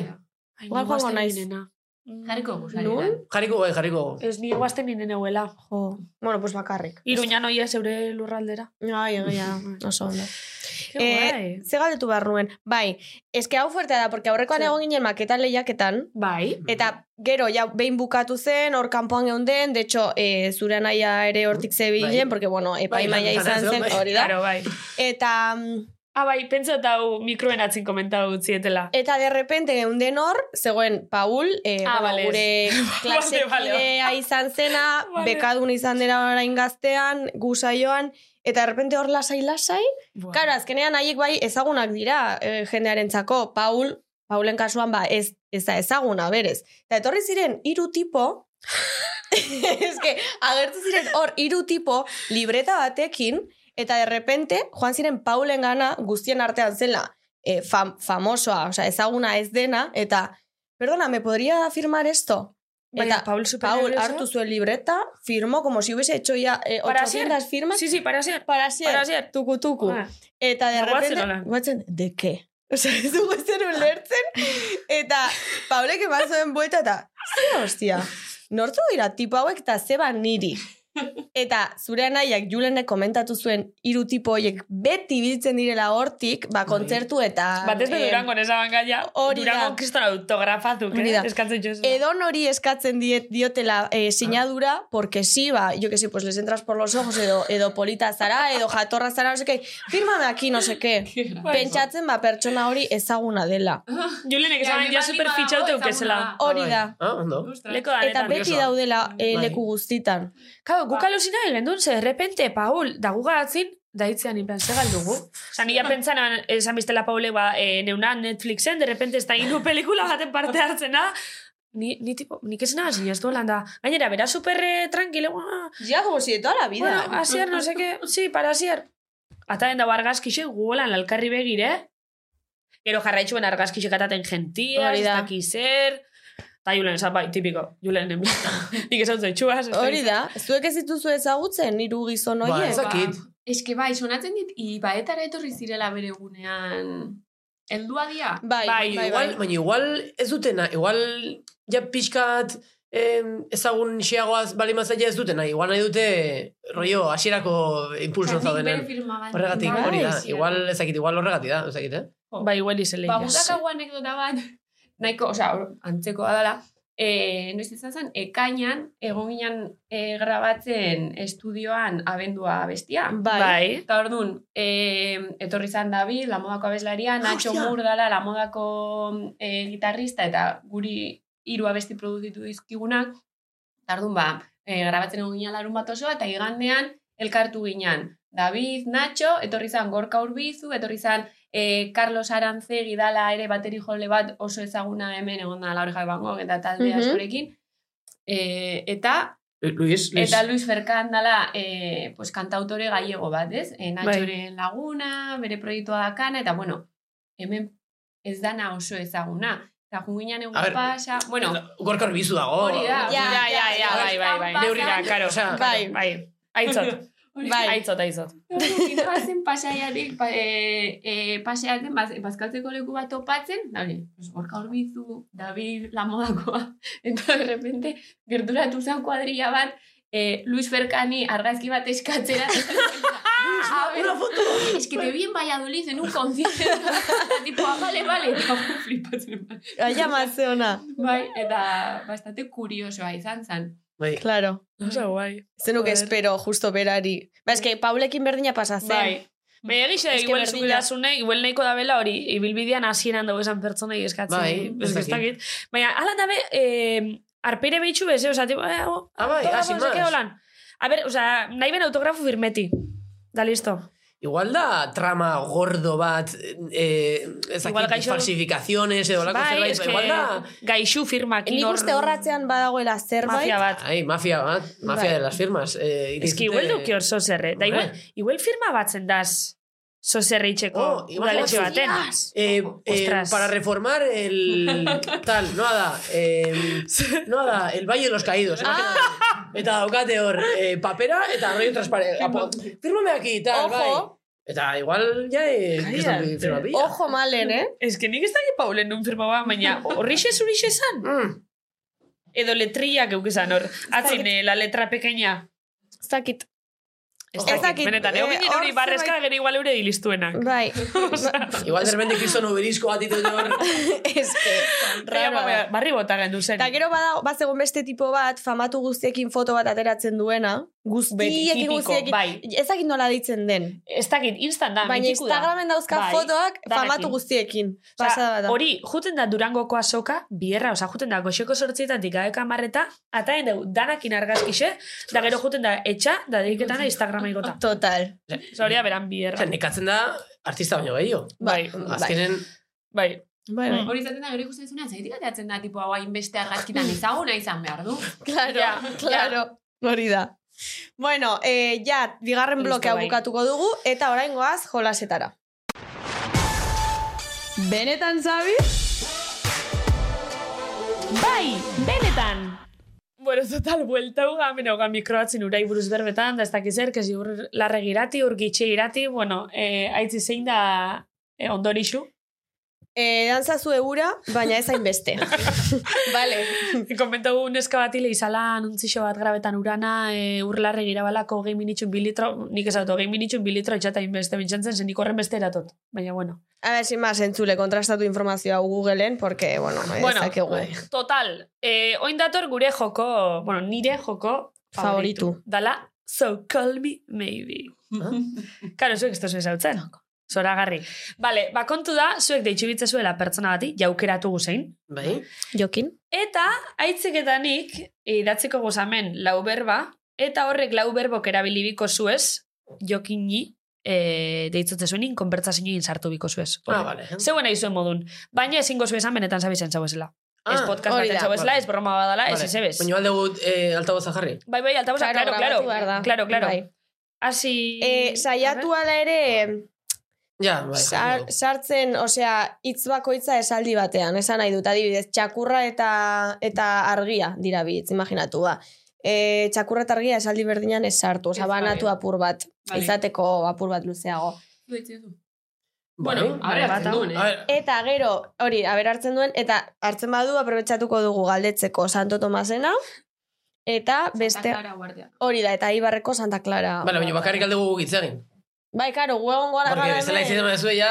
Speaker 5: Ai,
Speaker 4: igual
Speaker 5: ni guazten
Speaker 4: joango naiz.
Speaker 5: ninena.
Speaker 7: Jarriko gu,
Speaker 4: Nun?
Speaker 6: Jarriko bai, jarriko gu.
Speaker 5: Ez ni guazten ninen euela.
Speaker 4: Jo. Bueno, pues bakarrik.
Speaker 5: Iruñan oia zeure lurraldera.
Speaker 6: Bai.
Speaker 4: Ai, egia, oso ondo.
Speaker 5: Ke
Speaker 4: Eh,
Speaker 5: guai.
Speaker 4: Ze galdetu behar nuen, bai, eske hau fuertea da, porque aurrekoan
Speaker 5: Ze.
Speaker 4: egon ginen maketan lehiaketan,
Speaker 5: Bai.
Speaker 4: eta gero, ja, behin bukatu zen, hor kanpoan geunden, de hecho, e, zure anaia ere hortik zebilen,
Speaker 6: Bai.
Speaker 4: porque, bueno, epai
Speaker 6: Bai,
Speaker 4: maila
Speaker 6: lan-
Speaker 4: izan
Speaker 6: lan-
Speaker 4: zen,
Speaker 6: bai.
Speaker 4: hori da.
Speaker 5: Claro, bai.
Speaker 4: Eta, mm,
Speaker 5: Ah, bai, pentsa eta hau mikroen atzin komentau utzietela.
Speaker 4: eta de repente geunden hor, zegoen Paul, e,
Speaker 5: Ah,
Speaker 4: bueno,
Speaker 5: vale,
Speaker 4: gure klasekidea
Speaker 5: Vale,
Speaker 4: izan zena,
Speaker 5: Vale.
Speaker 4: bekadun izan dena orain gaztean, gusaioan, eta de repente hor lasai-lasai,
Speaker 5: Buah.
Speaker 4: Claro, azkenean haiek bai ezagunak dira eh, jendearentzako, Paul, Paulen kasuan ba ez, ez da ezaguna berez. Eta etorri ziren hiru tipo, eske agertu ziren hor hiru tipo libreta batekin eta de repente joan ziren Paulen gana guztien artean zela. eh, fam, famosoa, osea, ezaguna ez dena, eta, perdona, ¿me podría firmar esto?
Speaker 5: Baina,
Speaker 4: Eta,
Speaker 5: Paul super
Speaker 4: Paul
Speaker 5: nervioso.
Speaker 4: hartu zuen libreta, firmó como si hubiese hecho ya eh,
Speaker 5: Para
Speaker 4: 800 firmas.
Speaker 5: Sí, sí, para ser.
Speaker 4: para sier,
Speaker 5: para sier.
Speaker 4: tuku tuku.
Speaker 5: Ah.
Speaker 4: Eta de
Speaker 5: Ba, guazen
Speaker 4: repente,
Speaker 5: hola.
Speaker 4: guatzen, de ke? Osa, ez dugu zer ulertzen, eta Paulek eman zuen buelta, eta ze hostia, nortzu dira tipo hauek eta zeba niri. Eta zure anaiak Julenek komentatu zuen hiru tipo horiek beti biltzen direla hortik, ba, kontzertu eta...
Speaker 5: Bai. Batez de
Speaker 4: em,
Speaker 5: Durango nesa bangaia.
Speaker 4: Eh, hori da.
Speaker 5: Durango kriston autografazuk,
Speaker 4: Hori
Speaker 5: eh?
Speaker 4: da.
Speaker 5: Eskatzen jo. Edo.
Speaker 4: Edon hori eskatzen diet, diotela eh, sinadura, porque si, ba, yo que sé, pues les entras por los ojos, edo, edo polita zara, edo jatorra zara, no seke, firmame aquí, no seke. Pentsatzen, ba, pertsona hori ezaguna dela.
Speaker 5: Julenek esan ja super fitxatu eukezela.
Speaker 4: Hori da. Bai,
Speaker 6: Ah, ondo.
Speaker 5: Leko
Speaker 4: Eta
Speaker 5: danetan.
Speaker 4: beti
Speaker 6: Nerviosoa.
Speaker 4: daudela eh,
Speaker 6: Bai.
Speaker 4: leku guztitan.
Speaker 5: Claro, guk alusina egin duen, ze, de repente, Paul, da gu garatzin, da hitzean inplan, ze galdugu. Osa, nila pentsan, esan biztela Paule, ba, e, neuna Netflixen, de repente, ez da inu pelikula baten parte hartzena. Ni, ni tipo, nik ez nahi zinez duela, da. Gainera, bera super eh, tranquilo, ah,
Speaker 4: Ja, como si de toda la vida.
Speaker 5: bueno, asier, no seke, sí, para asier. Ataren da argazkixe, guolan alkarri begire. Gero jarraitxuen argazkixe kataten gentia,
Speaker 4: Hori
Speaker 5: ez
Speaker 4: da.
Speaker 5: dakizer. Ta julen, esan bai, tipiko, julen, en plan, nik esan zaitxuaz. ez
Speaker 4: Hori
Speaker 5: dakit.
Speaker 4: da, zuek ez dituzu ezagutzen, niru gizon
Speaker 6: Ba,
Speaker 4: horiek.
Speaker 6: ez dakit.
Speaker 7: Eske bai, sonatzen dit, ibaetara etorri zirela bere gunean. Eldua dia?
Speaker 4: Bai,
Speaker 5: Bai,
Speaker 4: bai,
Speaker 6: Baina
Speaker 4: bai.
Speaker 6: igual, baina igual ez dutena, igual ja pixkat em, ezagun xeagoaz bali mazaia ez dutena, igual nahi dute rollo hasierako impulso zaudenen. Horregatik,
Speaker 7: Bai,
Speaker 6: hori da, igual ezakit, igual horregatik da, ezakit, eh?
Speaker 5: Ba, igual izele.
Speaker 7: Ba, gutakago anekdota bat, nahiko, osea, hor- antzekoa dela, e, noiz izan zen, ekainan, egon ginen e, grabatzen estudioan abendua bestia.
Speaker 4: Bai.
Speaker 5: Bai.
Speaker 7: Eta orduan, e, etorri zan David, la modako abeslaria, Nacho Murdala, la modako e, gitarrista, eta guri hiru abesti produzitu dizkigunak. Eta orduan, ba, e, grabatzen egun ginen larun bat osoa, eta igandean elkartu ginen. David, Nacho, etorri zan Gorka Urbizu, etorri zan e, Carlos Arantzegi dala ere bateri jole bat oso ezaguna hemen egon da laurja bango eta talde
Speaker 4: Mhm.
Speaker 7: askorekin. E, eta
Speaker 6: Lu- Luis, Luis.
Speaker 7: Eta Luis Ferkan dala, eh, pues, kantautore gallego bat, ez? E, Nachoren laguna, bere proiektua dakana, eta bueno, hemen ez dana oso ezaguna. Eta junginan egun
Speaker 6: A ver,
Speaker 7: pasa, bueno,
Speaker 6: Gorka horbizu dago.
Speaker 7: hori da.
Speaker 4: Ja,
Speaker 7: hori da,
Speaker 4: ja, ja,
Speaker 5: bai, bai, bai.
Speaker 7: Pasa-
Speaker 5: Neurira, karo.
Speaker 6: Osea,
Speaker 4: Bai.
Speaker 5: Bai. Aitzot.
Speaker 7: Hori da.
Speaker 5: Bai. Aitzot, aitzot.
Speaker 7: Ginoazen pasaiatik, pa, e, e, pasaiaten baz, bazkaltzeko leku bat topatzen, da hori, pues, gorka horbizu, David Lamodakoa, eta de repente, gerturatu zen kuadrilla bat, e, Luis Ferkani argazki bat eskatzera. A ver, Es que te vi en Valladolid en un concierto. tipo, ah, vale, vale. Eta gu flipatzen.
Speaker 4: Aia mazeona,
Speaker 7: Bai, eta bastante kuriosoa izan zen.
Speaker 6: Bai.
Speaker 4: claro.
Speaker 5: Oso guai.
Speaker 4: Zenuk
Speaker 5: Joder.
Speaker 4: espero, justo berari. Ba, eske, Paulekin berdina pasazen.
Speaker 5: Bai. Me egixe,
Speaker 4: Ez que
Speaker 5: igual
Speaker 4: berdina.
Speaker 5: zukidazune, igual nahiko da bela hori, ibilbidean hasieran dago esan pertsonei eskatzen.
Speaker 6: Bai,
Speaker 5: ez
Speaker 6: ez dakit.
Speaker 5: dakit. Baina, ala dabe, eh, arpeire behitxu beze, oza, tipo, eh, oh,
Speaker 6: Ah, bai,
Speaker 5: autografo,
Speaker 6: ah, sin
Speaker 5: no sé
Speaker 6: más.
Speaker 5: qué, holan. A ber, oza, nahi ben autografo firmeti. Da, listo.
Speaker 6: Igual da trama gordo bat, eh, ez
Speaker 5: Igual
Speaker 6: dakit,
Speaker 5: gaixo-
Speaker 6: falsifikaziones edo lako
Speaker 5: Bai,
Speaker 6: zerbait,
Speaker 5: eske,
Speaker 6: igual da...
Speaker 5: gaixu firmak.
Speaker 4: Nik uste horratzean badagoela zerbait.
Speaker 5: Mafia bat.
Speaker 6: Ai, mafia bat, mafia
Speaker 4: Bai.
Speaker 6: de las firmas.
Speaker 5: Ez
Speaker 6: Eh, irizte-
Speaker 5: que igual duki hor sozerre. Da, igual,
Speaker 6: Hombre.
Speaker 5: igual firma batzen daz sozerre itxeko
Speaker 6: Oh, igual
Speaker 5: udaletxe
Speaker 6: batzen.
Speaker 5: baten.
Speaker 6: Eh, eh,
Speaker 5: Ostras.
Speaker 6: para reformar el tal, no da, eh, no da, el Valle de los
Speaker 5: Ah.
Speaker 6: Caídos. imagina. Eta daukate hor, eh, papera eta rollo transparente. apo- Fírmame aquí, tal,
Speaker 4: Ojo.
Speaker 6: bai. Eta igual, ja, eh,
Speaker 5: Cállate.
Speaker 6: firma pilla.
Speaker 4: Ojo malen, eh?
Speaker 5: Ez que nik ez dakit Paulen nun firmaba, baina horrixe zurixe esan.
Speaker 6: Mm.
Speaker 5: Edo letriak eukizan hor. Atzin, eh, la letra pequeña.
Speaker 4: Ez dakit.
Speaker 5: Ez
Speaker 4: Ez dakit,
Speaker 5: Benetan,
Speaker 4: eh,
Speaker 5: egon ginen hori
Speaker 4: hor
Speaker 5: barrezka
Speaker 4: zerbait-
Speaker 5: gero igual eure dilistuenak.
Speaker 4: Bai.
Speaker 6: Igual de repente Cristo Nuberisco bat ditut hor.
Speaker 4: Ez que, raro.
Speaker 5: Raro, barri bota gendu zen.
Speaker 4: Eta ba, gero badago, bat zegoen beste tipo bat, famatu guztiekin foto bat ateratzen duena.
Speaker 5: Beti,
Speaker 4: Guztiekin,
Speaker 5: tipiko,
Speaker 4: guztiekin.
Speaker 5: bai.
Speaker 4: Ez dakit nola deitzen den.
Speaker 5: Ez dakit, instant da,
Speaker 4: Baina
Speaker 5: mitiku Ba, da.
Speaker 4: Instagramen dauzka
Speaker 5: Bai,
Speaker 4: fotoak
Speaker 5: danakin.
Speaker 4: famatu guztiekin.
Speaker 5: Osea,
Speaker 4: Pasada bat da.
Speaker 5: Hori, juten da Durangoko azoka, bierra, oza, juten da goxeko sortzietatik gaeka marreta, eta dugu danakin argazkixe, da gero juten da etxa, da deiketana Instagrama igota.
Speaker 4: Total.
Speaker 5: Osea, hori da beran bierra.
Speaker 6: Osea, nekatzen da artista baino gehiago.
Speaker 4: Ba,
Speaker 5: Bai,
Speaker 6: Azkenen,
Speaker 5: bai.
Speaker 4: Bai, bai.
Speaker 7: Hori izaten da, gero ikusten zuen, zaitik ateatzen da, tipo, hau hainbeste argazkitan ezaguna izan behar du.
Speaker 4: Claro,
Speaker 5: Ja,
Speaker 4: claro. Hori da. Bueno, eh, ja, bigarren
Speaker 5: Listo,
Speaker 4: blokea
Speaker 5: bai.
Speaker 4: bukatuko dugu, eta orain goaz jolasetara.
Speaker 9: Benetan, Zabi?
Speaker 5: Bai, benetan! Bueno, total, buelta uga, mena uga mikroatzen urai buruz berbetan, da ez dakizer, kasi ur larreg irati, ur gitxe irati, bueno, eh, aitzi zein da eh, ondorixu.
Speaker 4: E, dantzazu egura, baina ez hainbeste.
Speaker 9: Bale.
Speaker 5: Komentau neska bat hile izala, nuntzixo bat grabetan urana, e, urlarre girabalako hogei minitxun bilitro, nik esatu, hogei minitxun bilitro etxata inbeste, bintxantzen zen, nik horren beste eratot. Baina, bueno.
Speaker 4: A ver, sin más, entzule, kontrastatu informazioa Googleen, porque, bueno, ez
Speaker 5: bueno, bai.
Speaker 4: dakigu.
Speaker 5: total, e, oin dator gure joko, bueno, nire joko
Speaker 4: Favoritu.
Speaker 5: Dala, so call me maybe. Karo, zuek ez duzu ezautzen. Zoragarri. Vale, bakontu da, zuek deitxu bitzezuela pertsona bati, jaukeratu guzein,
Speaker 6: Bai?
Speaker 4: Jokin?
Speaker 5: Eta aitzik eta nik idatziko gozamen lau berba, eta horrek lau berbok erabilibiko zuez, jokini e, deitzotze zuenin, konbertsazioin sartu biko zuez.
Speaker 6: Ah, bale.
Speaker 5: Zeuen nahi zuen modun. Baina ezingo zu esan benetan zabizen zauezela.
Speaker 6: Ah,
Speaker 5: ez podcast
Speaker 4: hori
Speaker 5: baten
Speaker 4: da,
Speaker 5: zauezela, ez broma badala, ez ez ebes.
Speaker 6: Baina alde gut eh, altaboza jarri.
Speaker 5: Bai, bai, alta bosa, claro, claro.
Speaker 4: grabatu behar da.
Speaker 5: Claro, claro.
Speaker 4: Bai.
Speaker 5: Asi...
Speaker 4: E, saiatu ala ere,
Speaker 6: Ja, bai.
Speaker 4: sar,
Speaker 6: jarri dugu.
Speaker 4: sartzen, osea, hitz bakoitza esaldi batean, esan nahi dut, adibidez, txakurra eta, eta argia dira bi hitz, imaginatu, ba. E, txakurra eta argia esaldi berdinan ez sartu,
Speaker 7: Ez,
Speaker 4: osea, banatu
Speaker 7: bai.
Speaker 4: apur bat,
Speaker 7: Bai.
Speaker 4: izateko apur bat luzeago.
Speaker 7: Du etxe du.
Speaker 6: Bai.
Speaker 7: Bueno,
Speaker 5: Bai,
Speaker 7: ahora hartzen
Speaker 5: bata.
Speaker 7: duen,
Speaker 6: A
Speaker 7: eh?
Speaker 6: ver,
Speaker 4: Eta gero, hori, aber hartzen duen, eta hartzen badu, aprobetsatuko dugu galdetzeko Santo Tomasena, eta beste,
Speaker 7: Takara guardia.
Speaker 4: hori da, eta Ibarreko Santa Clara.
Speaker 6: Bale, baina bakarrik alde gugu gitzegin.
Speaker 4: Bai, karo, guegon gara
Speaker 6: Porque bezala izaten
Speaker 4: hemen.
Speaker 6: badezu ja...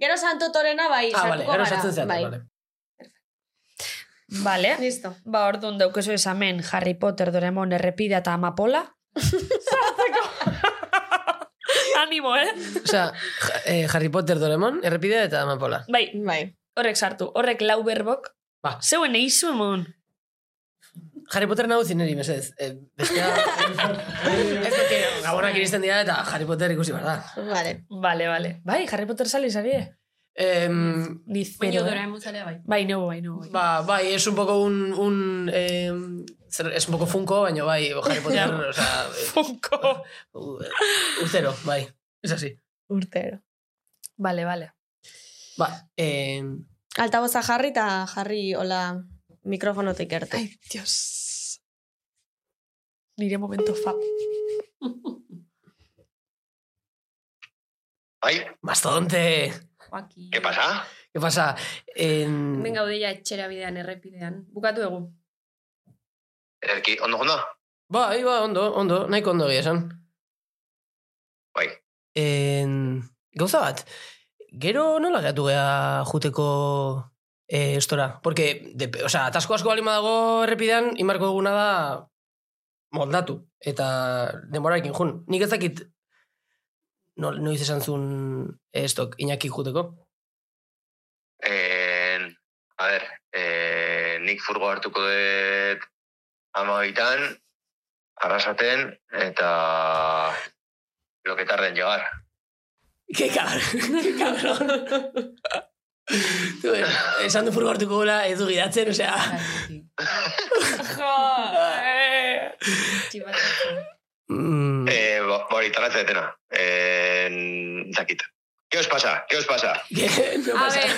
Speaker 4: Gero Santo Torena, bai,
Speaker 6: Ah, bale,
Speaker 4: sartuko
Speaker 6: gero
Speaker 4: gara.
Speaker 6: sartzen zeaten,
Speaker 4: bai.
Speaker 6: bale.
Speaker 5: Vale.
Speaker 4: Listo.
Speaker 5: Ba, orduan daukezu esamen Harry Potter, Doraemon, Errepidea eta Amapola. Sartzeko. Animo, eh?
Speaker 6: Osea, ja- eh, Harry Potter, Doraemon, errepidea eta amapola.
Speaker 5: Bai,
Speaker 4: Bai.
Speaker 5: horrek sartu, horrek lau berbok.
Speaker 6: Ba.
Speaker 5: Zeuen eizu emon.
Speaker 6: Harry Potter nago zineri, mesedez. Eh, bestea... Ez dut, gabonak iristen dira eta Harry Potter ikusi behar da.
Speaker 4: Vale.
Speaker 5: Vale, vale. Bai, Harry Potter sali zarie.
Speaker 6: Em,
Speaker 5: Ni zero.
Speaker 7: Baina
Speaker 5: eh?
Speaker 7: Doraemon zalea bai.
Speaker 5: Bai, no, bai, no. Bai.
Speaker 6: Ba, bai, es un poco un... un eh, zer, es un poco funko, baina bai, Harry Potter, o sea,
Speaker 5: Funko.
Speaker 6: u- urtero, bai, es así.
Speaker 4: Urtero.
Speaker 5: Vale, vale.
Speaker 6: Ba, eh,
Speaker 4: Altaboza jarri eta jarri, hola, mikrofonotik erte.
Speaker 5: Dios. Nire momento fab.
Speaker 10: Bai,
Speaker 6: mastodonte,
Speaker 7: Joaki.
Speaker 10: ¿qué pasa?
Speaker 6: ¿qué pasa? En...
Speaker 7: Hemen gaude ja etxera bidean errepidean. Bukatu egu.
Speaker 10: Ederki, ondo ondo?
Speaker 6: Bai, ba, ondo, ondo, nahiko ondo egia esan.
Speaker 10: Bai.
Speaker 6: En... Gauza bat, gero nola gehatu gea juteko eh, estora? Porque, de, o sea, atasko asko balima dago errepidean, imarko duguna da moldatu, eta denborarekin jun. Nik ez dakit no, noiz esan zuen eh, estok inaki juteko.
Speaker 10: Eh, a ber, eh, nik furgo hartuko dut amabitan, arrasaten, eta lo que tarden llegar.
Speaker 6: Ke cabrón, ke cabrón. Tu, eh, esan du furgo hartuko gula, ez du gidatzen, osea...
Speaker 7: Bai, Txibatzen.
Speaker 6: Mm,
Speaker 10: Eh, bo- bori, tarratzen detena. Eh, zakit. ¿Qué os pasa? ¿Qué os pasa?
Speaker 6: ke- no
Speaker 7: A
Speaker 6: pasa.
Speaker 7: ver.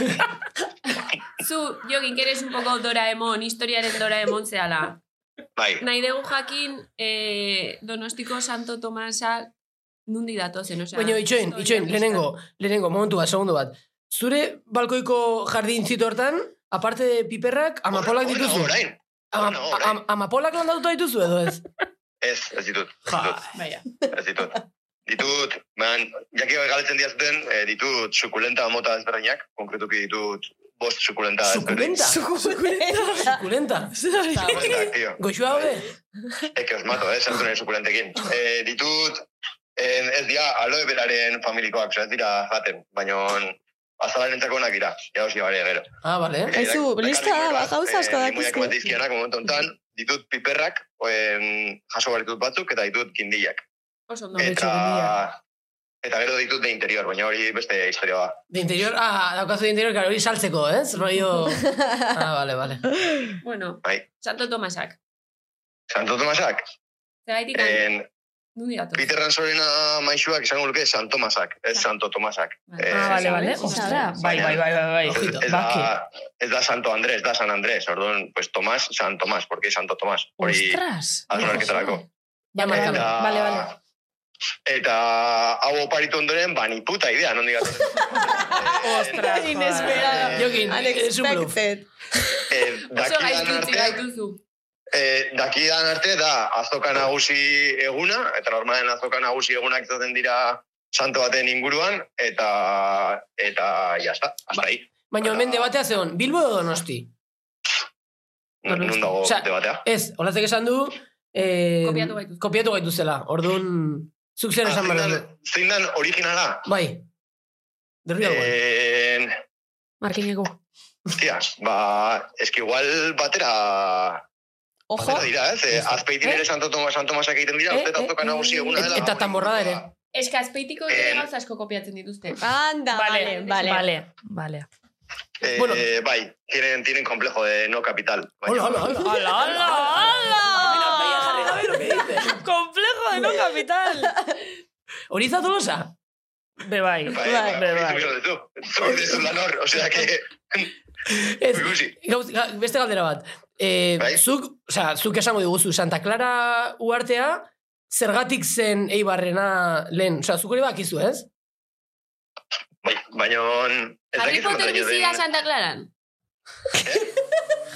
Speaker 7: Zu, jokin, que eres un poco Doraemon, historiaren Doraemon zehala.
Speaker 10: Bai,
Speaker 7: Nahi dugu jakin eh, Donostiko Santo Tomasa nundi datozen, osea.
Speaker 6: Baina, itxoin, itxoin, lehenengo, lehenengo, momentu bat, segundu bat. Zure balkoiko jardin zito hortan, aparte de piperrak, amapolak
Speaker 10: Hor- hor
Speaker 6: dituzu.
Speaker 10: nago orain.
Speaker 6: Ama,
Speaker 10: hor nago
Speaker 6: a- am- amapolak landatuta dituzu edo ez?
Speaker 10: Ez, ez ditut. ez
Speaker 6: Ja,
Speaker 10: ditut, Ez ditut. Ditut, man, jaki galetzen diazten, eh, ditut sukulenta mota ezberdinak, konkretuki ditut bost sukulenta ezberdin.
Speaker 6: sukulenta. Sukulenta.
Speaker 10: Sukulenta, tio.
Speaker 6: Goxua hobe?
Speaker 10: Es que os mato, eh, sartu nahi sukulentekin. Eh, ditut, eh, ez dira, aloe beraren familikoak, osea, ez dira jaten, baina azalarentzako onak dira, ja osi bare gero.
Speaker 6: Ah, bale.
Speaker 10: Eh,
Speaker 4: Aizu,
Speaker 10: dak-
Speaker 4: lista,
Speaker 10: dakarrik
Speaker 4: ba, gauza asko
Speaker 10: eh,
Speaker 4: dakizue.
Speaker 10: limoiak bat dizkianak momentu honetan, ditut piperrak, em, jaso behar ditut batzuk, eta ditut kindilak.
Speaker 7: Oso ondo.
Speaker 10: Eta, eta gero ditut de interior, baina hori beste historia da.
Speaker 6: De interior, ah, daukazu de interior, karo, hori saltzeko, ez? Rollo... Ah, bale, bale.
Speaker 7: Bueno,
Speaker 10: Bai.
Speaker 7: Santo Tomasak.
Speaker 10: Santo Tomasak,
Speaker 7: Zeraitik,
Speaker 10: en,
Speaker 7: Nundi dator.
Speaker 10: Eh, Peter Ransorena maixuak izango luke San Tomasak, ez Santo Tomasak. Eh,
Speaker 5: Ah, bale, bale.
Speaker 7: Ostra,
Speaker 5: Ostra, bai, bai, bai, bai, bai.
Speaker 10: Ez da, ez da Santo Andrés, da San Andrés. Orduan, pues Tomás, San Tomás, porque Santo Tomás. Hori
Speaker 5: Ostras.
Speaker 10: azunarketarako.
Speaker 6: Ja,
Speaker 10: Eta-
Speaker 6: markame.
Speaker 5: Bale, bale.
Speaker 10: Eta hau oparitu ondoren, ba, ni puta idea, non digat.
Speaker 6: Ostras,
Speaker 4: Inesperado.
Speaker 6: Jokin, ez un bluff.
Speaker 4: Unexpected.
Speaker 10: Eh,
Speaker 7: Oso
Speaker 10: dakidan
Speaker 7: gaizki utzi
Speaker 10: arte,
Speaker 7: gaituzu.
Speaker 10: eh, dakidan arte da azoka nagusi eguna, eta normalen azoka nagusi egunak izaten dira santo baten inguruan, eta eta jazta,
Speaker 6: Bai.
Speaker 10: hasta ahí.
Speaker 6: Baina hemen debatea zeon, Bilbo edo Donosti?
Speaker 10: Nun nun dago
Speaker 6: Osea,
Speaker 10: debatea.
Speaker 6: Ez, olatzek esan du... Eh,
Speaker 7: Kopiatu gaituzela.
Speaker 6: Kopiatu gaituzela. Orduan, zuk zer
Speaker 10: Ah,
Speaker 6: esan
Speaker 10: zein
Speaker 6: behar
Speaker 10: dan-
Speaker 6: du.
Speaker 10: Zein dan originala?
Speaker 6: Bai. The real one.
Speaker 10: Eh,
Speaker 5: Markineko.
Speaker 10: Tia, ba, eski igual batera...
Speaker 4: Ojo.
Speaker 10: Batera dira, ez? Eh, Azpeitin ere Santo Tomas, Santo Tomasak egiten dira,
Speaker 6: Eh,
Speaker 10: urte
Speaker 6: eh,
Speaker 10: azoka nagusi eguna
Speaker 6: et-
Speaker 10: dela.
Speaker 6: eta tamborrada ere.
Speaker 7: Ez que azpeitiko
Speaker 10: Eh.
Speaker 7: ere gauza asko kopiatzen dituzte.
Speaker 4: Anda, Ah, vale, vale.
Speaker 5: Vale, vale.
Speaker 10: Eh,
Speaker 6: Bueno.
Speaker 10: bai, tienen, tienen complejo de no capital. Baina-
Speaker 6: Hola, hola, hola.
Speaker 5: Ala, ala, ala!
Speaker 6: Jarri gabe, lo que dices.
Speaker 5: Complejo de no capital.
Speaker 6: Hori ez da tolosa?
Speaker 5: Be bai,
Speaker 10: Bai,
Speaker 5: be bai.
Speaker 10: bai, zu, zu, zu lan hor, osea que...
Speaker 6: Ez,
Speaker 10: Ikusi.
Speaker 6: gauz, ga, beste galdera bat. Eh,
Speaker 10: Bai.
Speaker 6: zuk, osea, zuk esango diguzu, Santa Clara uartea, zergatik zen eibarrena lehen. Osea, zuk hori bakizu, ez?
Speaker 10: Bai, baina... ez
Speaker 7: Harry
Speaker 10: dakit
Speaker 7: Potter
Speaker 10: zenbatraino
Speaker 7: bizira
Speaker 10: den-
Speaker 7: Santa Claran.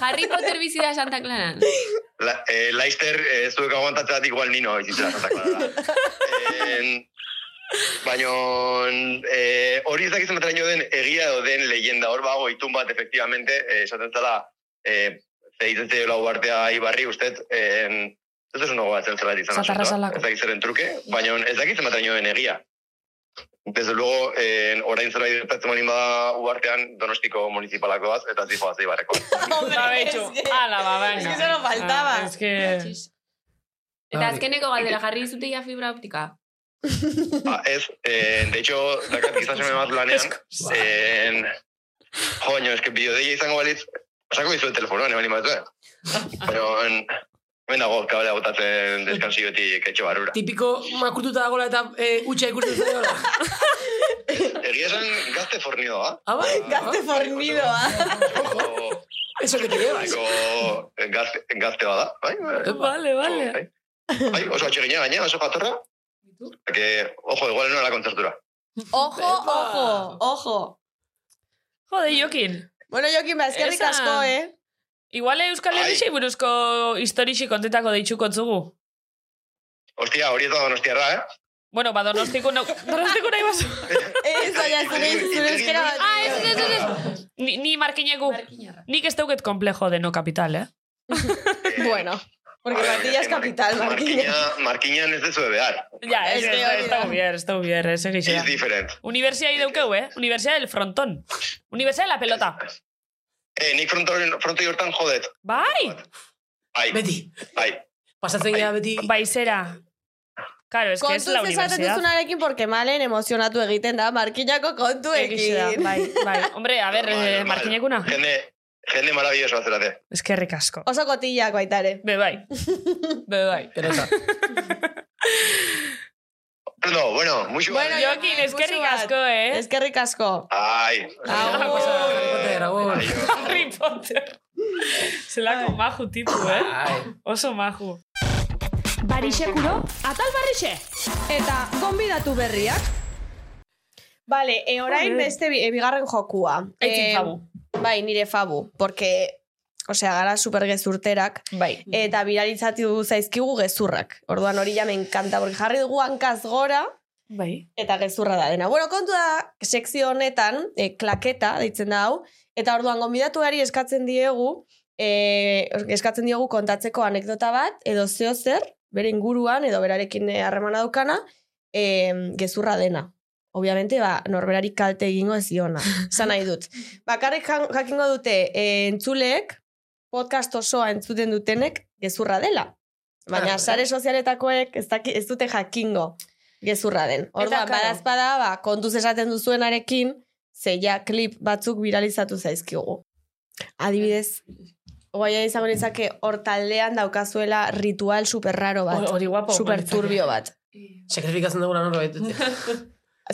Speaker 7: Harry Potter bizira Santa Claran.
Speaker 10: La, eh, Leicester, eh, zuek aguantatzeat igual nino bizitza zatak Baina eh, hori ez dakiz ematraino den egia edo den leyenda hor bago itun bat, efectivamente, eh, esaten zela, eh, zeiten zeio lau artea ibarri, ustet, eh, ez ez unago bat zeltzelat izan.
Speaker 5: Zatarra
Speaker 10: asuntoa.
Speaker 5: salako.
Speaker 10: Ez dakiz zeren truke, baina ez dakiz ematraino den egia. Desde luego, eh, orain zerbait gertatzen bali bada uartean Donostiko municipalako bat, eta zijoaz ibarreko.
Speaker 5: Ba betxu, ala, ba, venga.
Speaker 4: Es que eso no faltaba.
Speaker 5: Ah, Es que...
Speaker 7: Eta azkeneko galdera, jarri dizute ja fibra optika.
Speaker 10: Ah, ez, eh, de hecho, dakat quizás seme bat lanean, eh, joño, es que bideodeia izango balitz, osako dizu telefonoan, ebali mazue. Pero, en, hemen dago, kablea botatzen deskansiotik etxe barura.
Speaker 6: Tipiko makurtuta dagoela eta eh, utxa ikusten zaiola.
Speaker 10: Egia esan gazte fornidoa.
Speaker 6: Ah, bai?
Speaker 4: Gazte
Speaker 5: ¿ah?
Speaker 4: fornidoa.
Speaker 10: Ojo,
Speaker 6: Eso que te llevas.
Speaker 10: ojo, gazte, gazte bada, bai?
Speaker 5: Vale, vale.
Speaker 10: Bai, Bai, oso atxegina gaina, oso jatorra. Que, ojo, igual no la kontzertura.
Speaker 4: Ojo, ojo, ojo.
Speaker 5: Jode, Jokin.
Speaker 4: Bueno, Jokin, ba, eskerrik
Speaker 5: Esa.
Speaker 4: asko, eh?
Speaker 5: Igual Euskal
Speaker 10: Ai.
Speaker 5: Herrixei buruzko historixi kontetako deitxuko zugu.
Speaker 10: Ostia, hori eta donostiarra, eh?
Speaker 5: Bueno, ba, donostiko nau... Donostiko nahi bazu.
Speaker 4: Ez, baina zure, zure euskera bat.
Speaker 5: Ah, ez, ez, ez, ez. Ni, ni markineku.
Speaker 7: Markinarra.
Speaker 5: Nik ez dauket komplejo de no kapital, eh?
Speaker 10: Eh,
Speaker 4: Bueno, porque
Speaker 10: a ver,
Speaker 4: Martilla es
Speaker 10: que Mar-
Speaker 4: capital, Martilla.
Speaker 10: Markina, Markinan ez dezue behar.
Speaker 5: Ja, ez,
Speaker 4: Ez
Speaker 5: ez,
Speaker 4: que
Speaker 5: ez,
Speaker 4: hori da.
Speaker 5: dau bier, ez dau bier, ez egixea.
Speaker 10: It's different.
Speaker 5: Universia ideukeu, eh? Universia del frontón. Universia de la pelota.
Speaker 10: Eh, nik frontoren, frontoi hortan jodet.
Speaker 5: Bai!
Speaker 10: Ai,
Speaker 6: Beti.
Speaker 10: ai.
Speaker 6: Pasatzen
Speaker 4: Bai.
Speaker 6: gara beti.
Speaker 5: Baizera. Claro, es que es
Speaker 4: Kontuz
Speaker 5: la
Speaker 4: esaten
Speaker 5: universidad.
Speaker 4: duzunarekin, porque malen emozionatu egiten da, Markinako
Speaker 5: Egixe da,
Speaker 4: kontuekin.
Speaker 5: Bai, bai. Hombre, a ver,
Speaker 10: Normal,
Speaker 5: eh,
Speaker 10: normal.
Speaker 5: markinekuna.
Speaker 10: Jende, jende maravilloso atzerate.
Speaker 5: Es que ricasco.
Speaker 4: Oso kotillak baitare.
Speaker 5: Be bai. Be bai.
Speaker 6: Teresa.
Speaker 10: No, bueno, mucho.
Speaker 4: Bueno,
Speaker 10: Bueno,
Speaker 5: Jokin, es que
Speaker 4: musu bat.
Speaker 5: ricasco, eh?
Speaker 4: Eskerrik asko.
Speaker 10: Ai.
Speaker 6: Harry
Speaker 4: Agur.
Speaker 6: Potter, agur.
Speaker 5: Harry Potter. Zelako maju tipu, eh?
Speaker 6: Ai.
Speaker 5: Oso maju.
Speaker 2: Barixekuro, atal barrixe.
Speaker 4: Eta gonbidatu berriak. Bale, e, orain beste
Speaker 5: eh,
Speaker 4: bi, e, bigarren jokua.
Speaker 5: Aitzin
Speaker 4: Em,
Speaker 5: fabu.
Speaker 4: Bai, nire fabu, porque, osea, gara supergezurterak,
Speaker 5: Bai.
Speaker 4: eta viralizatu zaizkigu gezurrak. Orduan hori ja me encanta, porque jarri dugu hankaz gora,
Speaker 5: Bai.
Speaker 4: eta gezurra da dena. Bueno, kontu da, sekzio honetan, e, klaketa deitzen da hau, eta orduan gonbidatuari eskatzen diegu, e, eskatzen diogu kontatzeko anekdota bat, edo zeo zer, bere inguruan, edo berarekin eh, harremana daukana, e, gezurra dena. Obviamente, ba, norberari kalte egingo ez diona. Esan nahi dut. Bakarrik jan- jakingo dute e, entzuleek, podcast osoa entzuten dutenek, gezurra dela. Baina
Speaker 6: Ah,
Speaker 4: sare sozialetakoek ez, daki, ez dute jakingo gezurra den. Orduan,
Speaker 5: Eta, claro.
Speaker 4: badazpada, ba, kontuz esaten duzuenarekin, zeia klip batzuk viralizatu zaizkigu. Adibidez, guaia izango nintzake, hor taldean daukazuela ritual superraro bat.
Speaker 5: Hori guapo.
Speaker 4: Super turbio bat.
Speaker 7: eh,
Speaker 6: Sakrifikatzen dugula norbait.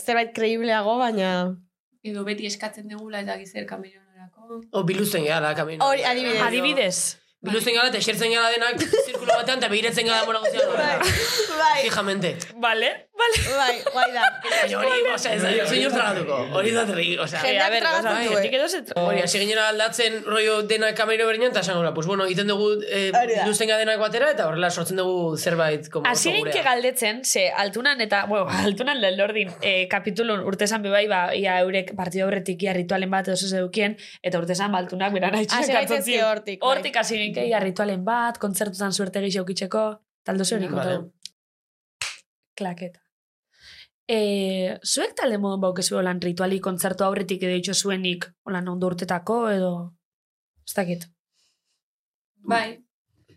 Speaker 4: Zerbait kreibleago, baina...
Speaker 7: Edo beti eskatzen degula eta gizer kamerionerako.
Speaker 6: O biluzten Oh, gara, kamino.
Speaker 4: Hori, adibidez.
Speaker 5: Adibidez.
Speaker 6: Biluzten gara eta esertzen gara denak zirkulo batean eta begiratzen gara mora guztiak.
Speaker 4: Bai,
Speaker 6: Fijamente.
Speaker 5: Vale, vale.
Speaker 4: bai, guai da.
Speaker 6: Baina hori, osea, ez da, zein urtragatuko. Hori da terri, osea.
Speaker 4: Jendeak
Speaker 5: Eh, a ver,
Speaker 4: tragatu
Speaker 5: gauza,
Speaker 4: du, eh.
Speaker 5: jendik edo zet-
Speaker 6: Hori, hasi ginera aldatzen rollo denak kamero berdinean, eta esan gura, pues bueno, egiten dugu eh,
Speaker 4: Hori da.
Speaker 6: biluzten gara denak batera, eta horrela sortzen dugu zerbait como oso
Speaker 5: Hasi
Speaker 6: gurea.
Speaker 5: geinke galdetzen, ze altunan eta, bueno, altunan lordin, e, kapitulun urtesan bebai, ba, ia eurek partidu aurretik ia ritualen bat edo zuz edukien, eta urtesan ba, altunak beran haitxan
Speaker 4: Hasi
Speaker 5: kantatzen
Speaker 4: gaitezke
Speaker 5: ziren.
Speaker 4: hortik, bai.
Speaker 5: Hortik hasi geinke ia ritualen bat, kontzertutan suerte gehiago kitxeko, taldo ze hori
Speaker 6: Vale.
Speaker 5: kontatu. Klaketa. E, zuek talde modan baukezu holan rituali kontzertu aurretik edo itxo zuenik, holan ondo urtetako edo... Ez dakit.
Speaker 7: Bai,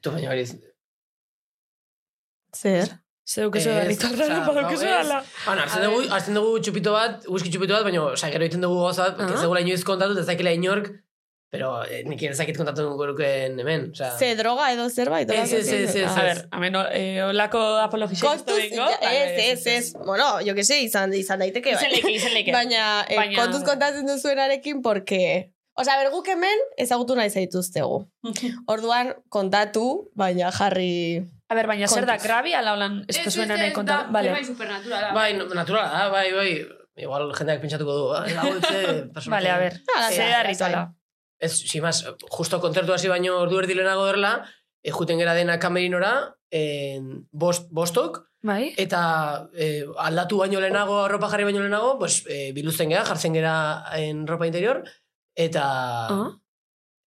Speaker 6: Tu baina hori,
Speaker 4: Zer?
Speaker 5: Zer dukezu da,
Speaker 6: Ez,
Speaker 5: ritualra,
Speaker 6: osea,
Speaker 5: baukezu
Speaker 6: gau ez.
Speaker 5: ba, ala.
Speaker 6: Bueno, hartzen dugu, hartzen dugu txupito bat, whisky txupito bat, baina, osea, gero egiten dugu goza, uh
Speaker 5: Aha.
Speaker 6: ez dugula inoiz kontatu, ez dakila inork, pero eh, nik ez dakit kontatu dugu luken hemen, osea.
Speaker 4: Ze droga edo zerbait?
Speaker 6: Ez, ez, ez, ez,
Speaker 5: A ver,
Speaker 6: ez.
Speaker 5: hemen eh, olako apologizia
Speaker 4: Kontuz, ja, ez, ez, ez. Bueno, jo que se, izan, izan daiteke. bai.
Speaker 5: Izen leike, izen leike.
Speaker 4: Baina, eh,
Speaker 5: Baina-
Speaker 4: kontuz kontatzen duzuenarekin, porque... Osa, ber, guk hemen ezagutu nahi zaituztegu. Orduan, kontatu, baina jarri...
Speaker 5: A ber, baina zer da,
Speaker 4: Kontuz.
Speaker 5: grabi, ala holan, ez
Speaker 7: Ez,
Speaker 5: pesuena
Speaker 7: ez,
Speaker 5: nahi
Speaker 7: ez,
Speaker 5: konta.
Speaker 7: da,
Speaker 5: Vale,
Speaker 7: zerbait supernaturala.
Speaker 6: Bai, no- naturala da, bai, bai. Igual jendeak pentsatuko du, ah, hau etxe, personaje.
Speaker 5: vale, a ber.
Speaker 4: Ala,
Speaker 5: Zer
Speaker 4: ala,
Speaker 5: da rituala.
Speaker 6: Ez, simaz, justo kontzertu hasi baino ordu erdi lehenago erla, eh, juten gera dena kamerinora, eh, bost, bostok,
Speaker 5: Bai?
Speaker 6: eta eh, aldatu baino lehenago, ropa jarri baino lehenago, pues, eh, biluzten gera, jartzen gera en ropa interior, eta...
Speaker 5: Ah.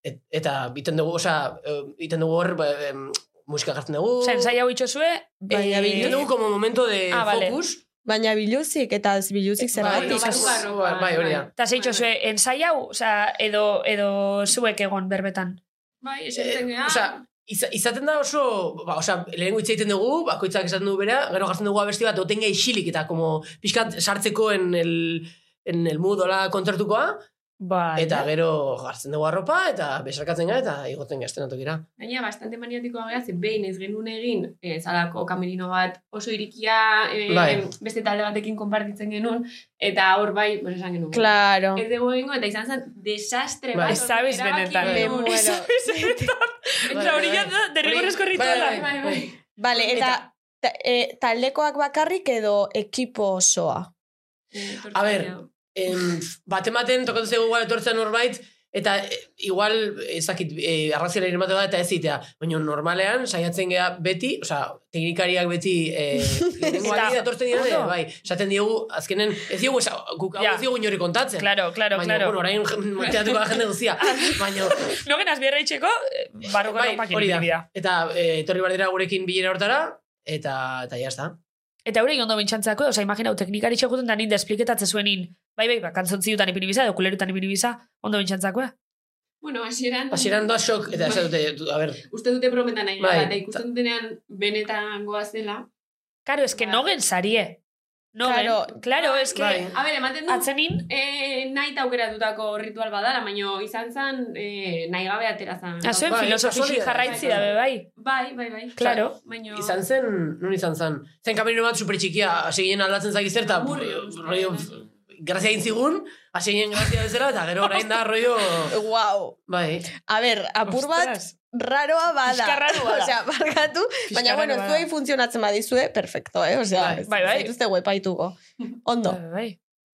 Speaker 6: Et, eta biten dugu, osea, eh, egiten dugu hor, ba, em, musika jartzen dugu.
Speaker 5: Zer, zai hau itxosue,
Speaker 4: Baina
Speaker 6: Eh,
Speaker 4: biluzik.
Speaker 6: egiten dugu como momento de
Speaker 5: Ah, vale.
Speaker 6: focus.
Speaker 4: Baina biluzik, eta ez biluzik
Speaker 6: Bai,
Speaker 4: zergatik.
Speaker 7: Bai,
Speaker 6: bai, bai, hori da.
Speaker 5: eta zei itxosue, ensai hau, oza, edo, edo zuek egon berbetan.
Speaker 7: Bai,
Speaker 6: Eh,
Speaker 7: esertzen gara.
Speaker 6: osea, iza- izaten da oso, ba, osea, lehenengo hitz egiten dugu, bakoitzak esaten du bera, gero jartzen dugu abesti bat, oten gai xilik, eta como pixkat sartzeko en el, en el mood, hola, kontzertukoa,
Speaker 5: Bai.
Speaker 6: eta gero jartzen dugu arropa, eta besarkatzen gara, eta igotzen gara estenatokira.
Speaker 7: Gaina, bastante maniatikoa gara, ze behin ez genuen egin, eh, zalako kamerino bat oso irikia, eh,
Speaker 6: Bai.
Speaker 7: beste talde batekin konpartitzen genuen, eta hor bai, pues esan genuen.
Speaker 4: Claro.
Speaker 7: Ez dugu egingo, eta izan zen desastre
Speaker 6: Bai.
Speaker 7: bat.
Speaker 5: Ez zabiz
Speaker 7: Erabaki
Speaker 5: benetan.
Speaker 4: Me
Speaker 7: genuen.
Speaker 4: muero.
Speaker 5: Ez zabiz benetan. Eta hori ja da, derrigorezko
Speaker 6: Bai, bai,
Speaker 5: rituala.
Speaker 7: Bai, bai, bai.
Speaker 4: Vale, eta, ta, e, taldekoak bakarrik edo ekipo osoa.
Speaker 7: Eh,
Speaker 6: bai. A ber, em, baten baten tokatu zego igual etortzen norbait, eta eh, igual, ez dakit, e, arrazialari emate da eta ez zitea. Baina normalean, saiatzen gea beti, osea, teknikariak beti e,
Speaker 5: Eta-
Speaker 6: etortzen dira,
Speaker 5: Ondo.
Speaker 6: bai, esaten diegu, azkenen, ez diogu, esa, guk hau
Speaker 5: Ja.
Speaker 6: ez diogu inori kontatzen.
Speaker 5: Claro, claro,
Speaker 6: Baina,
Speaker 5: claro.
Speaker 6: bueno, orain jen- maiteatuko da jende guztia. Baina,
Speaker 5: No genaz bierra itxeko, eh, barruko
Speaker 6: bai,
Speaker 5: ropakin
Speaker 6: hori
Speaker 5: ibilbidea.
Speaker 6: da. Eta eh, etorri bardera gurekin bilera hortara, eta, eta jazta.
Speaker 5: Eta hori ondo bintxantzako, oza, imaginau, teknikari txekuten da nin despliketatze zuenin, bai, bai, ba, kantzontziutan ipini biza, edo kulerutan ipini biza, ondo bintxantzako, eh?
Speaker 7: Bueno, hasieran,
Speaker 6: Hasieran doa xok, eta ez dute, a ber,
Speaker 7: uste dute prometan nahi,
Speaker 6: Bai.
Speaker 7: bai. eta ikusten dutenean benetan goazela.
Speaker 5: Karo, eske
Speaker 7: Bai.
Speaker 5: nogen sarie. Nogen,
Speaker 4: Claro.
Speaker 5: claro, claro eske,
Speaker 6: Ba. Bai.
Speaker 7: A ber, ematen du,
Speaker 5: atzenin,
Speaker 7: eh, nahi aukeratutako ritual badala, baino izan zen eh, nahi gabe atera zen.
Speaker 5: a zuen
Speaker 6: Bai,
Speaker 5: filosofixi
Speaker 6: kasualidade.
Speaker 5: jarraitzi dabe, bai.
Speaker 7: Bai, bai, bai.
Speaker 5: Claro.
Speaker 7: Baino...
Speaker 6: Izan zen, nun izan zen? Zen kamerino bat supertxikia, hasi ginen aldatzen zaki zerta,
Speaker 7: Amurrio,
Speaker 6: rollo, grazia egin zigun, hasi ginen grazia bezala, eta gero orain da, rollo,
Speaker 4: Wow.
Speaker 6: bai.
Speaker 4: A ber, apur bat,
Speaker 5: Ostras.
Speaker 4: raroa bada.
Speaker 5: Pixka raroa da.
Speaker 4: Osea, barkatu. Baina, bueno,
Speaker 5: raroa da.
Speaker 4: zuei funtzionatzen badizue, perfecto, eh? Osea,
Speaker 6: Bai,
Speaker 5: bai, bai.
Speaker 4: zaituzte guepaituko. Ondo.
Speaker 5: Bai, bai.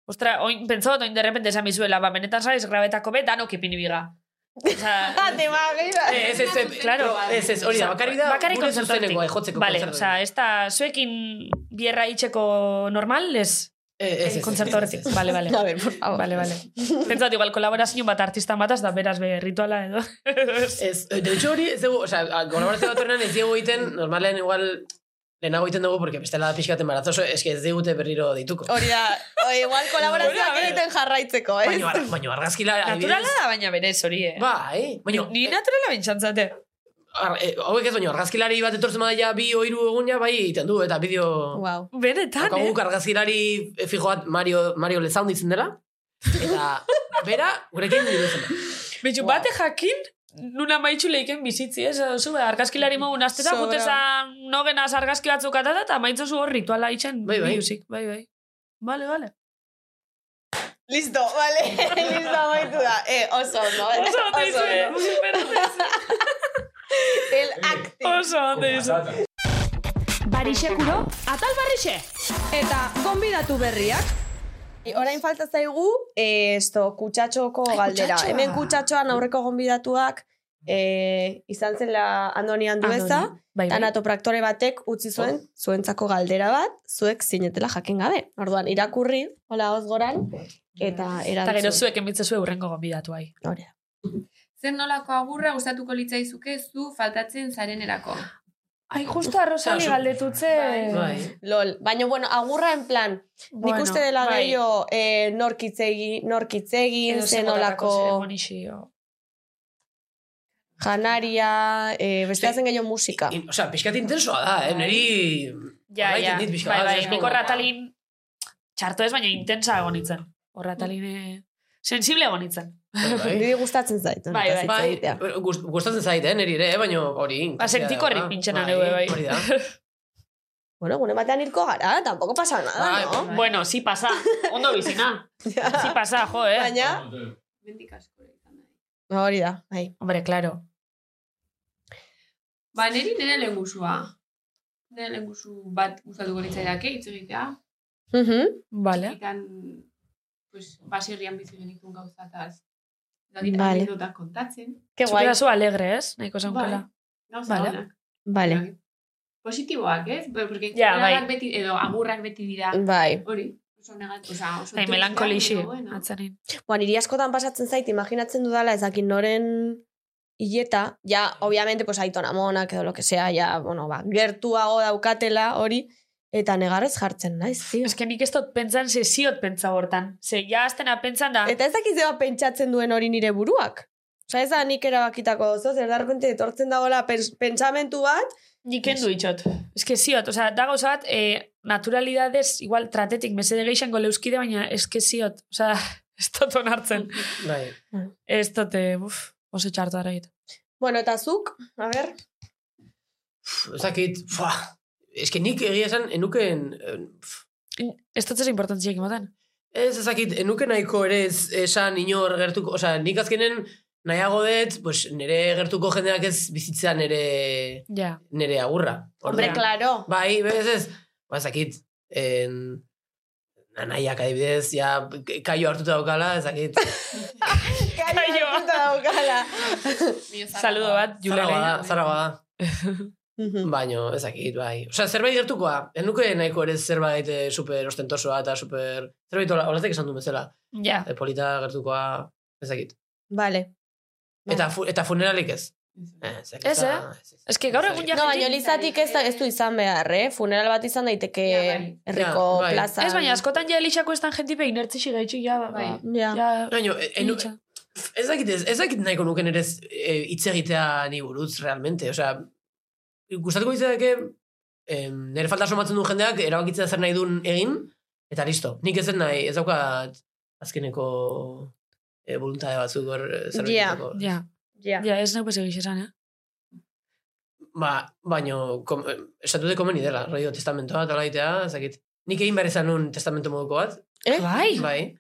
Speaker 5: Ostra, oin, pentsa bat, oin derrepente esan bizuela, ba, benetan saiz grabetako be, danok ipini biga. Osa,
Speaker 4: Ate magira.
Speaker 6: Eh, Ez, ez, ez,
Speaker 5: Claro.
Speaker 6: ez, ez, hori da, bakarrik da,
Speaker 5: bakarrik
Speaker 6: gure
Speaker 5: kontzertutik.
Speaker 6: zuzenekoa, eh, jotzeko
Speaker 5: Vale,
Speaker 6: kontzertu.
Speaker 5: osa, ez da, zuekin bierra itxeko normal, ez?
Speaker 6: Eh, ez, ez, ez,
Speaker 5: Kontzertu
Speaker 6: ez, ez,
Speaker 5: horretik. Vale, vale.
Speaker 4: A ver, por favor.
Speaker 5: Vale, vale. Pentsat, igual, kolaborazio bat artistan bataz, da beraz be, rituala edo.
Speaker 6: Ez, eh, de hecho hori, ez dugu, oza, kolaborazio bat horrean ez dugu egiten, normalean igual, lehenago egiten dugu, porque bestela pixkaten baratzoso, eske ez digute berriro dituko.
Speaker 4: Hori da, o, igual kolaborazioak
Speaker 5: Bueno, a ver.
Speaker 4: egiten jarraitzeko, eh?
Speaker 6: Baina, ar- baina argazkila,
Speaker 5: naturala da, baina berez hori, eh?
Speaker 6: Bai, baina,
Speaker 5: Ni naturala bintxantzate.
Speaker 6: Ar, eh, hauek ez baino, argazkilari bat etortzen badaia bi o hiru egun ja, bai egiten du, eta bideo...
Speaker 4: Wow.
Speaker 5: Benetan,
Speaker 6: Daukagu
Speaker 5: eh?
Speaker 6: guk argazkilari eh, fijo bat Mario, Mario Lezaun ditzen dela, eta bera, gurekin diruzen.
Speaker 5: Betxu, bate jakin, nuna maitxu leiken bizitzi, ez? Zu, argazkilari mogun, azteza
Speaker 4: Sobra.
Speaker 5: gutezan nogenaz argazki batzuk atata, eta maitzu zu hor rituala itxen.
Speaker 6: Bai, bai.
Speaker 5: Music. Bai, bai. Vale, vale.
Speaker 4: Listo, vale. Listo, amaitu da. Eh, oso ondo. eh?
Speaker 5: Oso ondo
Speaker 4: Oso
Speaker 5: izu,
Speaker 4: ondo.
Speaker 5: super ondo eh.
Speaker 4: El acting.
Speaker 5: izu. Oso ondo izu.
Speaker 2: Barixekuro, atal barrixe.
Speaker 4: Eta gonbidatu berriak. Orain falta zaigu, eh, esto, kutsatxoko galdera.
Speaker 2: kutsatxoa.
Speaker 4: Hemen kutsatxoan aurreko gonbidatuak eh, izan zela Andoni Andueza,
Speaker 5: Andoni, Bai, bai.
Speaker 4: anatopraktore batek utzi zuen,
Speaker 5: Oh.
Speaker 4: zuentzako galdera bat, zuek zinetela jakin gabe. Orduan, irakurri, hola hoz goran, eta
Speaker 5: Eta gero
Speaker 4: erantzun.
Speaker 5: zuek enbitze zuen urrengo gonbidatu bai. hai.
Speaker 4: Hori da.
Speaker 9: Zer nolako agurra gustatuko litzaizuke zu faltatzen zarenerako?
Speaker 5: Ai, justo arrozari
Speaker 6: Oso-
Speaker 5: galdetutze.
Speaker 6: Bai.
Speaker 4: Lol, baina, bueno, agurra en plan, nik uste dela
Speaker 5: bai.
Speaker 4: gehiago eh, norkitzegi, norkitzegin,
Speaker 5: Edo
Speaker 4: zen
Speaker 5: zenolako
Speaker 4: olako
Speaker 5: zeremonixio.
Speaker 4: janaria, eh,
Speaker 5: Bai.
Speaker 4: beste
Speaker 6: Sí.
Speaker 4: zen gehiago musika.
Speaker 6: In, Bai. osea, pixkat intensoa da, eh? Neri...
Speaker 5: Ja,
Speaker 6: Horraitik
Speaker 5: ja.
Speaker 6: dit pixka
Speaker 5: Bai,
Speaker 6: bat,
Speaker 5: bai,
Speaker 6: ez?
Speaker 5: nik horratalin txarto ez, baina intensa agonitzen. Horratalin eh, sensible agonitzen.
Speaker 6: Bai,
Speaker 4: Niri gustatzen zait.
Speaker 5: Bai,
Speaker 4: honetaz hitz
Speaker 6: bai.
Speaker 4: egitea.
Speaker 6: Bai, gust- gustatzen zait, eh, neri ere, eh? baina hori...
Speaker 5: Ba, sentiko horri pintxena neu, bai.
Speaker 6: Hori da.
Speaker 4: Bueno, gune batean hilko gara, tampoco pasa nada,
Speaker 6: Bai,
Speaker 4: no?
Speaker 5: Bueno, si pasa. Ondo bizina. si pasa, jo, eh?
Speaker 4: Baina,
Speaker 9: Mendik asko izan da.
Speaker 4: hori da, bai.
Speaker 5: Hombre, claro.
Speaker 7: Ba, niri nire lengusua. Nire lengusu bat gustatuko litzaidake, hitz egitea.
Speaker 4: Mhm.
Speaker 5: Vale.
Speaker 7: Ikan, pues, baserrian bizi genitun gauzataz.
Speaker 4: Vale.
Speaker 7: Vale. Eta kontatzen.
Speaker 4: Ke guai.
Speaker 5: Zukera zu alegre, ez? Nahiko zaunkala.
Speaker 7: Bai. Gauza
Speaker 5: Vale.
Speaker 7: onak.
Speaker 4: Vale,
Speaker 7: Positiboak, ez? Be- Porque
Speaker 5: Ja, bai. Mm.
Speaker 7: onak beti, edo agurrak beti dira.
Speaker 4: bai.
Speaker 7: Hori, oso negat, oza, oso...
Speaker 5: Eta
Speaker 7: tristea,
Speaker 5: melankolixi,
Speaker 7: baina, bueno.
Speaker 5: atzanin.
Speaker 4: Ba, niri askotan pasatzen zait, imaginatzen dudala ezakin noren hileta, ja, obviamente, pues, aitona monak edo lo que sea, ja, bueno, ba, gertuago daukatela hori, eta negarrez jartzen, naiz, tío.
Speaker 5: Ez que nik ez dut pentsan, ze ziot pentsa hortan. Ze, ja, aztena pentsan da.
Speaker 4: Eta ez dakit zeba pentsatzen duen hori nire buruak. Osa ez da nik erabakitako dozo, zer darkonte etortzen dagoela pens- pentsamentu bat,
Speaker 5: Nik endu itxot. Ez que ziot, oza, da gauza bat, e, naturalidades, igual, tratetik, mesede geixango leuskide, baina ez que ziot. Oza, ez dut onartzen.
Speaker 6: Bai.
Speaker 5: Ez dut, eh, buf, oso txarto ara egit.
Speaker 4: bueno, eta zuk, a ber,
Speaker 6: Pff, Ez dakit, fua. Ez eh, que nik egia esan, enuken... en- pff,
Speaker 5: Ez dut ez importantziak ematen.
Speaker 6: Ez ez dakit, enuken nahiko ere ez esan inor gertuko... Osa, nik azkenen nahiago dut, pues, nire gertuko jendeak ez bizitza nire,
Speaker 5: Ja.
Speaker 6: nire agurra.
Speaker 4: hombre,
Speaker 6: Orduan,
Speaker 4: claro.
Speaker 6: Bai, bez ez, ba, ez dakit, en... Anaiak adibidez, ja, k- kaio hartuta daukala, ez dakit.
Speaker 5: Kaio.
Speaker 4: hartuta daukala.
Speaker 9: Mio zarra.
Speaker 5: Saludo bat, Julen.
Speaker 6: Zaragoa da,
Speaker 4: bai.
Speaker 6: zaragoa da. Mm-hmm.
Speaker 4: Mhm.
Speaker 6: Baino, ez dakit, bai. Osa, zerbait gertukoa, enuke nahiko ere zerbait eh, super ostentosoa eta super... Zerbait hola- olatek esan du bezala.
Speaker 5: Ja.
Speaker 6: Eh, Polita gertukoa, ez dakit.
Speaker 4: Vale. Bai.
Speaker 6: Eta, fu eta funeralik ez. Eh, ez, dakit,
Speaker 5: Ez,
Speaker 6: za-
Speaker 5: eh? Ez que gaur egun ja
Speaker 4: No, baina
Speaker 5: jende-
Speaker 4: lizatik ez, da- ez du izan behar, eh? Funeral bat izan daiteke
Speaker 7: Ja, bai.
Speaker 4: herriko
Speaker 6: Ja, bai.
Speaker 4: plaza.
Speaker 5: Ez baina askotan ja elixako ez dan jentipe inertzixi gaitxik, ja, ba,
Speaker 7: Bai.
Speaker 4: Ja.
Speaker 5: ja,
Speaker 6: Baino, e- enu,
Speaker 5: itxa.
Speaker 6: ez dakit, ez, ez dakit nahiko nuken ere ez- eh, hitz egitea ni buruz, realmente. Osea, gustatuko ditzake, em, nire falta somatzen duen jendeak, erabakitzea zer nahi duen egin, eta listo. Nik ez dut nahi, ez daukat azkeneko e, voluntade batzuk hor eh, zerbait egiteko.
Speaker 5: Ja,
Speaker 4: Ja.
Speaker 5: ja, ez neu pese gixesan, eh?
Speaker 6: Ba, baino, kom, eh, esatu de komeni dela, radio testamentoa eta laitea, ez dakit. Nik egin behar izan nun testamento moduko bat,
Speaker 4: Eh?
Speaker 5: Bai,
Speaker 6: Bai.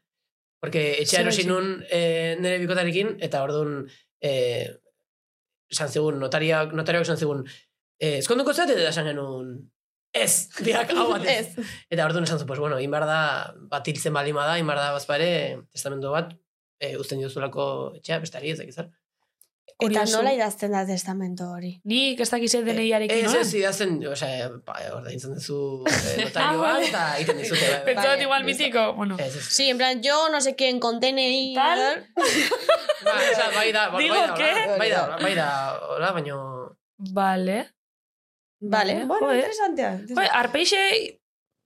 Speaker 6: Porque etxea
Speaker 5: Zer
Speaker 6: erosi
Speaker 5: hasi?
Speaker 6: nun e, nire bikotarekin, eta orduan e, esan zigun, notariak, notariak esan zigun, e, ezkonduko zeat eta esan genuen, ez, biak hau bat ez.
Speaker 4: Ez.
Speaker 6: Eta orduan esan zuen, pues bueno, inbar da, bat hiltzen balima da, inbar da bazpare, testamento bat, e, uzten diozulako etxea, bestari ez dakizar.
Speaker 4: Eta
Speaker 5: Kurioso.
Speaker 4: nola idazten da testamento hori?
Speaker 5: nik ez dakize deneiarekin,
Speaker 6: Eh, Ez,
Speaker 5: no?
Speaker 6: ez, idazten, osea, ba, ordaintzen duzu eh, notarioa,
Speaker 5: vale.
Speaker 6: eta egiten dizute. bai, bai.
Speaker 5: Pentsa dut igual
Speaker 6: Bai, ez da.
Speaker 5: mitiko, bueno.
Speaker 6: Ez, ez.
Speaker 4: Sí, en plan, yo no sé quién contenei...
Speaker 5: Tal.
Speaker 6: Ba, osea, bai da, bai
Speaker 5: Digo,
Speaker 6: da, hola,
Speaker 5: ¿qué?
Speaker 6: bai da, hola, bai da, hola, baino...
Speaker 5: Vale.
Speaker 4: Vale, bueno,
Speaker 5: Joder.
Speaker 4: interesantea.
Speaker 5: Joe, arpeixe,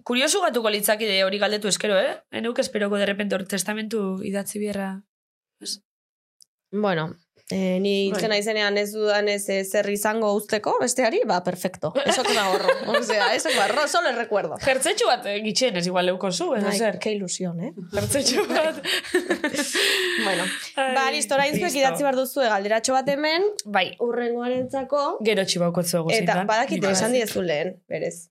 Speaker 5: kuriosu gatuko litzaki de hori galdetu eskero, eh? Enuk esperoko derrepente hor testamentu idatzi bierra.
Speaker 4: Bueno, E, ni hiltzen naizenean ez dudan ez eh, zer izango uzteko besteari, ba, perfecto. Eso que me ahorro. O sea, eso que me ahorro, solo el recuerdo.
Speaker 5: Jertzetxu bat eh, gitxen, ez igual leuko zu, edo
Speaker 4: Ai,
Speaker 5: zer.
Speaker 4: Bai. ke ilusión, eh?
Speaker 5: Jertzetxu bat.
Speaker 4: Bueno,
Speaker 5: Ai,
Speaker 4: ba, listo, orain zuek
Speaker 5: listo.
Speaker 4: idatzi behar duzu eh, galderatxo bat hemen,
Speaker 5: Bai,
Speaker 4: urrengoaren zako,
Speaker 5: gero txibauko zuego
Speaker 4: eta badakite esan diezu lehen, berez.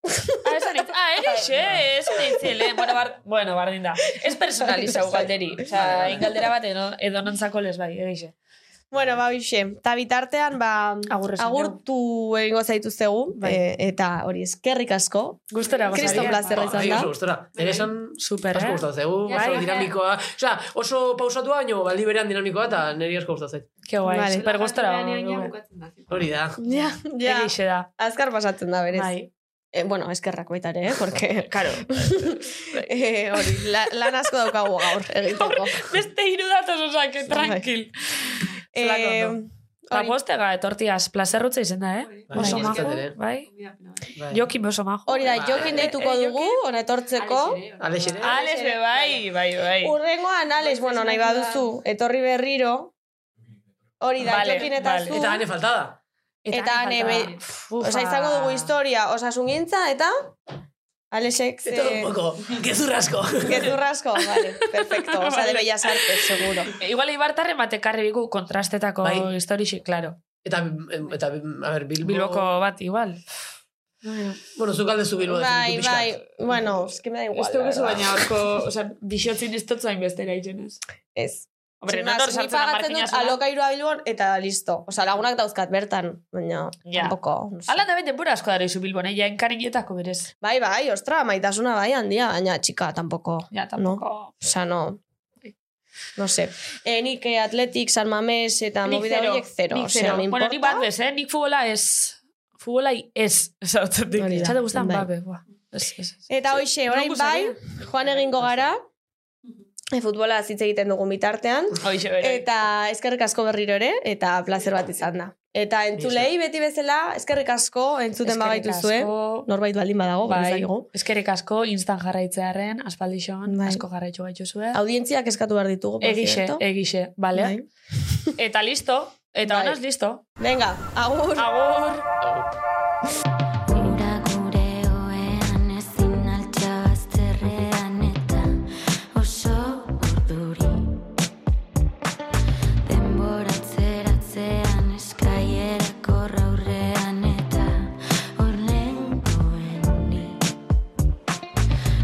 Speaker 5: Ah, esan dit, ah, ere
Speaker 4: Bai.
Speaker 5: xe, esan ditzie lehen. Bueno, bar, bueno, bardin da. Ez personalizau
Speaker 4: Bai,
Speaker 5: galderi. Osa, ingaldera bat edo, edo nontzako les bai, ere xe.
Speaker 4: Bueno, ba, bixe, eta bitartean, ba,
Speaker 5: Agur esan
Speaker 4: agurtu egingo zaituztegu,
Speaker 5: Bai.
Speaker 4: e, eta hori eskerrik asko,
Speaker 5: Gustora gozaria.
Speaker 4: Kriston plazerra izan
Speaker 6: Bai,
Speaker 4: da.
Speaker 6: oso gustora. Nire esan
Speaker 5: Super,
Speaker 6: asko
Speaker 5: eh?
Speaker 6: gustatzen zaigu,
Speaker 7: Bai.
Speaker 6: oso dinamikoa. Osea, oso pausatua, baino baldi berean dinamikoa eta niri asko gustatzen zait.
Speaker 5: Ke guai,
Speaker 4: Vale.
Speaker 5: super gustora.
Speaker 6: Hori da.
Speaker 4: Ja, ja.
Speaker 5: Ere xe da.
Speaker 4: Azkar pasatzen da, berez.
Speaker 5: Bai.
Speaker 4: Eh, bueno, eskerrak baita ere, eh? Porque, claro. eh, hori, la, lan asko daukagu gaur, egiteko.
Speaker 5: Beste hiru datoz, osa, que tranquil.
Speaker 4: eh,
Speaker 5: Zelako Ba, Eta postega, etortiaz, plazerrutza izen da, eh?
Speaker 6: Bai,
Speaker 5: Oso
Speaker 6: bai,
Speaker 5: majo,
Speaker 6: bai.
Speaker 5: bai.
Speaker 6: Bai.
Speaker 5: Jokin oso majo.
Speaker 4: hori da, jokin deituko dugu, ona etortzeko.
Speaker 7: eh,
Speaker 6: Alex ere.
Speaker 4: eh,
Speaker 5: Ales, be, bai, bai, bai.
Speaker 4: Urrengoan, Alex, bueno, nahi baduzu, etorri berriro. Hori da,
Speaker 5: Vale,
Speaker 4: jokin eta
Speaker 5: vale.
Speaker 4: zu.
Speaker 6: Eta ane faltada.
Speaker 4: Eta ane, be-
Speaker 5: Ufa.
Speaker 4: Osa, izango
Speaker 5: ba.
Speaker 4: dugu historia, osasungintza eta... Alexek eh,
Speaker 6: Eta
Speaker 4: ze...
Speaker 6: un poco, gezurrasko.
Speaker 4: Gezurrasko, vale, perfecto. Osa, de
Speaker 5: Vale.
Speaker 4: bellas artes, seguro.
Speaker 5: Igual Ibartarren batek karri bigu kontrastetako
Speaker 6: Bai.
Speaker 5: historixi, claro.
Speaker 6: Eta, em, eta, a ber, Bilbo...
Speaker 5: Bilboko bat, igual.
Speaker 6: Bueno, zuk aldezu Bilbo.
Speaker 4: Bai, bai, bueno, es que me da igual. la verdad.
Speaker 5: horko, oza, bixotzin ez totzain bestera itxenez.
Speaker 4: Ez.
Speaker 5: Hombre,
Speaker 4: Sin
Speaker 5: no
Speaker 4: más,
Speaker 5: nor
Speaker 4: ni
Speaker 5: sartzen
Speaker 4: pagatzen
Speaker 5: amartina
Speaker 4: dut alokairua bilbon, eta listo. Osa, lagunak dauzkat bertan, baina
Speaker 5: Ja.
Speaker 4: tampoco. no sé.
Speaker 5: Ala da bete pura asko dara izu Bilbon, eh? Ja, enkarinetako berez.
Speaker 4: Bai, bai, ostra, maitasuna bai handia, baina txika, tampoco.
Speaker 5: Ja, tampoco.
Speaker 4: Osa, no. No sé. Eh, nik eh, Atletik, San Mames eta
Speaker 5: Nik
Speaker 4: movida
Speaker 5: zero,
Speaker 4: horiek zero.
Speaker 5: nik
Speaker 4: Osea, me
Speaker 5: Bueno, nik
Speaker 4: importa.
Speaker 5: bat bez, eh? Nik futbola ez. Futbola ez. Zautzen dik.
Speaker 4: Hori da,
Speaker 5: Txate guztan
Speaker 4: bai. Eh,
Speaker 5: babe, ba, buah. Ez, ez, ez.
Speaker 4: Eta hoxe, orain
Speaker 5: Non
Speaker 4: bai,
Speaker 5: gustaría?
Speaker 4: joan egingo gara, e, futbola hitz egiten dugun bitartean,
Speaker 5: Hoxe, bere.
Speaker 4: Eta eskerrik asko berriro ere, eta placer bat izan da. Eta entzulei beti bezala, eskerrik asko entzuten
Speaker 5: Eskerrik
Speaker 4: bagaituzue.
Speaker 5: asko.
Speaker 4: Norbait baldin badago,
Speaker 5: Bai,
Speaker 4: bai.
Speaker 5: eskerrik asko, instan jarraitzearen, aspaldixon,
Speaker 4: Bai.
Speaker 5: asko jarraitu gaituzue.
Speaker 4: Audientziak eskatu behar ditugu. por
Speaker 5: Egixe,
Speaker 4: cierto.
Speaker 5: egixe, bale?
Speaker 4: Bai.
Speaker 5: Eta listo, eta
Speaker 4: Bai.
Speaker 5: honaz listo.
Speaker 4: Venga, agur!
Speaker 5: Agur!
Speaker 8: Ura gure oean ezin altxa bazterrean eta oso urduri Denboratzeratzean eskaierako aurrean eta hornen goen ni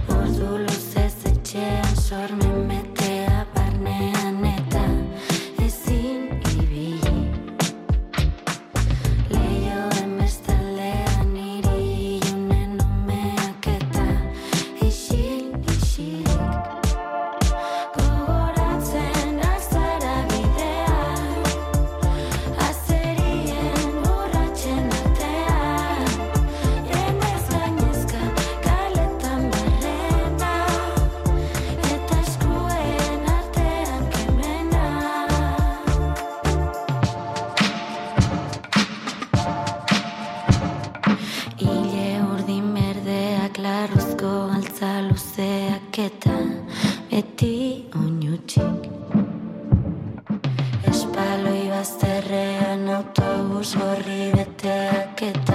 Speaker 8: Ordu luzez etxean sormen betea barnean eta ezin ibili Leioen bestaldean niri ilunen umeak eta isilik, isilik Gogoratzen azara bidea Azerien borratxen artean Jendez gainezka kaletan barrena Eta eskuen artean kemena Ile urdin berdeak larruzko altza luzeak eta beti oinutxik Espaloi bazterrean autobus gorri beteak eta